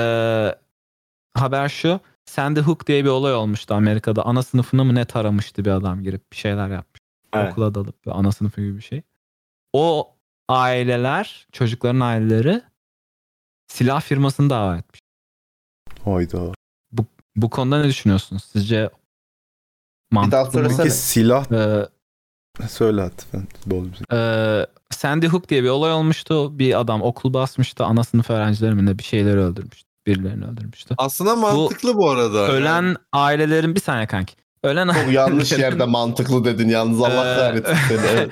[SPEAKER 3] haber şu. Sandy Hook diye bir olay olmuştu Amerika'da. Ana sınıfını mı ne taramıştı bir adam girip bir şeyler yapmış.
[SPEAKER 11] Evet.
[SPEAKER 3] Okula dalıp bir ana sınıfı gibi bir şey. O aileler, çocukların aileleri silah firmasını dava etmiş.
[SPEAKER 6] Hayda.
[SPEAKER 3] Bu, bu konuda ne düşünüyorsunuz? Sizce mantıklı mı?
[SPEAKER 6] Peki silah...
[SPEAKER 3] Ee,
[SPEAKER 6] Söyle lütfen. Bol bir-
[SPEAKER 3] Ee, Sandy Hook diye bir olay olmuştu. Bir adam okul basmıştı. Ana sınıf öğrencileri mi ne bir şeyleri öldürmüştü. Birilerini öldürmüştü.
[SPEAKER 1] Aslında mantıklı bu, arada.
[SPEAKER 3] Ölen ailelerin bir saniye kanki. Ölen
[SPEAKER 2] Çok yanlış yerde mantıklı dedin yalnız Allah kahretsin seni. Evet.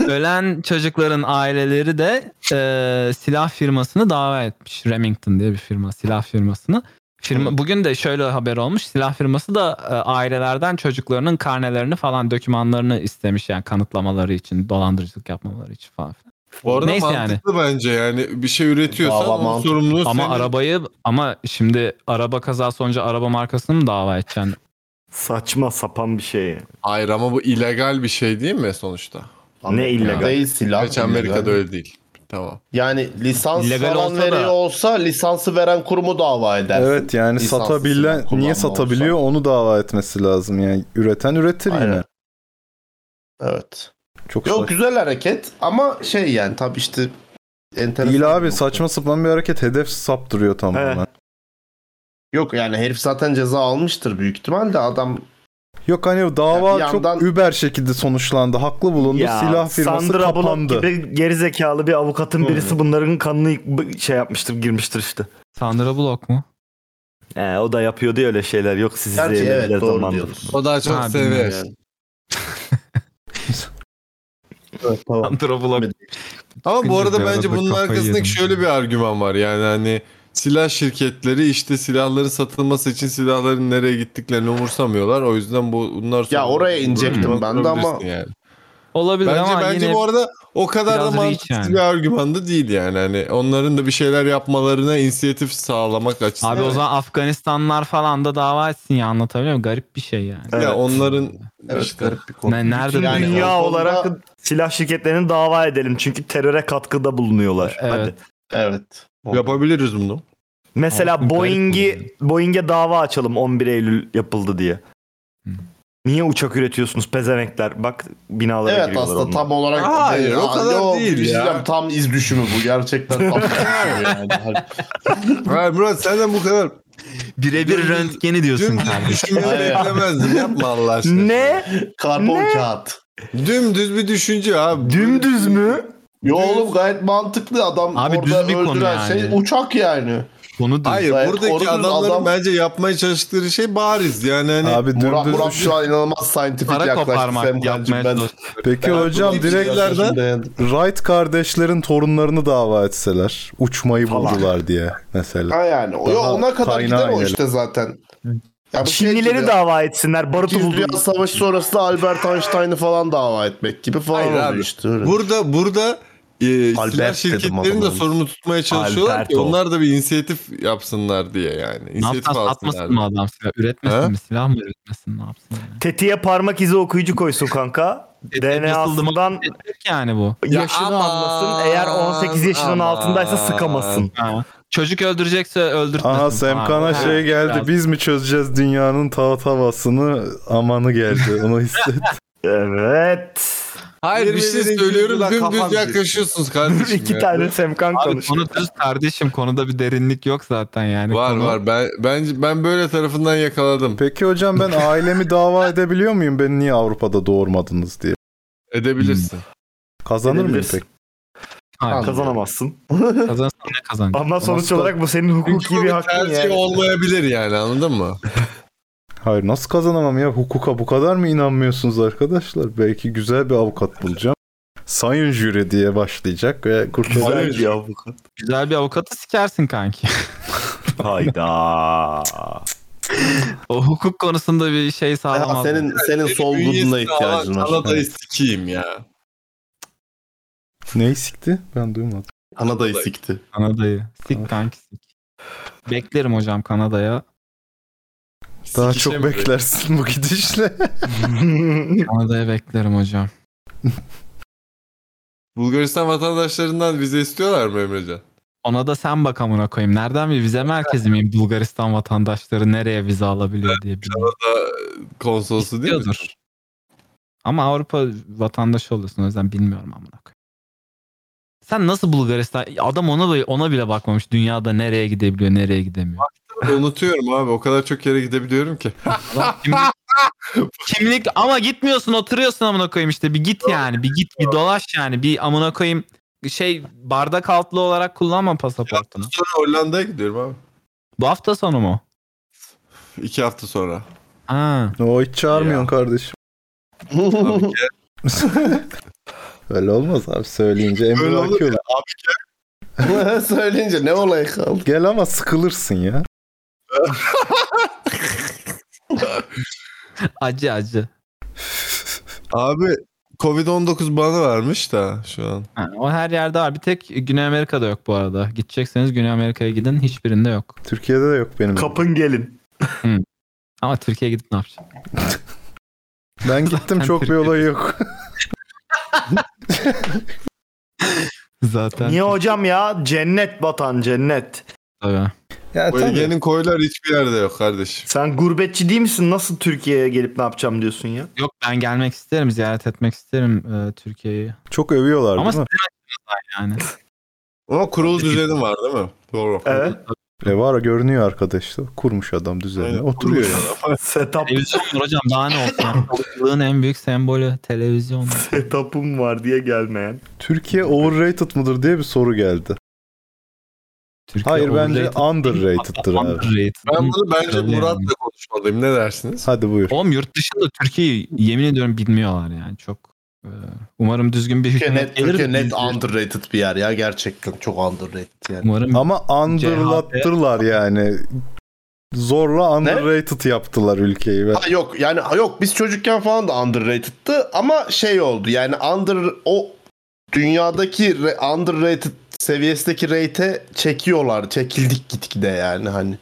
[SPEAKER 3] ölen çocukların aileleri de e, silah firmasını dava etmiş. Remington diye bir firma silah firmasını. Firma, bugün de şöyle haber olmuş. Silah firması da e, ailelerden çocuklarının karnelerini falan dokümanlarını istemiş yani kanıtlamaları için, dolandırıcılık yapmaları için falan. filan.
[SPEAKER 1] Bu arada
[SPEAKER 3] Neyse yani.
[SPEAKER 1] mantıklı bence yani bir şey üretiyorsan
[SPEAKER 3] Dava
[SPEAKER 1] onun
[SPEAKER 3] mantıklı.
[SPEAKER 1] sorumluluğu
[SPEAKER 3] Ama
[SPEAKER 1] senin.
[SPEAKER 3] arabayı ama şimdi araba kazası olunca araba markasını mı dava edeceksin?
[SPEAKER 1] Saçma sapan bir şey. Hayır ama bu illegal bir şey değil mi sonuçta?
[SPEAKER 2] Ne illegal? Değil, silah
[SPEAKER 1] Hiç
[SPEAKER 2] illegal.
[SPEAKER 1] Amerika'da öyle değil. Tamam.
[SPEAKER 2] Yani lisans
[SPEAKER 1] İllegal
[SPEAKER 2] falan
[SPEAKER 1] olsa da-
[SPEAKER 2] veriyor olsa lisansı veren kurumu dava edersin.
[SPEAKER 6] Evet yani
[SPEAKER 2] Lisanssız
[SPEAKER 6] satabilen
[SPEAKER 2] kullanma
[SPEAKER 6] niye
[SPEAKER 2] olsa.
[SPEAKER 6] satabiliyor onu dava etmesi lazım yani üreten üretir yine.
[SPEAKER 2] Evet.
[SPEAKER 6] Çok
[SPEAKER 2] Yok
[SPEAKER 6] saçma.
[SPEAKER 2] güzel hareket ama şey yani tabii işte enteresan.
[SPEAKER 6] Değil abi saçma sapan bir hareket hedef saptırıyor tamamen.
[SPEAKER 2] Yok yani herif zaten ceza almıştır büyük ihtimalle adam
[SPEAKER 6] Yok hani dava
[SPEAKER 2] Ya bir yandan-
[SPEAKER 6] çok über şekilde sonuçlandı. Haklı bulundu.
[SPEAKER 11] Ya,
[SPEAKER 6] Silah firması
[SPEAKER 11] Sandra Bullock
[SPEAKER 6] kapandı.
[SPEAKER 11] gibi gerizekalı bir avukatın birisi bunların kanını yık- şey yapmıştır girmiştir işte.
[SPEAKER 3] Sandra Bullock mu?
[SPEAKER 11] He, o da yapıyordu ya öyle şeyler. Yok siz
[SPEAKER 1] Gerçi
[SPEAKER 11] izleyelim
[SPEAKER 1] evet,
[SPEAKER 11] biraz
[SPEAKER 1] doğru
[SPEAKER 11] zamandır.
[SPEAKER 1] diyorsun. O daha çok Ha, seviyor. bilmiyorum yani. Ama bu arada bence bunun arkasındaki şöyle bir argüman var. Yani hani silah şirketleri işte silahların satılması için silahların nereye gittiklerini umursamıyorlar. O yüzden bu bunlar
[SPEAKER 2] Ya oraya inecektim ben de ama-
[SPEAKER 1] Yani.
[SPEAKER 3] Olabilir
[SPEAKER 1] bence,
[SPEAKER 3] ama
[SPEAKER 1] bence
[SPEAKER 3] yine
[SPEAKER 1] bu arada o kadar da
[SPEAKER 3] biraz reach
[SPEAKER 1] mantıksız
[SPEAKER 3] yani.
[SPEAKER 1] bir argüman da değil yani. Hani onların da bir şeyler yapmalarına inisiyatif sağlamak açısından.
[SPEAKER 3] Abi o zaman Afganistanlar falan da dava etsin ya anlatabiliyor muyum? Garip bir şey yani.
[SPEAKER 1] Ya onların işte-
[SPEAKER 3] Ne- nerede
[SPEAKER 11] Bütün
[SPEAKER 3] yani
[SPEAKER 11] dünya
[SPEAKER 3] o konuda-
[SPEAKER 11] olarak silah şirketlerini dava edelim. Çünkü teröre katkıda bulunuyorlar. Hadi.
[SPEAKER 2] Evet.
[SPEAKER 1] Yapabiliriz bunu.
[SPEAKER 11] Mesela Boeing'i Boeing'e dava açalım 11 Eylül yapıldı diye. Niye uçak üretiyorsunuz pezevenkler? Bak binalara
[SPEAKER 2] Evet
[SPEAKER 11] giriyorlar
[SPEAKER 2] aslında
[SPEAKER 11] onlar.
[SPEAKER 2] tam olarak
[SPEAKER 11] Hayır,
[SPEAKER 2] Aa,
[SPEAKER 11] o kadar
[SPEAKER 2] yok,
[SPEAKER 11] değil
[SPEAKER 2] bir şey
[SPEAKER 11] ya.
[SPEAKER 2] diyeceğim, Tam iz düşümü bu gerçekten tam iz düşümü yani. Hani
[SPEAKER 1] Hayır Murat senden bu kadar
[SPEAKER 3] birebir röntgeni diyorsun
[SPEAKER 1] kardeşim. beklemezdim yapma Allah aşkına.
[SPEAKER 11] Ne?
[SPEAKER 2] Karbon kağıt.
[SPEAKER 1] Dümdüz bir düşünce abi.
[SPEAKER 11] Dümdüz mü?
[SPEAKER 2] Yo oğlum gayet mantıklı adam
[SPEAKER 1] Abi düz
[SPEAKER 2] orada
[SPEAKER 1] bir konu
[SPEAKER 2] öldüren
[SPEAKER 1] yani.
[SPEAKER 2] şey uçak yani.
[SPEAKER 3] Konu
[SPEAKER 1] Hayır
[SPEAKER 2] Gayet
[SPEAKER 1] buradaki
[SPEAKER 2] orada
[SPEAKER 1] adamların
[SPEAKER 2] adam-
[SPEAKER 1] bence yapmaya çalıştıkları şey bariz yani hani
[SPEAKER 6] Abi dümdüz
[SPEAKER 2] Murat, Murat şu an inanılmaz scientific
[SPEAKER 1] Para
[SPEAKER 2] yaklaştı.
[SPEAKER 1] koparmak
[SPEAKER 2] Semkancığım,
[SPEAKER 1] yapmaya
[SPEAKER 2] ben-
[SPEAKER 6] Peki
[SPEAKER 2] Ben
[SPEAKER 6] hocam
[SPEAKER 2] bu
[SPEAKER 6] direkt
[SPEAKER 2] bilgilerden-
[SPEAKER 6] Wright kardeşlerin torunlarını dava etseler. Uçmayı buldular diye mesela.
[SPEAKER 2] Ha yani. O,
[SPEAKER 6] Daha
[SPEAKER 2] ona kadar
[SPEAKER 6] kaynağı
[SPEAKER 2] gider o
[SPEAKER 6] inelim.
[SPEAKER 2] işte zaten. Ya bu şey
[SPEAKER 11] Çinlileri
[SPEAKER 2] gibi-
[SPEAKER 11] dava etsinler. Barutu
[SPEAKER 2] İkinci
[SPEAKER 11] buldu.
[SPEAKER 2] Dünya Savaşı sonrasında Albert Einstein'ı falan dava etmek gibi falan
[SPEAKER 1] Hayır
[SPEAKER 2] oluyor
[SPEAKER 1] abi.
[SPEAKER 2] işte. Öyle.
[SPEAKER 1] Burada burada e,
[SPEAKER 2] Albert
[SPEAKER 1] silah
[SPEAKER 2] dedim
[SPEAKER 1] şirketlerinin de
[SPEAKER 2] adamın.
[SPEAKER 1] sorunu tutmaya çalışıyorlar ki
[SPEAKER 2] Alberto.
[SPEAKER 1] onlar da bir inisiyatif yapsınlar diye yani. İnisiyatif
[SPEAKER 11] yapsın,
[SPEAKER 1] alsınlar
[SPEAKER 11] atmasın
[SPEAKER 1] diye.
[SPEAKER 11] mı adam silah? Üretmesin
[SPEAKER 1] Ha?
[SPEAKER 11] mi?
[SPEAKER 3] Silah mı üretmesin ne yapsın?
[SPEAKER 11] Tetiğe parmak izi okuyucu koysun kanka. DNA'sından
[SPEAKER 3] yani bu.
[SPEAKER 11] yaşını anlasın. Eğer 18 yaşının altındaysa sıkamasın.
[SPEAKER 3] Ha. Çocuk öldürecekse öldürtmesin.
[SPEAKER 6] Aha
[SPEAKER 3] falan.
[SPEAKER 6] Semkan'a
[SPEAKER 3] Ha,
[SPEAKER 6] şey geldi.
[SPEAKER 3] biraz.
[SPEAKER 6] Biz mi çözeceğiz dünyanın taht havasını? Amanı geldi. Onu hisset.
[SPEAKER 11] evet.
[SPEAKER 1] Hayır bir şey söylüyorum dümdüz yaklaşıyorsunuz kardeşim. ya.
[SPEAKER 11] Semkan
[SPEAKER 3] Abi konu düz kardeşim. Konuda bir derinlik yok zaten yani.
[SPEAKER 1] Var
[SPEAKER 3] Konu-
[SPEAKER 1] var ben bence ben böyle tarafından yakaladım.
[SPEAKER 6] Peki hocam ben ailemi dava edebiliyor muyum? Beni niye Avrupa'da doğurmadınız diye.
[SPEAKER 1] Edebilirsin.
[SPEAKER 6] Kazanır mıyım
[SPEAKER 11] Edebilirsin.
[SPEAKER 6] pek?
[SPEAKER 3] Hayır.
[SPEAKER 11] Kazanamazsın.
[SPEAKER 3] Kazansan ne kazanacaksın?
[SPEAKER 11] Ama sonuç
[SPEAKER 6] Nasıl-
[SPEAKER 11] olarak bu senin hukuki bir hakkın
[SPEAKER 1] Tercih
[SPEAKER 11] yani.
[SPEAKER 1] olmayabilir yani anladın mı?
[SPEAKER 6] Hayır nasıl kazanamam ya? Hukuka bu kadar mı inanmıyorsunuz arkadaşlar? Belki güzel bir avukat bulacağım. Sayın jüri diye başlayacak ve kurtulacak.
[SPEAKER 11] avukat.
[SPEAKER 3] Güzel bir avukatı sikersin kanki.
[SPEAKER 11] Hayda.
[SPEAKER 3] o hukuk konusunda bir şey sağlamaz.
[SPEAKER 2] senin senin sol guduna ihtiyacın var.
[SPEAKER 1] Kanada'yı sikeyim ya.
[SPEAKER 6] Neyi sikti? Ben duymadım.
[SPEAKER 2] Kanada'yı sikti.
[SPEAKER 3] Kanada'yı. Sik kanki sik. Beklerim hocam Kanada'ya.
[SPEAKER 6] Daha
[SPEAKER 3] Sikişe
[SPEAKER 6] çok
[SPEAKER 3] mi?
[SPEAKER 6] beklersin bu gidişle.
[SPEAKER 3] Kanada'ya beklerim hocam.
[SPEAKER 1] Bulgaristan vatandaşlarından vize istiyorlar mı Emrecan?
[SPEAKER 3] Ona da sen bak amına koyayım. Nereden bir vize merkezi miyim? Bulgaristan vatandaşları nereye vize alabiliyor diye bilmiyorum.
[SPEAKER 1] Kanada konsolosu değil mi?
[SPEAKER 3] İstiyordur. Ama Avrupa vatandaşı oluyorsun o yüzden bilmiyorum amına koyayım. Sen nasıl Bulgaristan? Adam ona bile- ona bile bakmamış. Dünyada nereye gidebiliyor, nereye gidemiyor.
[SPEAKER 1] Unutuyorum abi o kadar çok yere gidebiliyorum ki.
[SPEAKER 3] Adam kimlik, kimlik ama gitmiyorsun, oturuyorsun amına koyayım işte. Bir git yani, bir git, bir dolaş yani. Bir amına koyayım şey bardak altlı olarak kullanma pasaportunu.
[SPEAKER 1] Sonra Hollanda'ya gidiyorum abi.
[SPEAKER 3] Bu hafta sonu mu?
[SPEAKER 1] İki hafta sonra.
[SPEAKER 3] Ha.
[SPEAKER 6] o hiç çağırmıyorsun kardeşim.
[SPEAKER 1] Abi gel.
[SPEAKER 6] Öyle olmaz abi söyleyince. Emre
[SPEAKER 2] Öyle olur
[SPEAKER 6] Akıyor.
[SPEAKER 2] ya, Söyleyince ne olay kaldı?
[SPEAKER 6] Gel ama sıkılırsın ya.
[SPEAKER 3] Acı acı.
[SPEAKER 1] Abi Covid-19 bana varmış da şu an.
[SPEAKER 3] Ha, o her yerde var. Bir tek Güney Amerika'da yok bu arada. Gidecekseniz Güney Amerika'ya gidin. Hiçbirinde yok.
[SPEAKER 6] Türkiye'de de yok benim.
[SPEAKER 11] Kapın gelin.
[SPEAKER 3] Ama Türkiye'ye gidip ne yapacaksın?
[SPEAKER 6] Ben gittim çok bir olay yok.
[SPEAKER 3] Zaten.
[SPEAKER 11] Niye hocam ya? Cennet vatan cennet.
[SPEAKER 3] Tabii.
[SPEAKER 6] Ya,
[SPEAKER 1] Bu Ege'nin koylar hiçbir yerde yok kardeşim.
[SPEAKER 11] Sen gurbetçi değil misin? Nasıl Türkiye'ye gelip ne yapacağım diyorsun ya?
[SPEAKER 3] Yok ben gelmek isterim. Ziyaret etmek isterim e, Türkiye'yi.
[SPEAKER 6] Çok övüyorlar
[SPEAKER 3] Ama
[SPEAKER 6] değil mi?
[SPEAKER 3] sizin açınızdan yani.
[SPEAKER 1] Ama kurulu düzenim var değil mi? Doğru.
[SPEAKER 11] Evet.
[SPEAKER 6] E var görünüyor arkadaşlar. Kurmuş adam düzenini. Oturuyor ya.
[SPEAKER 11] Setup,
[SPEAKER 3] Televizyondur hocam daha ne olsun. Yılın en büyük sembolü televizyon.
[SPEAKER 11] setup'um var diye gelmeyen.
[SPEAKER 6] Türkiye overrated mıdır diye bir soru geldi.
[SPEAKER 3] Türkiye
[SPEAKER 6] Hayır bence
[SPEAKER 3] overrated değil,
[SPEAKER 6] underrated'dır abi.
[SPEAKER 3] underrated.
[SPEAKER 1] Ben bunu bence
[SPEAKER 3] Öyle yani.
[SPEAKER 1] Murat'la konuşmalıyım. Ne dersiniz?
[SPEAKER 6] Hadi buyur.
[SPEAKER 3] Oğlum yurt dışında Türkiye'yi yemin ediyorum bilmiyorlar yani çok. e, Umarım düzgün bir
[SPEAKER 2] Türkiye
[SPEAKER 3] hükümet
[SPEAKER 2] net,
[SPEAKER 3] gelir.
[SPEAKER 2] Türkiye
[SPEAKER 3] de
[SPEAKER 2] net
[SPEAKER 3] biz-
[SPEAKER 2] underrated bir yer ya gerçekten çok underrated yani.
[SPEAKER 3] Umarım
[SPEAKER 6] Ama underlattırlar yani. Zorla underrated yaptılar ülkeyi. ve
[SPEAKER 2] Ha, yok yani ha, yok biz çocukken falan da underrated'tı ama şey oldu yani under o dünyadaki re- underrated seviyesindeki rate'e çekiyorlar. Çekildik gitgide yani hani.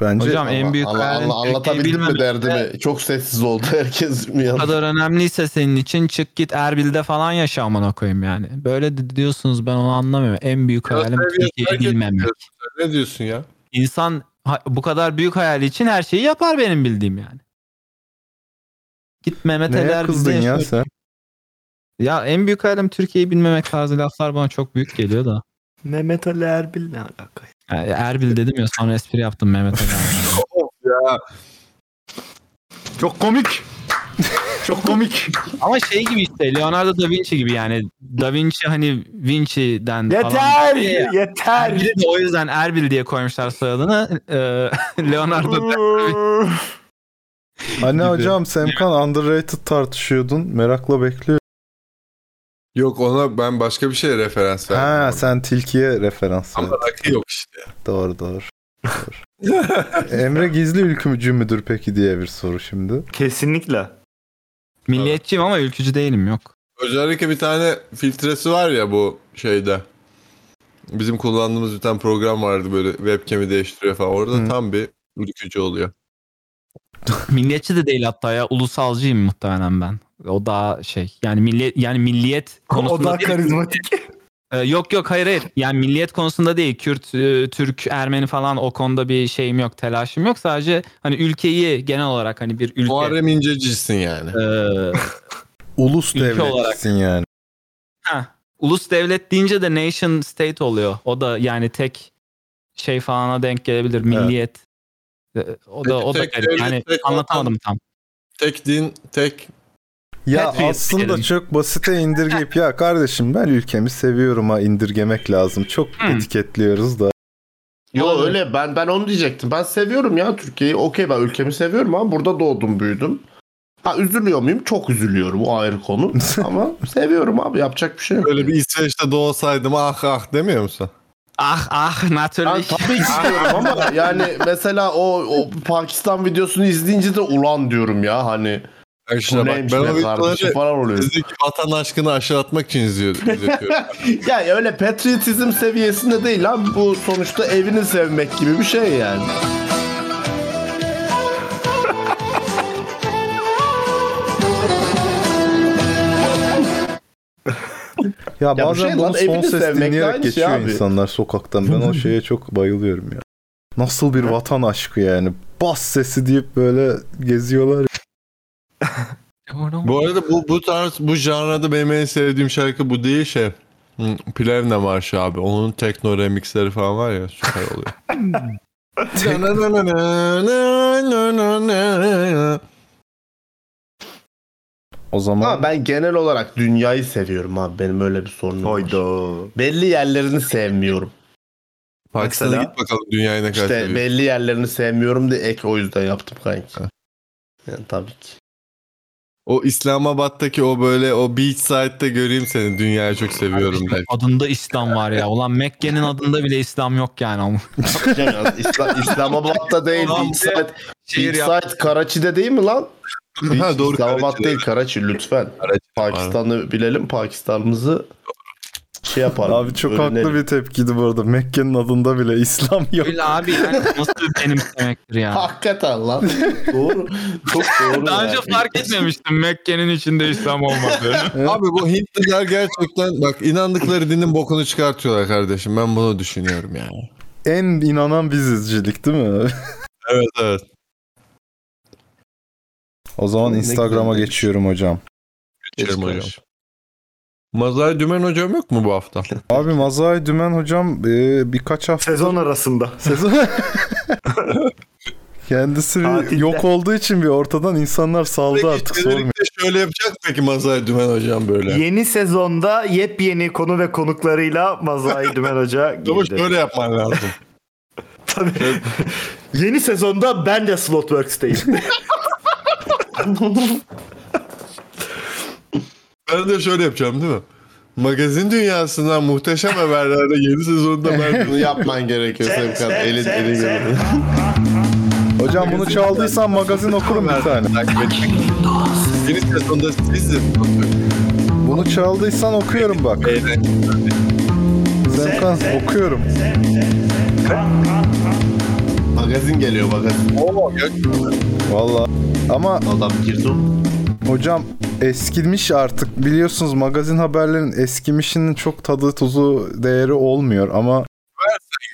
[SPEAKER 6] Bence
[SPEAKER 3] Hocam en büyük
[SPEAKER 2] Anla-
[SPEAKER 3] hayalin
[SPEAKER 2] anla- anlatabildim mi
[SPEAKER 3] Türkiye'yi
[SPEAKER 2] derdimi? Çok sessiz oldu herkes mi
[SPEAKER 3] Bu kadar önemliyse senin için çık git Erbil'de falan yaşa amına koyayım yani. Böyle di- diyorsunuz ben onu anlamıyorum. En büyük hayalim Türkiye'yi bilmemek.
[SPEAKER 1] Ne diyorsun ya?
[SPEAKER 3] İnsan ha- bu kadar büyük hayali için her şeyi yapar benim bildiğim yani. Git Mehmet Ali
[SPEAKER 6] Neye
[SPEAKER 3] Erbil'de
[SPEAKER 6] kızdın
[SPEAKER 3] yaşa.
[SPEAKER 6] ya sen?
[SPEAKER 3] Ya en büyük hayalim Türkiye'yi bilmemek tarzı laflar bana çok büyük geliyor da.
[SPEAKER 11] Mehmet Ali Erbil ne alaka?
[SPEAKER 3] Yani Erbil dedim ya sonra espri yaptım Mehmet Ali. Erbil'e.
[SPEAKER 1] Ya
[SPEAKER 11] Çok komik. Çok komik.
[SPEAKER 3] Ama şey gibi işte Leonardo da Vinci gibi yani. Da Vinci hani Vinci'den
[SPEAKER 11] Yeter!
[SPEAKER 3] falan.
[SPEAKER 11] Yeter!
[SPEAKER 3] Erbil'i de o yüzden Erbil diye koymuşlar soyadını. Eee, Leonardo da
[SPEAKER 6] Anne hocam Semkan underrated tartışıyordun. Merakla bekliyorum.
[SPEAKER 1] Yok ona ben başka bir şeye referans verdim.
[SPEAKER 6] Ha sen tilkiye referans
[SPEAKER 1] Ama
[SPEAKER 6] verdin.
[SPEAKER 1] rakı yok işte.
[SPEAKER 6] Doğru doğru. doğru. Emre gizli ülkücü müdür peki diye bir soru şimdi.
[SPEAKER 11] Kesinlikle.
[SPEAKER 3] Milliyetçiyim ama ülkücü değilim yok.
[SPEAKER 1] Özellikle bir tane filtresi var ya bu şeyde. Bizim kullandığımız bir tane program vardı böyle webcam'i değiştiriyor falan. Orada tam bir ürkücü oluyor.
[SPEAKER 3] Milliyetçi de değil hatta ya ulusalcıyım muhtemelen ben. O daha şey yani milliyet yani milliyet konusunda
[SPEAKER 11] daha
[SPEAKER 3] değil. Ee, yok yok hayır hayır. Yani milliyet konusunda değil. Kürt, e, Türk, Ermeni falan o konuda bir şeyim yok, telaşım yok. Sadece hani ülkeyi genel olarak hani bir ülke. Ee,
[SPEAKER 1] Muharrem İnceci'sin yani.
[SPEAKER 6] Ulus
[SPEAKER 3] Ülke
[SPEAKER 6] devletsin yani.
[SPEAKER 3] Ha, ulus devlet deyince de nation state oluyor. O da yani tek şey falana denk gelebilir milliyet. Ee, O da o da
[SPEAKER 1] Tek
[SPEAKER 3] garip.
[SPEAKER 1] devlet,
[SPEAKER 3] Yani
[SPEAKER 1] tek
[SPEAKER 3] anlatamadım tam.
[SPEAKER 1] Tek din, tek
[SPEAKER 6] Ya
[SPEAKER 1] Patriot
[SPEAKER 6] aslında
[SPEAKER 1] diyelim.
[SPEAKER 6] çok basite indirgeyip ya kardeşim ben ülkemi seviyorum ha indirgemek lazım. Çok etiketliyoruz da.
[SPEAKER 2] Yo öyle ben ben onu diyecektim. Ben seviyorum ya Türkiye'yi. Okey ben ülkemi seviyorum ama burada doğdum büyüdüm. Ha üzülüyor muyum? Çok üzülüyorum o ayrı konu. ama seviyorum abi yapacak bir şey yok.
[SPEAKER 1] Böyle bir İsveç'te doğsaydım ah ah demiyor musun?
[SPEAKER 3] Ah ah
[SPEAKER 2] Ben
[SPEAKER 3] natürlich.
[SPEAKER 2] tabii istiyorum ama yani mesela o, o Pakistan videosunu izleyince de ulan diyorum ya hani.
[SPEAKER 1] İşte
[SPEAKER 2] bu
[SPEAKER 1] bak,
[SPEAKER 2] neymiş
[SPEAKER 1] ben
[SPEAKER 2] be
[SPEAKER 1] o
[SPEAKER 2] kardeşim falan
[SPEAKER 1] videoları
[SPEAKER 2] oluyor.
[SPEAKER 1] bizdeki vatan aşkını aşağılatmak için izliyor- izletiyorum.
[SPEAKER 2] yani öyle patriotizm seviyesinde değil lan bu sonuçta evini sevmek gibi bir şey yani.
[SPEAKER 6] Ya,
[SPEAKER 2] bu
[SPEAKER 6] bazen
[SPEAKER 2] şey lan,
[SPEAKER 6] bunu son
[SPEAKER 2] evini
[SPEAKER 6] ses
[SPEAKER 2] sevmek de
[SPEAKER 6] dinleyerek
[SPEAKER 2] aynı şey
[SPEAKER 6] geçiyor
[SPEAKER 2] abi.
[SPEAKER 6] insanlar sokaktan. Ben o şeye çok bayılıyorum ya. Nasıl bir vatan aşkı yani. Bas sesi deyip böyle geziyorlar.
[SPEAKER 1] bu arada bu bu tarz bu janrada benim en sevdiğim şarkı bu değil şey. Hmm, Plevne Marşı abi. Onun tekno remixleri falan var ya süper oluyor.
[SPEAKER 6] O zaman
[SPEAKER 2] Ama ben genel olarak dünyayı seviyorum abi. Benim öyle bir sorunum var. Belli yerlerini sevmiyorum.
[SPEAKER 1] Pakistan'a git bakalım dünyayı ne kadar
[SPEAKER 2] İşte
[SPEAKER 1] seviyorsun.
[SPEAKER 2] belli yerlerini sevmiyorum diye ek o yüzden yaptım kanki. Yani tabii ki.
[SPEAKER 1] O İslamabad'daki o böyle o beach side'de göreyim seni dünyayı çok seviyorum der.
[SPEAKER 3] Adında İslam var ya. Ulan Mekke'nin adında bile İslam yok yani. ama.
[SPEAKER 2] Yani İslam, İslamabad'da değil.
[SPEAKER 3] Ulan
[SPEAKER 2] Big Side,
[SPEAKER 3] şehir
[SPEAKER 2] Big
[SPEAKER 3] yaptı.
[SPEAKER 2] Side Karachi'de değil mi lan?
[SPEAKER 1] Ha,
[SPEAKER 2] ha,
[SPEAKER 1] doğru,
[SPEAKER 2] doğru, İslamabad
[SPEAKER 1] Karachi,
[SPEAKER 2] değil Karachi lütfen. Pakistan'ı bilelim. Pakistan'ımızı şey yapalım.
[SPEAKER 6] Abi çok haklı
[SPEAKER 2] öğrenelim.
[SPEAKER 6] bir tepkiydi bu arada. Mekke'nin adında bile İslam yok.
[SPEAKER 3] Öyle abi yani nasıl benimsemektir yani.
[SPEAKER 2] Hakikaten lan. doğru. Çok doğru.
[SPEAKER 3] Daha önce
[SPEAKER 2] yani.
[SPEAKER 3] fark etmemiştim Mekke'nin içinde İslam olmadığını.
[SPEAKER 1] Abi bu Hintliler gerçekten bak inandıkları dinin bokunu çıkartıyorlar kardeşim. Ben bunu düşünüyorum yani.
[SPEAKER 6] En inanan bizizcilik değil mi?
[SPEAKER 1] Evet evet.
[SPEAKER 6] o zaman
[SPEAKER 1] Ne
[SPEAKER 6] Instagram'a geçiyorum hocam.
[SPEAKER 1] Geçelim hocam. Mazhar Dümen hocam yok mu bu hafta?
[SPEAKER 6] Abi Mazai Dümen hocam e, birkaç hafta...
[SPEAKER 11] Sezon arasında.
[SPEAKER 6] Sezon... Kendisi bir
[SPEAKER 11] Tatilde.
[SPEAKER 6] yok olduğu için bir ortadan insanlar saldı artık sormuyor.
[SPEAKER 1] Özellikle şöyle yapacak mı peki Mazhar Dümen hocam böyle?
[SPEAKER 11] Yeni sezonda yepyeni konu ve konuklarıyla Mazai Dümen Hoca
[SPEAKER 1] Ama
[SPEAKER 11] girdi.
[SPEAKER 1] şöyle yapman lazım.
[SPEAKER 11] Tabii. Yeni sezonda ben de Slotworks'teyim.
[SPEAKER 1] Ben de şöyle yapacağım değil mi? Magazin dünyasından muhteşem haberlerde yeni sezonda ben
[SPEAKER 2] Bunu yapman gerekiyor Sevkan. Elin elin görün.
[SPEAKER 6] Hocam bunu çaldıysan magazin okurum bir tane.
[SPEAKER 1] Yeni sezonda sizin.
[SPEAKER 6] Bunu çaldıysan okuyorum bak. Semkan okuyorum.
[SPEAKER 2] Magazin geliyor magazin.
[SPEAKER 6] Valla. Ama
[SPEAKER 2] Adam girdim.
[SPEAKER 6] hocam eskimiş artık. Biliyorsunuz magazin haberlerin eskimişinin çok tadı tuzu değeri olmuyor ama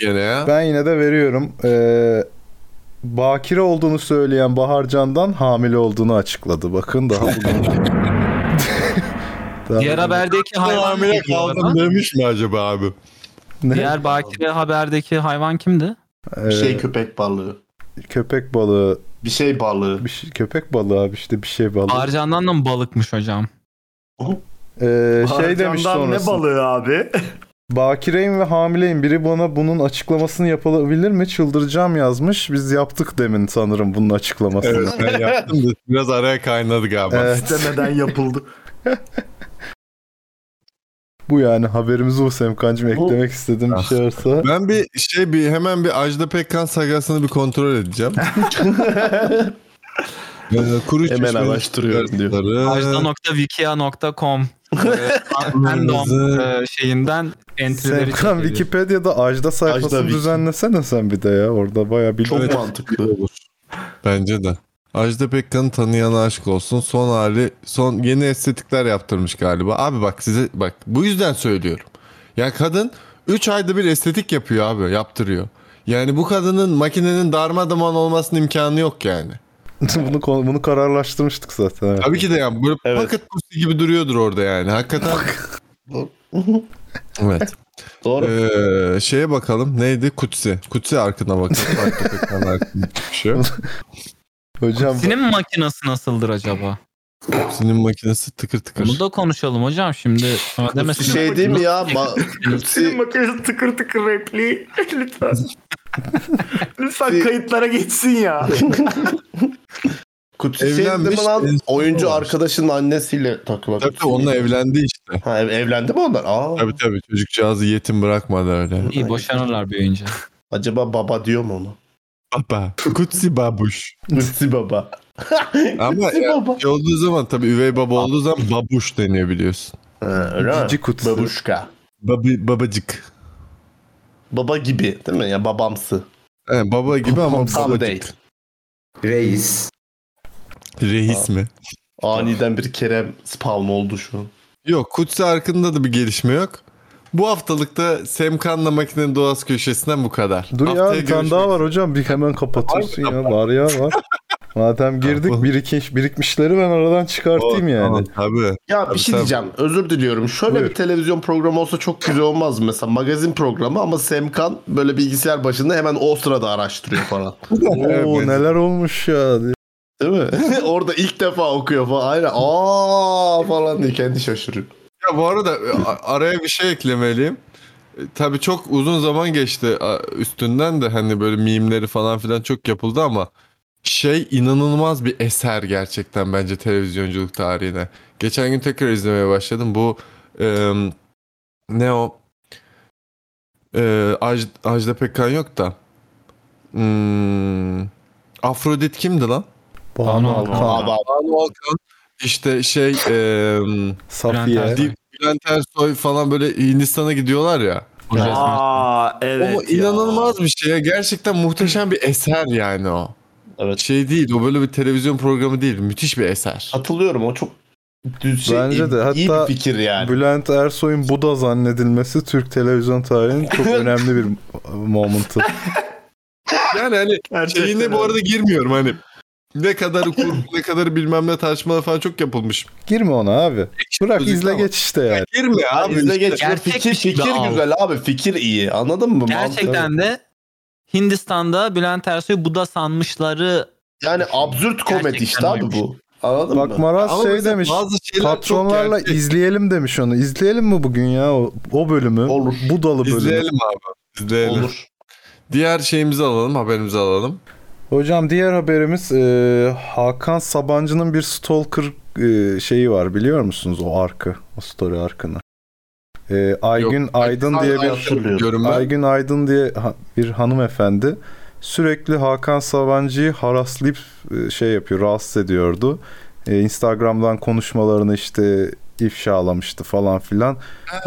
[SPEAKER 1] Gene ya.
[SPEAKER 6] ben yine de veriyorum. Ee, bakire olduğunu söyleyen Bahar Can'dan hamile olduğunu açıkladı. Bakın daha bugün. Daha-
[SPEAKER 3] Diğer haberdeki hayvan
[SPEAKER 1] hamile
[SPEAKER 3] kimdi? bu arada?
[SPEAKER 1] kaldım demiş mi acaba abi?
[SPEAKER 6] Ne?
[SPEAKER 3] Diğer bakire haberdeki hayvan kimdi?
[SPEAKER 6] Ee,
[SPEAKER 2] Bir şey köpek balığı.
[SPEAKER 6] köpek balığı.
[SPEAKER 2] Bir şey balığı.
[SPEAKER 6] Bir şey- köpek balığı abi işte bir şey balığı.
[SPEAKER 3] Bağırcandan da mı balıkmış hocam?
[SPEAKER 6] Ee, şey
[SPEAKER 11] Harcandan
[SPEAKER 6] demiş
[SPEAKER 11] ne
[SPEAKER 6] sonrasında.
[SPEAKER 11] balığı abi?
[SPEAKER 6] Bakireyim ve hamileyim. Biri bana bunun açıklamasını yapabilir mi? Çıldıracağım yazmış. Biz yaptık demin sanırım bunun açıklamasını.
[SPEAKER 1] Evet ben yaptım da biraz araya kaynadı galiba.
[SPEAKER 6] Evet.
[SPEAKER 11] İstemeden yapıldı.
[SPEAKER 6] Bu yani haberimizi bu Semkancım eklemek istedim bir şey varsa.
[SPEAKER 1] Ben bir şey bir hemen bir Ajda Pekkan sagasını bir kontrol edeceğim. Ee, kuru
[SPEAKER 2] Hemen araştırıyorum
[SPEAKER 1] Ee.
[SPEAKER 2] diyor.
[SPEAKER 3] Ajda.wikia.com Random e, şeyinden entry'leri
[SPEAKER 6] Serkan
[SPEAKER 3] çekiyor.
[SPEAKER 6] Wikipedia'da Ajda sayfası
[SPEAKER 3] Ajda Wiki.
[SPEAKER 6] düzenlesene sen bir de ya. Orada bayağı bir...
[SPEAKER 1] Evet, olur. Bence de. Ajda Pekkan'ı tanıyana aşk olsun. Son hali, son yeni estetikler yaptırmış galiba. Abi bak size bak bu yüzden söylüyorum. Ya kadın 3 ayda bir estetik yapıyor abi, yaptırıyor. Yani bu kadının makinenin darmadağın olmasının imkanı yok yani.
[SPEAKER 6] bunu, konu- bunu kararlaştırmıştık zaten. evet.
[SPEAKER 1] Tabii ki de yani böyle pocket pussy gibi duruyordur orada yani. Hakikaten Evet.
[SPEAKER 2] Doğru.
[SPEAKER 1] Ee, şeye bakalım. Neydi? Kutsi. Kutsi arkına bakalım. Arka pekkan arkasında bir şey yok.
[SPEAKER 6] Hocam
[SPEAKER 3] Senin makinesi nasıldır acaba?
[SPEAKER 1] Kutsi'nin makinesi tıkır tıkır.
[SPEAKER 3] Bunu da konuşalım hocam şimdi.
[SPEAKER 2] Kutsi şey değil mi ya? Ma- Kutsi-
[SPEAKER 11] makinesi tıkır tıkır repliği. Lütfen. Lütfen kayıtlara geçsin ya.
[SPEAKER 2] Kutsi şey değil mi
[SPEAKER 1] Evlenmiş,
[SPEAKER 2] lan?
[SPEAKER 1] enstrüman
[SPEAKER 2] Oyuncu
[SPEAKER 1] var.
[SPEAKER 2] arkadaşının annesiyle takılan.
[SPEAKER 1] Tabii tabii onunla evlendi işte.
[SPEAKER 2] Ha, ev- evlendi mi onlar? Aa.
[SPEAKER 1] Tabii tabii çocukcağızı yetim bırakmadı öyle.
[SPEAKER 3] İyi boşanırlar büyüyünce.
[SPEAKER 2] Acaba baba diyor mu onu?
[SPEAKER 1] Baba. Kutsi babuş.
[SPEAKER 2] Kutsi baba.
[SPEAKER 1] Ama
[SPEAKER 2] Kutsi
[SPEAKER 1] ya,
[SPEAKER 2] baba.
[SPEAKER 1] şey olduğu zaman tabii üvey baba olduğu zaman babuş deniyor biliyorsun.
[SPEAKER 2] öyle mi?
[SPEAKER 1] Cici kutsi.
[SPEAKER 2] Babuşka.
[SPEAKER 1] Babi, babacık.
[SPEAKER 2] Baba gibi değil mi? Ya babamsı.
[SPEAKER 1] He, baba gibi ama
[SPEAKER 2] Tam
[SPEAKER 1] babacık.
[SPEAKER 2] değil.
[SPEAKER 10] Reis.
[SPEAKER 1] Reis mi?
[SPEAKER 2] Aniden bir Kerem spawn oldu şu an.
[SPEAKER 1] Yok Kutsi Arkın'da da bir gelişme yok. Bu haftalıkta Semkan'la makinenin doğası köşesinden bu kadar.
[SPEAKER 6] Dur ya
[SPEAKER 1] Haftaya
[SPEAKER 6] bir tane daha var hocam. Bir hemen kapatıyorsun ya. Var ya var. Madem girdik birikiş, birikmişleri ben aradan çıkartayım yani.
[SPEAKER 1] Tabii.
[SPEAKER 2] Ya bir şey diyeceğim. Özür diliyorum. Şöyle
[SPEAKER 6] Buyur.
[SPEAKER 2] bir televizyon programı olsa çok güzel olmaz mı? Mesela magazin programı ama Semkan böyle bilgisayar başında hemen o sırada araştırıyor falan.
[SPEAKER 1] Ee,
[SPEAKER 6] Oo neler olmuş ya. diye.
[SPEAKER 2] Değil mi? Orada ilk defa okuyor falan. Aynen. Aa falan diye kendi şaşırıyor.
[SPEAKER 1] Ya bu arada e, a- araya bir şey eklemeliyim. E, Tabii çok uzun zaman geçti a, üstünden de hani böyle mimleri falan filan çok yapıldı ama şey inanılmaz bir eser gerçekten bence televizyonculuk tarihine. Geçen gün tekrar izlemeye başladım. Bu e, ne o e, Aj- Ajda Pekkan yok da hmm, Afrodit kimdi lan?
[SPEAKER 6] Banu Alkan.
[SPEAKER 1] Banu Alkan. İşte şey e,
[SPEAKER 6] Safiye.
[SPEAKER 1] Di- Bülent Ersoy falan böyle Hindistan'a gidiyorlar ya.
[SPEAKER 11] Aa evet.
[SPEAKER 1] o inanılmaz bir şey. ya. Gerçekten muhteşem bir eser yani o.
[SPEAKER 2] Evet.
[SPEAKER 1] Şey değil o böyle bir televizyon programı değil. Müthiş bir eser.
[SPEAKER 2] Katılıyorum o çok düz şey.
[SPEAKER 6] Bence de
[SPEAKER 2] iyi
[SPEAKER 6] hatta
[SPEAKER 2] bir fikir yani.
[SPEAKER 6] Bülent Ersoy'un Buda zannedilmesi Türk televizyon tarihinin çok önemli bir momentu.
[SPEAKER 1] Yani hani şeyine bu arada girmiyorum hani. Ne kadar kur, ne kadar bilmem ne tartışmalar falan çok yapılmış.
[SPEAKER 6] Girme ona abi. Bırak izle geç işte yani.
[SPEAKER 1] Girme abi.
[SPEAKER 2] Bizde
[SPEAKER 1] işte.
[SPEAKER 2] geçme
[SPEAKER 3] Gerçek
[SPEAKER 2] fikir
[SPEAKER 3] bir şey
[SPEAKER 2] fikir
[SPEAKER 3] de al.
[SPEAKER 2] güzel abi fikir iyi anladın mı? Mantıklı.
[SPEAKER 3] Gerçekten de Hindistan'da Bülent Ersoy'u Buda sanmışları
[SPEAKER 2] yani absürt komedi işte abi bu. Anladın
[SPEAKER 6] Bak
[SPEAKER 2] mı?
[SPEAKER 6] Maraz
[SPEAKER 1] Ama
[SPEAKER 6] şey
[SPEAKER 1] mesela
[SPEAKER 6] demiş.
[SPEAKER 1] bazı şeyler çok
[SPEAKER 6] Patronlarla
[SPEAKER 1] gerçek."
[SPEAKER 6] izleyelim demiş onu. İzleyelim mi bugün ya o, o bölümü?
[SPEAKER 2] Olur.
[SPEAKER 6] Budalı bölümü.
[SPEAKER 1] İzleyelim abi. İzleyelim.
[SPEAKER 2] Olur.
[SPEAKER 1] Diğer şeyimizi alalım haberimizi alalım.
[SPEAKER 6] Hocam diğer haberimiz e, Hakan Sabancı'nın bir stalker e, şeyi var biliyor musunuz o arkı, o story arkını. E, Aygün Aydın
[SPEAKER 1] ben-
[SPEAKER 6] diye
[SPEAKER 1] ben hatırlıyorum
[SPEAKER 6] bir
[SPEAKER 1] ben.
[SPEAKER 6] Aygün Aydın diye ha- bir hanımefendi sürekli Hakan Sabancı'yı haraslayıp e, şey yapıyor, rahatsız ediyordu. E, Instagram'dan konuşmalarını işte ifşalamıştı falan filan.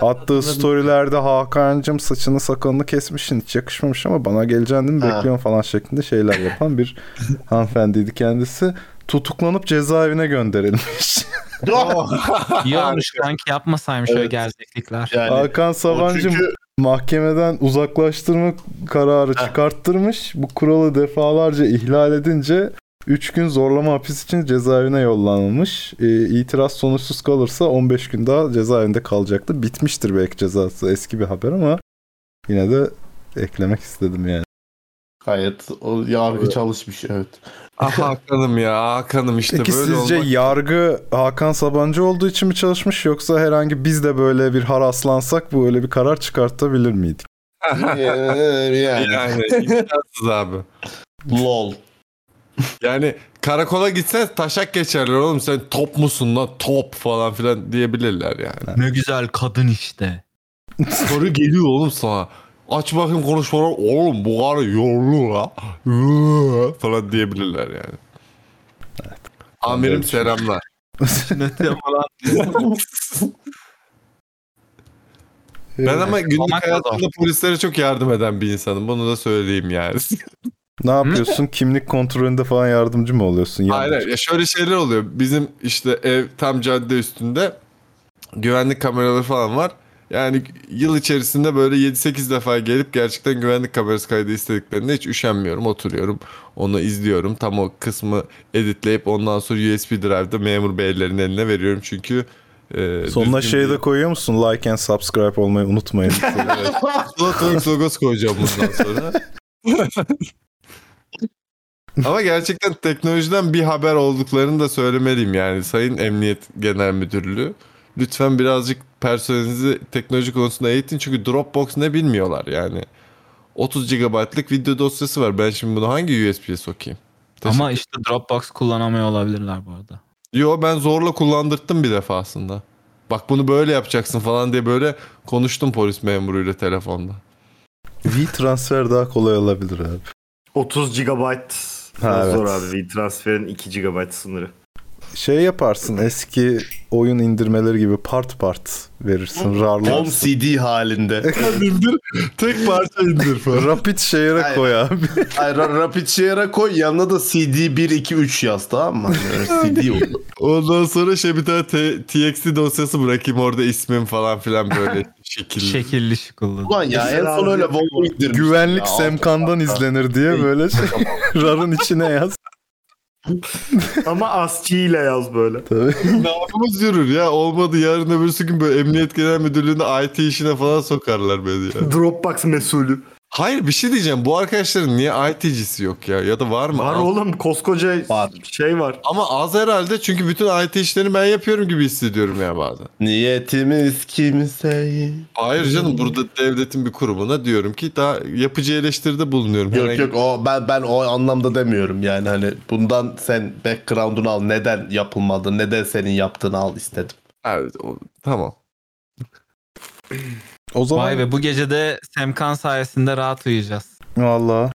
[SPEAKER 6] Attığı storylerde Hakan'cım saçını sakalını kesmişsin hiç yakışmamış ama bana geleceksin değil mi?
[SPEAKER 2] Ha.
[SPEAKER 6] Bekliyorum falan şeklinde şeyler yapan bir hanımefendiydi kendisi. Tutuklanıp cezaevine gönderilmiş. Oh.
[SPEAKER 3] iyi olmuş kanki yapmasaymış öyle gerçeklikler.
[SPEAKER 1] Hani
[SPEAKER 6] Hakan Sabancı mahkemeden uzaklaştırma kararı çıkarttırmış. Bu kuralı defalarca ihlal edince 3 gün zorlama hapis için cezaevine yollanılmış. Ee, itiraz sonuçsuz kalırsa 15 gün daha cezaevinde kalacaktı. Bitmiştir belki cezası eski bir haber ama yine de eklemek istedim yani.
[SPEAKER 2] Gayet o yargı çalışmış evet.
[SPEAKER 1] Ah Hakan'ım ya Hakan'ım işte
[SPEAKER 6] Peki
[SPEAKER 1] böyle
[SPEAKER 6] sizce
[SPEAKER 1] olmak-
[SPEAKER 6] yargı Hakan Sabancı olduğu için mi çalışmış yoksa herhangi biz de böyle bir haraslansak bu öyle bir karar çıkartabilir miydik?
[SPEAKER 2] Ee, yani.
[SPEAKER 1] Yani imkansız abi.
[SPEAKER 2] Lol.
[SPEAKER 1] Yani karakola gitsen taşak geçerler oğlum sen top musun lan top falan filan diyebilirler yani.
[SPEAKER 3] Ne güzel kadın işte.
[SPEAKER 1] Soru geliyor oğlum sana. Aç bakayım konuşmalar oğlum bu karı yorulu la. Yoo, falan diyebilirler yani. Amirim selamlar. ben ama günlük hayatımda polislere çok yardım eden bir insanım. Bunu da söyleyeyim yani.
[SPEAKER 6] Ne yapıyorsun? Kimlik kontrolünde falan yardımcı mı oluyorsun? Ya-
[SPEAKER 1] Hayır, hayır. ya şöyle şeyler oluyor. Bizim işte ev tam cadde üstünde güvenlik kameraları falan var. Yani yıl içerisinde böyle 7-8 defa gelip gerçekten güvenlik kamerası kaydı istediklerinde hiç üşenmiyorum. Oturuyorum, onu izliyorum. Tam o kısmı editleyip ondan sonra USB drive'da memur beylerin eline veriyorum. Çünkü e,
[SPEAKER 6] Sonuna
[SPEAKER 1] düzgün
[SPEAKER 6] şeyi de koyuyor musun? Like and subscribe olmayı unutmayın.
[SPEAKER 1] Slotworks logosu koyacağım bundan sonra. Ama gerçekten teknolojiden bir haber olduklarını da söylemeliyim yani Sayın Emniyet Genel Müdürlüğü. Lütfen birazcık personelinizi teknoloji konusunda eğitin çünkü Dropbox ne bilmiyorlar yani. 30 GB'lık video dosyası var. Ben şimdi bunu hangi USB'ye sokayım?
[SPEAKER 16] Ama işte Dropbox kullanamıyor olabilirler bu arada.
[SPEAKER 1] Yo ben zorla kullandırttım bir defasında. Bak bunu böyle yapacaksın falan diye böyle konuştum polis memuruyla telefonda.
[SPEAKER 6] V-Transfer daha kolay olabilir abi.
[SPEAKER 11] 30 GB
[SPEAKER 6] Ha, evet.
[SPEAKER 11] zor abi. Transferin 2 GB sınırı.
[SPEAKER 6] Şey yaparsın eski oyun indirmeleri gibi part part verirsin.
[SPEAKER 2] Home
[SPEAKER 6] Rarlarsın.
[SPEAKER 2] CD halinde. indir, tek parça indir
[SPEAKER 6] falan. Rapid Share'a koy abi.
[SPEAKER 2] Hayır, ra- Rapid Share'a koy yanına da CD 1, 2, 3 yaz tamam mı? Yani CD olur.
[SPEAKER 1] Ondan sonra şey bir tane T- TXT dosyası bırakayım orada ismim falan filan böyle şekilli.
[SPEAKER 11] Şey-
[SPEAKER 16] Şekilli şıkıllı.
[SPEAKER 2] Ulan ya en son öyle Volvo indirmiş.
[SPEAKER 6] Güvenlik Semkan'dan izlenir diye böyle şey, rarın içine yaz.
[SPEAKER 11] Ama ASCII ile yaz böyle.
[SPEAKER 6] Tabii.
[SPEAKER 1] Nabımız yürür ya. Olmadı yarın öbürsü gün böyle Emniyet Genel Müdürlüğü'ne IT işine falan sokarlar beni ya.
[SPEAKER 11] Dropbox mesulü.
[SPEAKER 1] Hayır bir şey diyeceğim. Bu arkadaşların niye IT'cisi yok ya? Ya da var mı?
[SPEAKER 11] Var oğlum koskoca şey var.
[SPEAKER 1] Ama az herhalde çünkü bütün IT işlerini ben yapıyorum gibi hissediyorum ya bazen.
[SPEAKER 2] Niyetimiz kimseyi.
[SPEAKER 1] Hayır canım burada devletin bir kurumuna diyorum ki daha yapıcı eleştiride bulunuyorum.
[SPEAKER 2] Yok
[SPEAKER 1] Herhangi-
[SPEAKER 2] yok o ben ben o anlamda demiyorum yani hani bundan sen background'unu al neden yapılmadı neden senin yaptığını al istedim.
[SPEAKER 1] Evet tamam.
[SPEAKER 6] O zaman
[SPEAKER 16] Vay be bu gece de Semkan sayesinde rahat uyuyacağız.
[SPEAKER 6] Valla.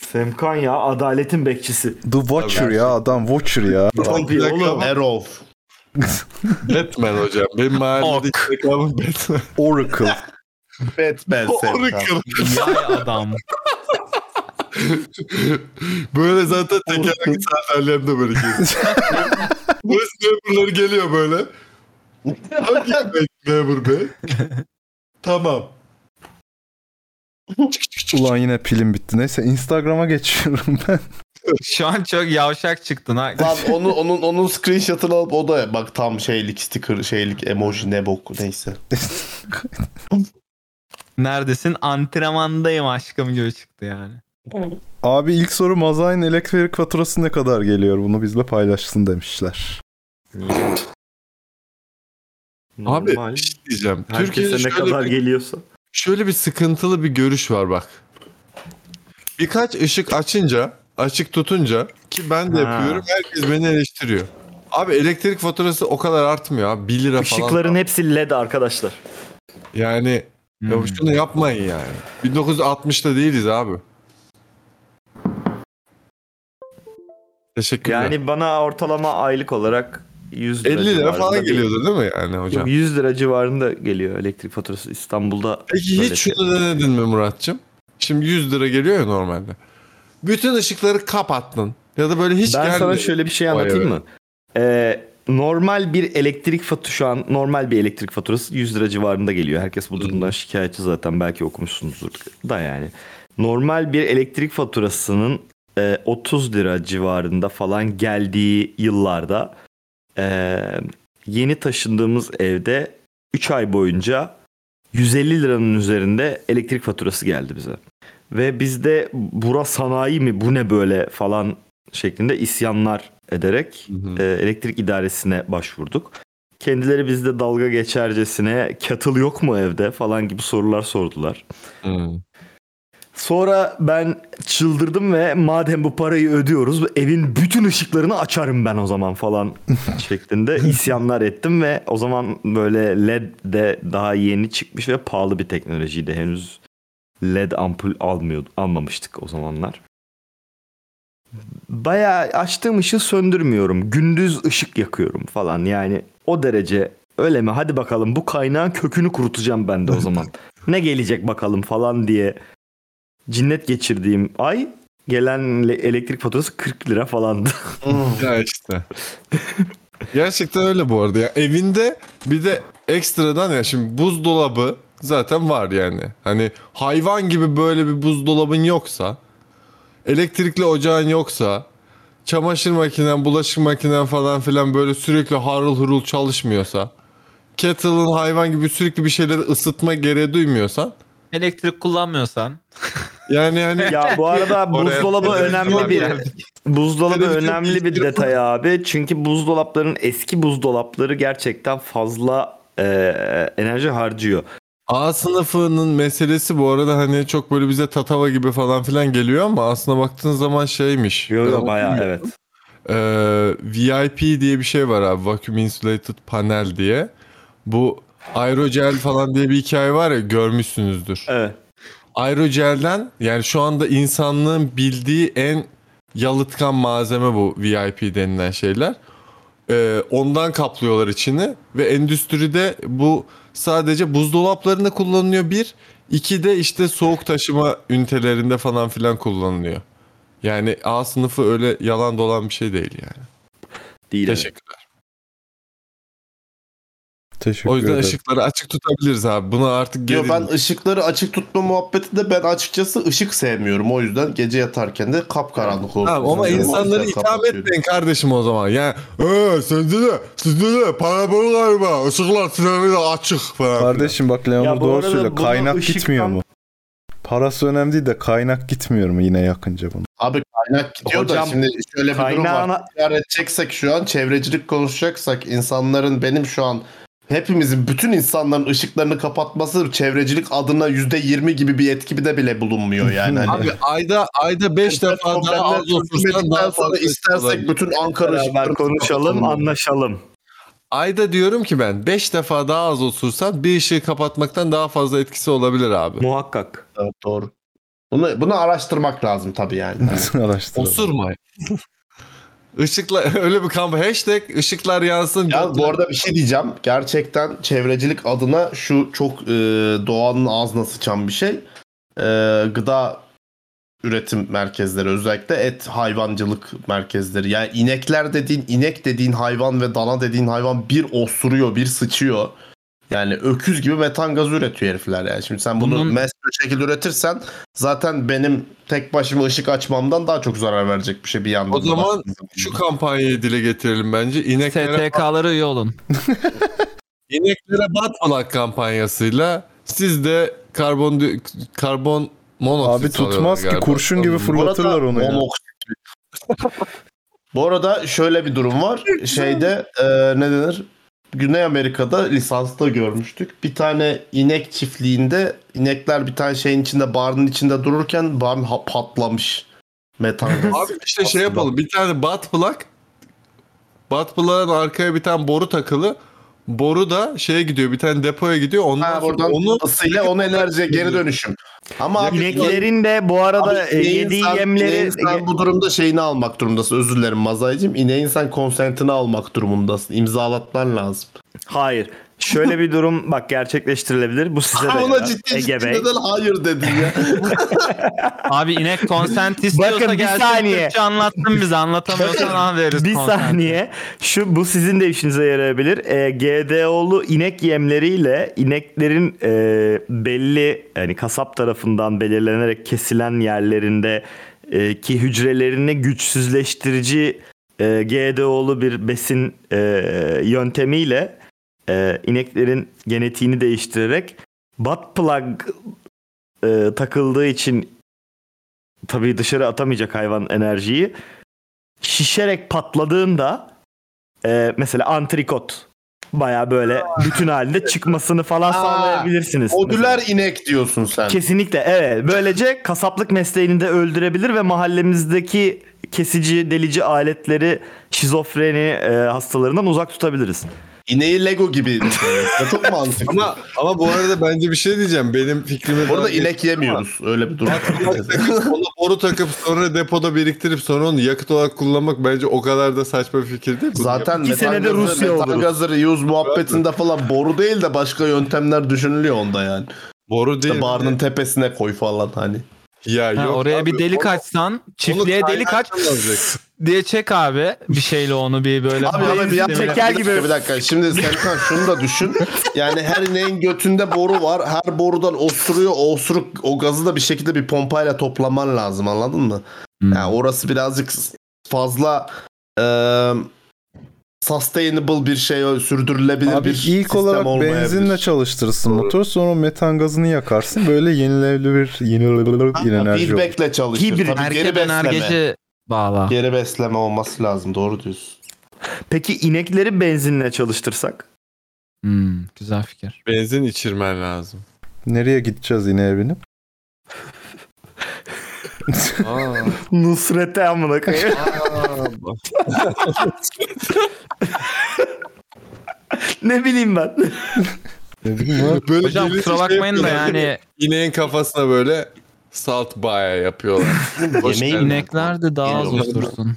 [SPEAKER 11] Semkan ya adaletin bekçisi.
[SPEAKER 6] The Watcher ya adam Watcher ya.
[SPEAKER 11] Tabii oğlum.
[SPEAKER 2] Erol.
[SPEAKER 1] Batman hocam. Benim mahalledeki reklamım Batman.
[SPEAKER 6] Oracle.
[SPEAKER 2] Batman Semkan.
[SPEAKER 16] Vay adam.
[SPEAKER 1] Böyle zaten tekerlekli sandalyemde böyle geziyorum. Polis memurları geliyor böyle. Hangi yemek memur bey? tamam.
[SPEAKER 6] Ulan yine pilim bitti. Neyse Instagram'a geçiyorum ben.
[SPEAKER 16] Şu an çok yavşak çıktın ha.
[SPEAKER 2] Lan onu onun onun screenshot'ını alıp o da bak tam şeylik sticker şeylik emoji ne bok neyse.
[SPEAKER 16] Neredesin? Antrenmandayım aşkım gibi çıktı yani.
[SPEAKER 6] Abi ilk soru Mazay'ın elektrik faturası ne kadar geliyor? Bunu bizle paylaşsın demişler.
[SPEAKER 1] Abi bir şey diyeceğim.
[SPEAKER 11] Herkese
[SPEAKER 1] Türkiye'de
[SPEAKER 11] ne
[SPEAKER 1] şöyle
[SPEAKER 11] kadar
[SPEAKER 1] bir-
[SPEAKER 11] geliyorsa.
[SPEAKER 1] Şöyle bir sıkıntılı bir görüş var bak. Birkaç ışık açınca, açık tutunca ki ben de
[SPEAKER 11] Ha.
[SPEAKER 1] yapıyorum herkes beni eleştiriyor. Abi elektrik faturası o kadar artmıyor abi 1 lira falan.
[SPEAKER 11] Işıkların hepsi LED arkadaşlar.
[SPEAKER 1] Yani ya şunu yapmayın yani. 1960'ta değiliz abi. Teşekkürler.
[SPEAKER 11] Yani bana ortalama aylık olarak 100 lira
[SPEAKER 1] 50 lira
[SPEAKER 11] civarında
[SPEAKER 1] falan
[SPEAKER 11] bir-
[SPEAKER 1] geliyordu değil mi yani hocam?
[SPEAKER 11] Yok, 100 lira civarında geliyor elektrik faturası İstanbul'da. şey.
[SPEAKER 1] Peki hiç şunu denedin mi Muratçım? Şimdi 100 lira geliyor ya normalde. Bütün ışıkları kapattın. Ya da böyle hiç
[SPEAKER 11] ben
[SPEAKER 1] gelmedi.
[SPEAKER 11] sana şöyle bir şey
[SPEAKER 1] Vay
[SPEAKER 11] anlatayım
[SPEAKER 1] be.
[SPEAKER 11] mı? Ee, normal bir elektrik faturası şu an normal bir elektrik faturası 100 lira civarında geliyor. Herkes
[SPEAKER 1] Hmm.
[SPEAKER 11] bu durumdan şikayetçi zaten belki okumuşsunuzdur da yani. Normal bir elektrik faturasının e, 30 lira civarında falan geldiği yıllarda e, yeni taşındığımız evde 3 ay boyunca 150 liranın üzerinde elektrik faturası geldi bize. Ve biz de bura sanayi mi bu ne böyle falan şeklinde isyanlar ederek e, elektrik idaresine başvurduk. Kendileri bizde dalga geçercesine kettle yok mu evde falan gibi sorular sordular. Sonra ben çıldırdım ve madem bu parayı ödüyoruz evin bütün ışıklarını açarım ben o zaman falan şeklinde isyanlar ettim ve o zaman böyle LED de daha yeni çıkmış ve pahalı bir teknolojiydi. Henüz LED ampul almıyordu, almamıştık o zamanlar. bayağı açtığım ışığı söndürmüyorum. Gündüz ışık yakıyorum falan yani o derece öyle mi? Hadi bakalım bu kaynağın kökünü kurutacağım ben de o zaman. ne gelecek bakalım falan diye cinnet geçirdiğim ay gelen le- elektrik faturası 40 lira falandı.
[SPEAKER 1] ya işte. Gerçekten öyle bu arada. Ya evinde bir de ekstradan ya şimdi buzdolabı zaten var yani. Hani hayvan gibi böyle bir buzdolabın yoksa, elektrikli ocağın yoksa, çamaşır makinen, bulaşık makinen falan filan böyle sürekli harıl hurul çalışmıyorsa, kettle'ın hayvan gibi sürekli bir şeyleri ısıtma gereği duymuyorsan
[SPEAKER 16] Elektrik kullanmıyorsan.
[SPEAKER 1] yani hani
[SPEAKER 11] Ya bu arada
[SPEAKER 16] Oraya-
[SPEAKER 11] buzdolabı
[SPEAKER 16] Oraya-
[SPEAKER 11] önemli bir
[SPEAKER 16] Oraya-
[SPEAKER 11] buzdolabı
[SPEAKER 16] Televizyon
[SPEAKER 11] önemli bir
[SPEAKER 16] izliyorsun.
[SPEAKER 11] detay abi. Çünkü buzdolapların eski buzdolapları gerçekten fazla e, enerji harcıyor.
[SPEAKER 1] A sınıfının meselesi bu arada hani çok böyle bize tatava gibi falan filan geliyor ama aslında baktığın zaman şeymiş.
[SPEAKER 11] Yo, yo,
[SPEAKER 1] Ben
[SPEAKER 11] bayağı,
[SPEAKER 1] okumuyorum.
[SPEAKER 11] evet.
[SPEAKER 1] Ee, VIP diye bir şey var abi. Vacuum Insulated Panel diye. Bu aerogel falan diye bir hikaye var ya görmüşsünüzdür.
[SPEAKER 11] Evet.
[SPEAKER 1] Aerogel'den yani şu anda insanlığın bildiği en yalıtkan malzeme bu VIP denilen şeyler. Ee, ondan kaplıyorlar içini ve endüstride bu sadece buzdolaplarında kullanılıyor bir. iki de işte soğuk taşıma ünitelerinde falan filan kullanılıyor. Yani A sınıfı öyle yalan dolan bir şey değil yani.
[SPEAKER 11] Değil
[SPEAKER 1] Teşekkürler.
[SPEAKER 6] Teşekkür
[SPEAKER 1] O yüzden
[SPEAKER 6] ederim.
[SPEAKER 1] ışıkları açık tutabiliriz abi. Buna artık
[SPEAKER 2] Yo,
[SPEAKER 1] gelin.
[SPEAKER 2] ben ışıkları açık tutma muhabbeti de ben açıkçası ışık sevmiyorum. O yüzden gece yatarken de kapkaranlık olsun.
[SPEAKER 1] Tamam ama
[SPEAKER 2] istiyorum. O
[SPEAKER 1] insanları
[SPEAKER 2] yüzden
[SPEAKER 1] itham
[SPEAKER 2] kapatıyorum.
[SPEAKER 1] etmeyin kardeşim o zaman. Yani ee, sende de sizde de parabol galiba. Işıklar sinirleri açık falan.
[SPEAKER 6] Kardeşim bak
[SPEAKER 1] Ya
[SPEAKER 6] Leonur
[SPEAKER 1] bu
[SPEAKER 6] doğru
[SPEAKER 1] arada
[SPEAKER 6] söylüyor.
[SPEAKER 1] bunu
[SPEAKER 6] Kaynak
[SPEAKER 1] ışıktan-
[SPEAKER 6] gitmiyor mu? Parası önemli değil de kaynak gitmiyor mu yine yakınca bunu?
[SPEAKER 2] Abi kaynak gidiyor da
[SPEAKER 6] Hocam,
[SPEAKER 2] şimdi şöyle bir durum
[SPEAKER 6] kaynağına-
[SPEAKER 2] var. Tekrar edeceksek şu an çevrecilik konuşacaksak insanların benim şu an hepimizin bütün insanların ışıklarını kapatması çevrecilik adına %20 gibi bir etkide bile bulunmuyor yani. Hani-
[SPEAKER 1] Abi ayda ayda 5 defa daha
[SPEAKER 2] problemler
[SPEAKER 1] az otursan
[SPEAKER 2] çözülmedikten
[SPEAKER 1] daha
[SPEAKER 2] sonra
[SPEAKER 1] fazla
[SPEAKER 2] istersek bütün Ankara Beraber ışıkları konuşalım, kapatalım.
[SPEAKER 11] anlaşalım.
[SPEAKER 1] Ayda diyorum ki ben 5 defa daha az otursan bir ışığı kapatmaktan daha fazla etkisi olabilir abi.
[SPEAKER 11] Muhakkak.
[SPEAKER 2] Evet, doğru. Bunu bunu araştırmak lazım tabii yani.
[SPEAKER 6] Araştıralım.
[SPEAKER 1] Osurma. Işıkla öyle bir kamp hashtag ışıklar yansın.
[SPEAKER 2] Ya bu arada bir şey diyeceğim. Gerçekten çevrecilik adına şu çok e, doğanın ağzına sıçan bir şey. E, gıda üretim merkezleri özellikle et hayvancılık merkezleri. Yani inekler dediğin inek dediğin hayvan ve dana dediğin hayvan bir osuruyor bir sıçıyor. Yani öküz gibi metan gazı üretiyor herifler yani. Şimdi sen bunu
[SPEAKER 16] Bunun-
[SPEAKER 2] mass bir şekilde üretirsen zaten benim tek başıma ışık açmamdan daha çok zarar verecek bir şey bir yandan.
[SPEAKER 1] O
[SPEAKER 2] da
[SPEAKER 1] zaman
[SPEAKER 2] baktığın
[SPEAKER 1] şu kampanyayı dile getirelim bence. İneklere
[SPEAKER 16] STK'ları üye olun.
[SPEAKER 1] İneklere batmalak kampanyasıyla siz de karbon di- karbon monoksit
[SPEAKER 6] Abi tutmaz ki, kurşun gibi fırlatırlar onu ya.
[SPEAKER 2] Bu arada şöyle bir durum var. Şeyde e, ne denir? Güney Amerika'da lisansta görmüştük. Bir tane inek çiftliğinde inekler bir tane şeyin içinde barın içinde dururken barın ha- patlamış. Metan
[SPEAKER 1] Abi işte şey yapalım. Bir tane bat plak. Bat plak'ın arkaya bir tane boru takılı. Boru da şeye gidiyor. Bir tane depoya gidiyor. Ondan
[SPEAKER 2] Ha,
[SPEAKER 1] sonra
[SPEAKER 2] buradan
[SPEAKER 1] onu
[SPEAKER 2] ısıyla onu enerjiye geri dönüşüm. Ama abi-
[SPEAKER 11] İneklerin de bu arada e,
[SPEAKER 2] Abi, ineğin
[SPEAKER 11] yediği
[SPEAKER 2] sen- ineğin
[SPEAKER 11] yemleri
[SPEAKER 2] sen bu durumda şeyini almak durumundasın. Özür dilerim Mazay'cığım. İneğin sen konsentini almak durumundasın. İmzalatman lazım.
[SPEAKER 11] Hayır. Şöyle bir durum bak gerçekleştirilebilir. Bu size de
[SPEAKER 2] Ama
[SPEAKER 11] yarar.
[SPEAKER 2] ciddi ciddi
[SPEAKER 11] Ege Bey.
[SPEAKER 2] neden hayır dedin ya?
[SPEAKER 16] Abi inek konsent istiyorsa
[SPEAKER 11] Bakın bir
[SPEAKER 16] gelsin
[SPEAKER 11] saniye.
[SPEAKER 16] Türkçe anlatsın bize anlatamıyorsan an veririz
[SPEAKER 11] bir
[SPEAKER 16] konsent.
[SPEAKER 11] saniye. Şu bu sizin de işinize yarayabilir. Ee, GDO'lu inek yemleriyle ineklerin e, belli yani kasap tarafından belirlenerek kesilen yerlerinde e, ki hücrelerini güçsüzleştirici e, GDO'lu bir besin e, yöntemiyle e, ineklerin genetiğini değiştirerek butt plug e, takıldığı için tabii dışarı atamayacak hayvan enerjiyi şişerek patladığında e, mesela antrikot baya böyle bütün halinde çıkmasını falan sağlayabilirsiniz.
[SPEAKER 2] Modüler inek diyorsun sen.
[SPEAKER 11] Kesinlikle evet. Böylece kasaplık mesleğini de öldürebilir ve mahallemizdeki kesici, delici aletleri şizofreni e, hastalarından uzak tutabiliriz.
[SPEAKER 2] İneği Lego gibi. Çok mantıklı.
[SPEAKER 1] Ama, ama bu arada bence bir şey diyeceğim. Benim fikrime...
[SPEAKER 2] Bu arada inek yemiyoruz. Öyle bir durum.
[SPEAKER 1] Ona boru takıp sonra depoda biriktirip sonra onu yakıt olarak kullanmak bence o kadar da saçma bir fikir değil.
[SPEAKER 2] Zaten metan gazı- metan gazı reuse muhabbetinde falan boru değil de başka yöntemler düşünülüyor onda yani.
[SPEAKER 1] Boru
[SPEAKER 2] değil. İşte barının tepesine koy falan hani.
[SPEAKER 1] Ya
[SPEAKER 3] Ha, oraya bir delik açsan, çiftliğe delik aç diye çek abi bir şeyle onu bir böyle.
[SPEAKER 2] Abi ama bir
[SPEAKER 3] Sistemi-
[SPEAKER 2] dakika, bir dakika, bir dakika. Şimdi Serkan şunu da düşün. Yani her ineğin götünde boru var. Her borudan osuruyor. O osuruk o gazı da bir şekilde bir pompayla toplaman lazım anladın mı?
[SPEAKER 6] Hmm.
[SPEAKER 2] Yani orası birazcık fazla eee sustainable bir şey sürdürülebilir
[SPEAKER 6] Abi
[SPEAKER 2] bir
[SPEAKER 6] ilk
[SPEAKER 2] sistem
[SPEAKER 6] olarak
[SPEAKER 2] olmayabilir.
[SPEAKER 6] benzinle çalıştırırsın motor sonra metan gazını yakarsın böyle yenilenebilir yenilenebilir enerji olur.
[SPEAKER 2] Feedback'le çalışır.
[SPEAKER 6] Hibrit,
[SPEAKER 2] Tabii geri
[SPEAKER 6] erkek
[SPEAKER 2] besleme.
[SPEAKER 6] enerjisi
[SPEAKER 3] bağla.
[SPEAKER 2] Geri besleme olması lazım doğru diyorsun.
[SPEAKER 11] Peki inekleri benzinle çalıştırsak?
[SPEAKER 3] Hmm, güzel fikir.
[SPEAKER 1] Benzin içirmen lazım.
[SPEAKER 6] Nereye gideceğiz yine evini?
[SPEAKER 11] Nusret'e amına koyayım. ne bileyim ben.
[SPEAKER 1] Böyle
[SPEAKER 3] Hocam
[SPEAKER 1] birisi
[SPEAKER 3] kusura bakmayın da
[SPEAKER 1] yapıyorlar.
[SPEAKER 3] yani-
[SPEAKER 1] İneğin kafasına böyle salt baya yapıyorlar. Hoş
[SPEAKER 3] Yemeği
[SPEAKER 1] geldin.
[SPEAKER 3] inekler de daha az
[SPEAKER 1] Yemeği-
[SPEAKER 3] otursun.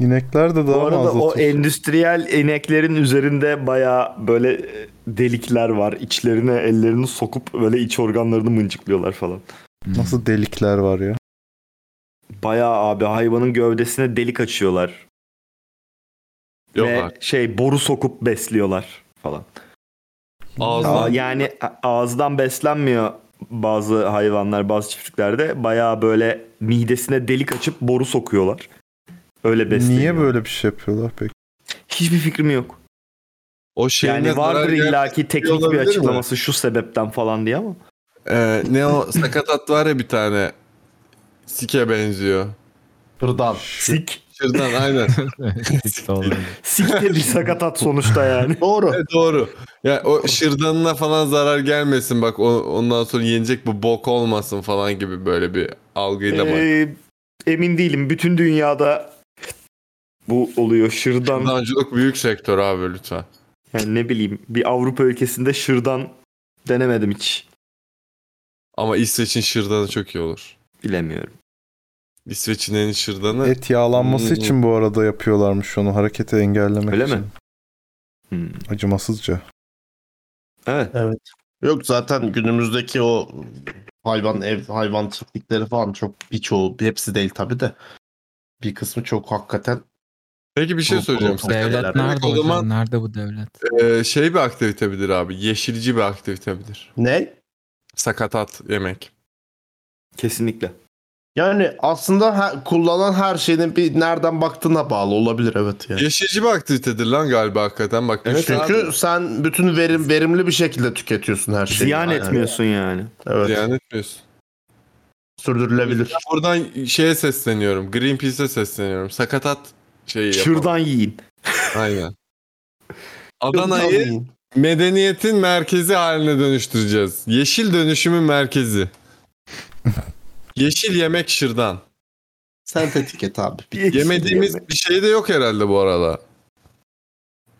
[SPEAKER 6] İnekler de
[SPEAKER 11] Bu
[SPEAKER 6] daha
[SPEAKER 11] arada
[SPEAKER 6] fazla
[SPEAKER 11] o endüstriyel ineklerin üzerinde baya böyle e, delikler var. İçlerine ellerini sokup böyle iç organlarını mıncıklıyorlar falan.
[SPEAKER 3] Hmm,
[SPEAKER 6] Nasıl delikler var ya?
[SPEAKER 11] Baya abi hayvanın gövdesine delik açıyorlar. Ve şey boru sokup besliyorlar falan.
[SPEAKER 1] Ağızdan.
[SPEAKER 11] Aa, yani a- ağızdan beslenmiyor bazı hayvanlar bazı çiftliklerde. Baya böyle midesine delik açıp boru sokuyorlar. Öyle besliyor.
[SPEAKER 6] Niye böyle bir şey yapıyorlar peki?
[SPEAKER 11] Hiçbir fikrim yok.
[SPEAKER 1] O şeyine
[SPEAKER 11] Yani
[SPEAKER 1] zarar
[SPEAKER 11] vardır
[SPEAKER 1] gelmesi
[SPEAKER 11] illaki teknik bir
[SPEAKER 1] olabilir mi?
[SPEAKER 11] açıklaması şu sebepten falan diye ama.
[SPEAKER 1] Ee, ne o sakatat var ya bir tane. Sike benziyor.
[SPEAKER 2] Şırdan.
[SPEAKER 11] Sik.
[SPEAKER 1] Şırdan aynen.
[SPEAKER 11] Sik de bir sakatat sonuçta yani.
[SPEAKER 2] Doğru.
[SPEAKER 1] doğru. Ya o şırdanına falan zarar gelmesin bak o- ondan sonra yenecek bu bok olmasın falan gibi böyle bir algıyla bak.
[SPEAKER 11] Ee, emin değilim. Bütün dünyada bu oluyor. Şırdan.
[SPEAKER 1] Şırdancılık büyük sektör abi lütfen.
[SPEAKER 11] Yani ne bileyim bir Avrupa ülkesinde şırdan denemedim hiç.
[SPEAKER 1] Ama İsveç'in şırdanı çok iyi olur.
[SPEAKER 11] Bilemiyorum.
[SPEAKER 1] İsveç'in en iyi şırdanı.
[SPEAKER 6] Et yağlanması
[SPEAKER 1] Hmm.
[SPEAKER 6] için bu arada yapıyorlarmış onu hareketi engellemek
[SPEAKER 1] Öyle
[SPEAKER 6] için.
[SPEAKER 1] mi?
[SPEAKER 6] Acımasızca.
[SPEAKER 11] Evet.
[SPEAKER 2] Evet. Yok zaten günümüzdeki o hayvan ev hayvan çiftlikleri falan çok birçoğu hepsi değil tabi de bir kısmı çok hakikaten
[SPEAKER 1] Peki bir şey
[SPEAKER 2] Bu- bu-
[SPEAKER 1] söyleyeceğim.
[SPEAKER 2] bu-
[SPEAKER 1] Sakatat
[SPEAKER 2] devlet
[SPEAKER 1] demek
[SPEAKER 2] nerede
[SPEAKER 1] o
[SPEAKER 2] hocam?
[SPEAKER 1] zaman
[SPEAKER 3] Nerede bu devlet?
[SPEAKER 1] Ee, şey bir aktivite midir abi? Yeşilci bir aktivite midir?
[SPEAKER 2] Ne?
[SPEAKER 1] Sakatat yemek.
[SPEAKER 11] Kesinlikle.
[SPEAKER 2] yani aslında her- kullanan her şeyin bir nereden baktığına bağlı olabilir evet yani.
[SPEAKER 1] Yeşilci bir aktivitedir lan galiba hakikaten. Bak
[SPEAKER 2] Çünkü
[SPEAKER 1] düşünüyorum.
[SPEAKER 2] sen bütün verim verimli bir şekilde tüketiyorsun her şeyi.
[SPEAKER 1] Ziyan etmiyorsun
[SPEAKER 11] yani.
[SPEAKER 2] Evet.
[SPEAKER 1] Ziyan etmiyorsun.
[SPEAKER 2] Sürdürülebilir.
[SPEAKER 1] Buradan şeye sesleniyorum. Greenpeace'e sesleniyorum. Sakatat şeyi şey yapalım.
[SPEAKER 11] Şırdan yiyin.
[SPEAKER 1] Aynen. Adana'yı medeniyetin merkezi haline dönüştüreceğiz. Yeşil dönüşümün merkezi. Yeşil yemek şırdan.
[SPEAKER 2] Sentetik et abi.
[SPEAKER 1] Yemediğimiz bir şey de yok herhalde bu arada.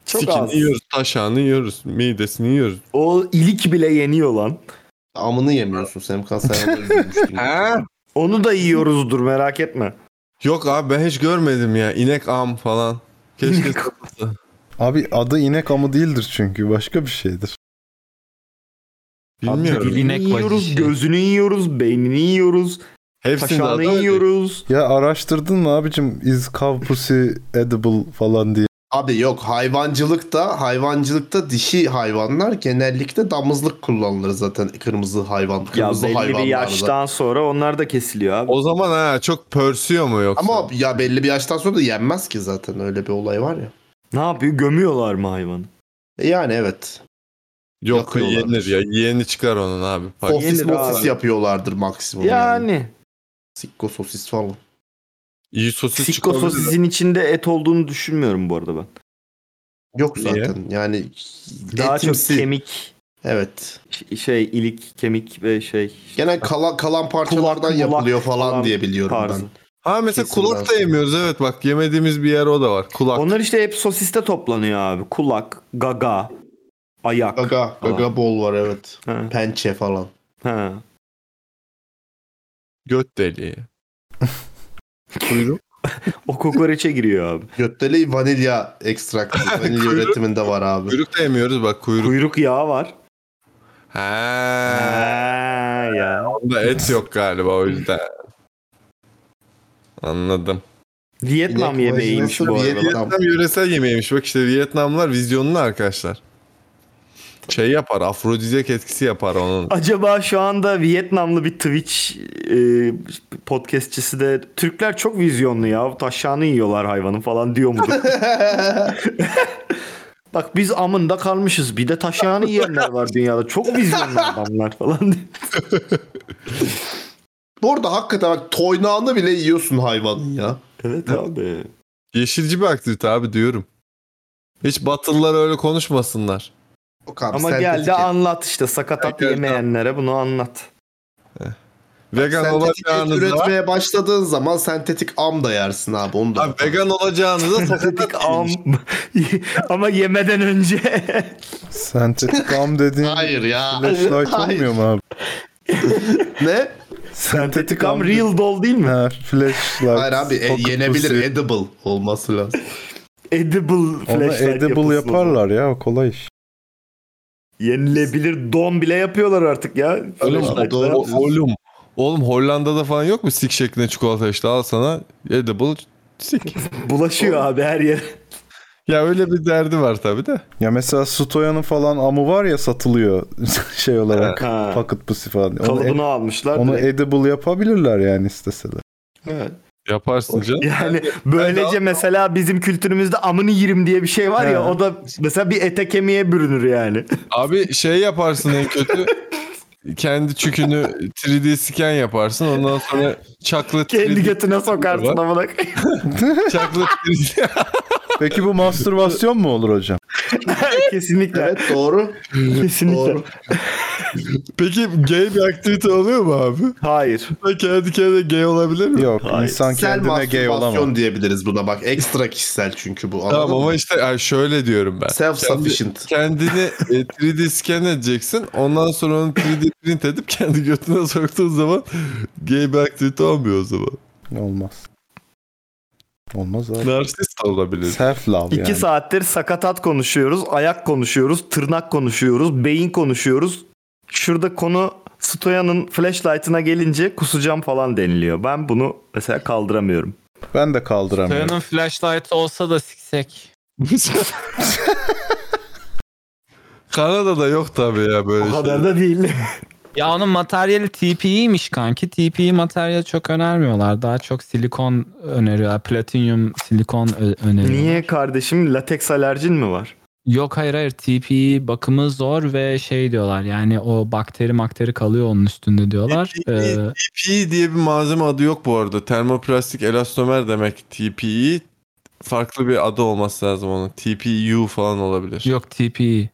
[SPEAKER 11] Çok
[SPEAKER 1] Sikini
[SPEAKER 11] az.
[SPEAKER 1] yiyoruz, taşağını yiyoruz, midesini yiyoruz.
[SPEAKER 11] O ilik bile yeniyor lan.
[SPEAKER 2] Amını yemiyorsun sen kasaya.
[SPEAKER 11] Onu da yiyoruzdur merak etme.
[SPEAKER 1] Yok abi ben hiç görmedim ya. İnek am falan. Keşke satılsa.
[SPEAKER 6] Abi adı inek amı değildir çünkü başka bir şeydir.
[SPEAKER 1] Bilmiyorum.
[SPEAKER 11] Dilini yiyoruz, gözünü yiyoruz, beynini yiyoruz.
[SPEAKER 1] Hepsinin
[SPEAKER 11] Taşağını
[SPEAKER 1] adı öyle.
[SPEAKER 11] yiyoruz.
[SPEAKER 6] Ya araştırdın mı abicim is cow pussy edible falan diye.
[SPEAKER 2] Abi yok hayvancılıkta hayvancılıkta dişi hayvanlar genellikle damızlık kullanılır zaten kırmızı hayvan
[SPEAKER 11] Ya
[SPEAKER 2] kırmızı
[SPEAKER 11] belli bir
[SPEAKER 2] hayvanlarda.
[SPEAKER 11] yaştan sonra onlar da kesiliyor abi.
[SPEAKER 1] O zaman ha çok pörsüyor mu yoksa?
[SPEAKER 2] Ama ya belli bir yaştan sonra da yenmez ki zaten öyle bir olay var ya. E
[SPEAKER 11] Ne yapıyor? Gömüyorlar mı hayvanı?
[SPEAKER 2] Yani evet.
[SPEAKER 1] Yok yenir ya. Yeni çıkar onun abi. Fark-
[SPEAKER 2] Sosis
[SPEAKER 1] Yenir
[SPEAKER 2] mosis
[SPEAKER 1] abi.
[SPEAKER 2] yapıyorlardır maksimum.
[SPEAKER 11] Yani.
[SPEAKER 2] Sikko sosis falan.
[SPEAKER 1] İyi sosis
[SPEAKER 11] Sikko
[SPEAKER 1] çıkabilir.
[SPEAKER 11] sosisin içinde et olduğunu düşünmüyorum bu arada ben.
[SPEAKER 2] Yok
[SPEAKER 11] Niye?
[SPEAKER 2] zaten yani
[SPEAKER 11] Daha
[SPEAKER 2] etimsi-
[SPEAKER 11] çok kemik.
[SPEAKER 2] Evet.
[SPEAKER 11] Şey ilik, kemik ve şey.
[SPEAKER 2] Genel kala- kalan parçalardan
[SPEAKER 11] kulak
[SPEAKER 2] yapılıyor falan diye biliyorum ben.
[SPEAKER 1] Ha mesela kulak da yemiyoruz evet bak yemediğimiz bir yer o da var. Kulak.
[SPEAKER 11] Onlar işte hep sosiste toplanıyor abi. Kulak, gaga, ayak.
[SPEAKER 2] Gaga, gaga bol var evet. Pençe falan.
[SPEAKER 11] Ha.
[SPEAKER 1] Göt deliği.
[SPEAKER 2] Kuyruk.
[SPEAKER 11] o kokoreçe giriyor abi.
[SPEAKER 2] Göt deliği vanilya ekstraktı. Vanilya
[SPEAKER 1] Kuyruk.
[SPEAKER 2] üretiminde var abi.
[SPEAKER 1] Kuyruk da yemiyoruz bak kuyruk.
[SPEAKER 11] Kuyruk yağı var.
[SPEAKER 1] Ha. Ee,
[SPEAKER 11] ya.
[SPEAKER 1] Onda et yok galiba o yüzden. Anladım.
[SPEAKER 11] Vietnam İnek yemeğiymiş vajinası bu arada. Vietnam.
[SPEAKER 1] Vietnam yöresel yemeğiymiş. Bak işte Vietnamlar vizyonlu arkadaşlar. Şey yapar, afrodizyak etkisi yapar onun.
[SPEAKER 11] Acaba şu anda Vietnamlı bir Twitch e, podcastçisi de Türkler çok vizyonlu ya. Taşağını yiyorlar hayvanın falan diyor mudur? Bak biz amında kalmışız. Bir de taşağını yiyenler var dünyada. Çok vizyonlu adamlar falan diye.
[SPEAKER 2] Bu arada hakikaten bak toynağını bile yiyorsun hayvanın ya.
[SPEAKER 11] Evet abi.
[SPEAKER 1] Yeşilci bir aktivite abi diyorum. Hiç batılılar öyle konuşmasınlar.
[SPEAKER 11] Ama gel de anlat işte sakatat yemeyenlere bunu anlat.
[SPEAKER 1] Vegan
[SPEAKER 2] sentetik et
[SPEAKER 1] olacağınız
[SPEAKER 2] üretmeye başladığın zaman sentetik am da yersin abi onu da.
[SPEAKER 1] vegan olacağınıza
[SPEAKER 11] sentetik am. Ama yemeden önce.
[SPEAKER 6] Sentetik am dediğin
[SPEAKER 2] Hayır ya.
[SPEAKER 6] flashlight
[SPEAKER 2] Hayır.
[SPEAKER 6] olmuyor mu abi?
[SPEAKER 2] ne?
[SPEAKER 6] Sentetik am
[SPEAKER 11] real doll değil mi?
[SPEAKER 6] Ha, flashlight.
[SPEAKER 2] Hayır abi e,
[SPEAKER 6] pocket
[SPEAKER 2] yenebilir
[SPEAKER 6] pussy.
[SPEAKER 2] edible olması lazım.
[SPEAKER 11] edible
[SPEAKER 6] Ona
[SPEAKER 11] flashlight
[SPEAKER 6] edible
[SPEAKER 11] yapısı var.
[SPEAKER 6] yaparlar ya o kolay iş.
[SPEAKER 11] Yenilebilir don bile yapıyorlar artık ya.
[SPEAKER 1] Oğlum,
[SPEAKER 11] Flashlight'lar.
[SPEAKER 1] o- oğlum, oğlum Hollanda'da falan yok mu sik şeklinde çikolata işte al sana edible sik.
[SPEAKER 11] Bulaşıyor abi her yere.
[SPEAKER 1] Ya öyle bir derdi var tabi de.
[SPEAKER 6] Ya mesela Stoya'nın falan amı var ya satılıyor şey olarak
[SPEAKER 11] Ha.
[SPEAKER 6] pocket pussy falan. Onu
[SPEAKER 11] Kalıbını
[SPEAKER 6] ed-
[SPEAKER 11] almışlar.
[SPEAKER 6] Onu
[SPEAKER 11] direkt.
[SPEAKER 6] edible yapabilirler yani isteseler.
[SPEAKER 11] Evet.
[SPEAKER 1] Yaparsın canım.
[SPEAKER 11] Yani böylece mesela bizim kültürümüzde amını yirim diye bir şey var ya
[SPEAKER 1] He.
[SPEAKER 11] o da mesela bir ete kemiğe bürünür yani.
[SPEAKER 1] Abi şey yaparsın en kötü. kendi çükünü 3D scan yaparsın. Ondan sonra chocolate
[SPEAKER 11] Kendi
[SPEAKER 1] 3D
[SPEAKER 11] götüne sokarsın
[SPEAKER 1] var.
[SPEAKER 11] amına.
[SPEAKER 1] Chocolate 3D.
[SPEAKER 6] Peki bu mastürbasyon mu olur hocam?
[SPEAKER 11] Kesinlikle.
[SPEAKER 2] Evet doğru.
[SPEAKER 11] Kesinlikle.
[SPEAKER 1] Peki gay bir aktivite oluyor mu abi?
[SPEAKER 11] Hayır.
[SPEAKER 1] Kendi kendine gay olabilir mi?
[SPEAKER 6] Yok insan kendine gay olamaz.
[SPEAKER 2] diyebiliriz buna bak. Ekstra kişisel çünkü bu.
[SPEAKER 1] Tamam
[SPEAKER 2] anladın mı?
[SPEAKER 1] ama işte yani şöyle diyorum ben.
[SPEAKER 2] Self-sufficient.
[SPEAKER 1] Kendi- Kendini e, 3D scan edeceksin. Ondan sonra onu 3D print edip kendi götüne soktuğun zaman gay bir aktivite olmuyor o zaman.
[SPEAKER 6] Olmaz. Olmaz abi.
[SPEAKER 1] Narsist olabilir.
[SPEAKER 6] Self love
[SPEAKER 11] İki
[SPEAKER 6] yani.
[SPEAKER 11] saattir sakatat konuşuyoruz, ayak konuşuyoruz, tırnak konuşuyoruz, beyin konuşuyoruz. Şurada konu Stoya'nın flashlight'ına gelince kusacağım falan deniliyor. Ben bunu mesela kaldıramıyorum.
[SPEAKER 6] Ben de kaldıramıyorum.
[SPEAKER 12] Kayanın flashlight olsa da siksek.
[SPEAKER 1] Kanada'da yok tabii ya böyle
[SPEAKER 11] O
[SPEAKER 1] şey.
[SPEAKER 11] kadar da değil.
[SPEAKER 12] Ya onun materyali TPE'ymiş kanki. TPE materyal çok önermiyorlar. Daha çok silikon öneriyor. Platinyum silikon ö- öneriyor.
[SPEAKER 11] Niye kardeşim lateks alerjin mi var?
[SPEAKER 12] Yok hayır hayır TPE bakımı zor ve şey diyorlar yani o bakteri makteri kalıyor onun üstünde diyorlar. Ee,
[SPEAKER 1] TPE E diye bir malzeme adı yok bu arada. Termoplastik elastomer demek TPE. Farklı bir adı olması lazım onun. TPU falan olabilir.
[SPEAKER 12] yok TPE.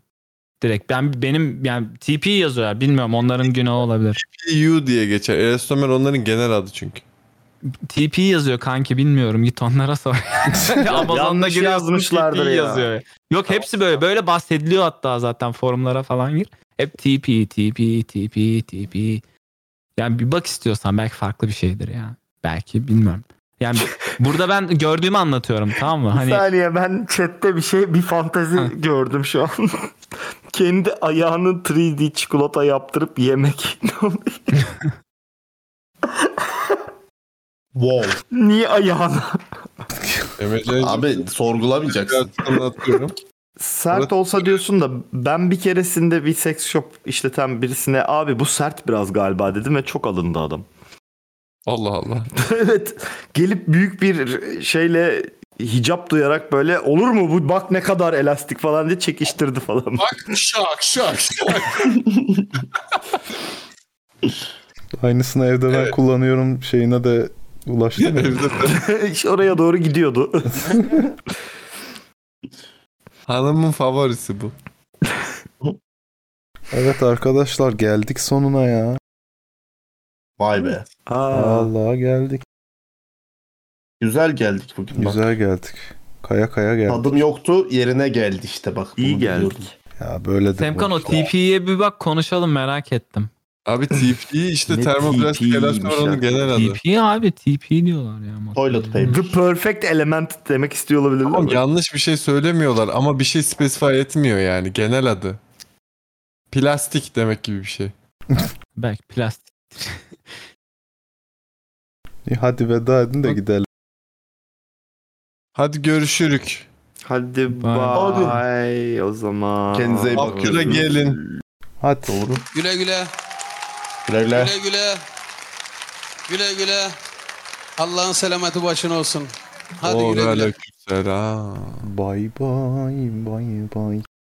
[SPEAKER 12] Direkt ben benim yani TPE yazıyorlar bilmiyorum onların günahı olabilir.
[SPEAKER 1] TPU diye geçer. Elastomer onların genel adı çünkü.
[SPEAKER 12] TPE yazıyor kanki bilmiyorum git onlara sor. Amazon'da
[SPEAKER 11] Yanlış
[SPEAKER 12] giriyorsun,
[SPEAKER 11] yazmışlardır
[SPEAKER 12] TPE
[SPEAKER 11] ya.
[SPEAKER 12] yazıyor. Yok hepsi böyle böyle bahsediliyor hatta zaten forumlara falan gir. Hep TPE TPE TPE TPE. Yani bir bak istiyorsan belki farklı bir şeydir ya. Belki bilmiyorum. Yani burada ben gördüğümü anlatıyorum tamam mı?
[SPEAKER 11] Bir
[SPEAKER 12] Hani
[SPEAKER 11] saniye ben chatte bir şey bir fantezi gördüm şu an. Kendi ayağını 3D çikolata yaptırıp yemek.
[SPEAKER 2] Wow.
[SPEAKER 11] Niye ayağını?
[SPEAKER 2] Abi sorgulamayacaksın.
[SPEAKER 1] Anlatıyorum.
[SPEAKER 11] Sert olsa diyorsun da ben bir keresinde bir seks shop işleten birisine abi bu sert biraz galiba dedim ve çok alındı adam.
[SPEAKER 1] Allah Allah.
[SPEAKER 11] evet gelip büyük bir şeyle hicap duyarak böyle olur mu bu bak ne kadar elastik falan diye çekiştirdi falan.
[SPEAKER 1] Bak şak şak.
[SPEAKER 6] Aynısını evde ben kullanıyorum şeyine de ulaştım. ya.
[SPEAKER 11] İşte Oraya doğru gidiyordu.
[SPEAKER 1] Hanımın favorisi bu.
[SPEAKER 6] evet arkadaşlar geldik sonuna ya.
[SPEAKER 2] Vay be.
[SPEAKER 11] Aa,
[SPEAKER 6] Vallahi geldik.
[SPEAKER 2] Güzel geldik bugün. bak.
[SPEAKER 6] Güzel geldik. Kaya kaya geldik.
[SPEAKER 2] Tadım yoktu yerine geldi işte bak.
[SPEAKER 12] İyi
[SPEAKER 2] bunu
[SPEAKER 12] geldik.
[SPEAKER 2] biliyordum.
[SPEAKER 6] Ya böyle de.
[SPEAKER 12] Semkan o TP'ye bir bak konuşalım merak ettim.
[SPEAKER 1] Abi TP işte
[SPEAKER 12] Ne
[SPEAKER 1] termoplastik
[SPEAKER 12] TP
[SPEAKER 1] elastik
[SPEAKER 12] miş ya?
[SPEAKER 1] onun genel adı.
[SPEAKER 12] TP abi TP diyorlar ya.
[SPEAKER 2] Toilet paper.
[SPEAKER 11] The perfect element demek istiyor olabilirler
[SPEAKER 1] Ama
[SPEAKER 11] mi?
[SPEAKER 1] yanlış bir şey söylemiyorlar ama bir şey specify etmiyor yani genel adı. Plastik demek gibi bir şey.
[SPEAKER 12] Belki plastik.
[SPEAKER 6] İyi, Hadi veda edin de gidelim.
[SPEAKER 1] Hadi görüşürük.
[SPEAKER 11] Hadi
[SPEAKER 1] Hadi.
[SPEAKER 11] bay o zaman.
[SPEAKER 1] Kendinize iyi bakın. Abdül'e gelin.
[SPEAKER 6] Hadi.
[SPEAKER 2] Doğru.
[SPEAKER 17] Güle güle.
[SPEAKER 2] Güle güle.
[SPEAKER 17] Güle güle. Güle güle. Allah'ın selameti başına olsun. Hadi güle güle.
[SPEAKER 1] Selam.
[SPEAKER 6] Bay bay bay bay.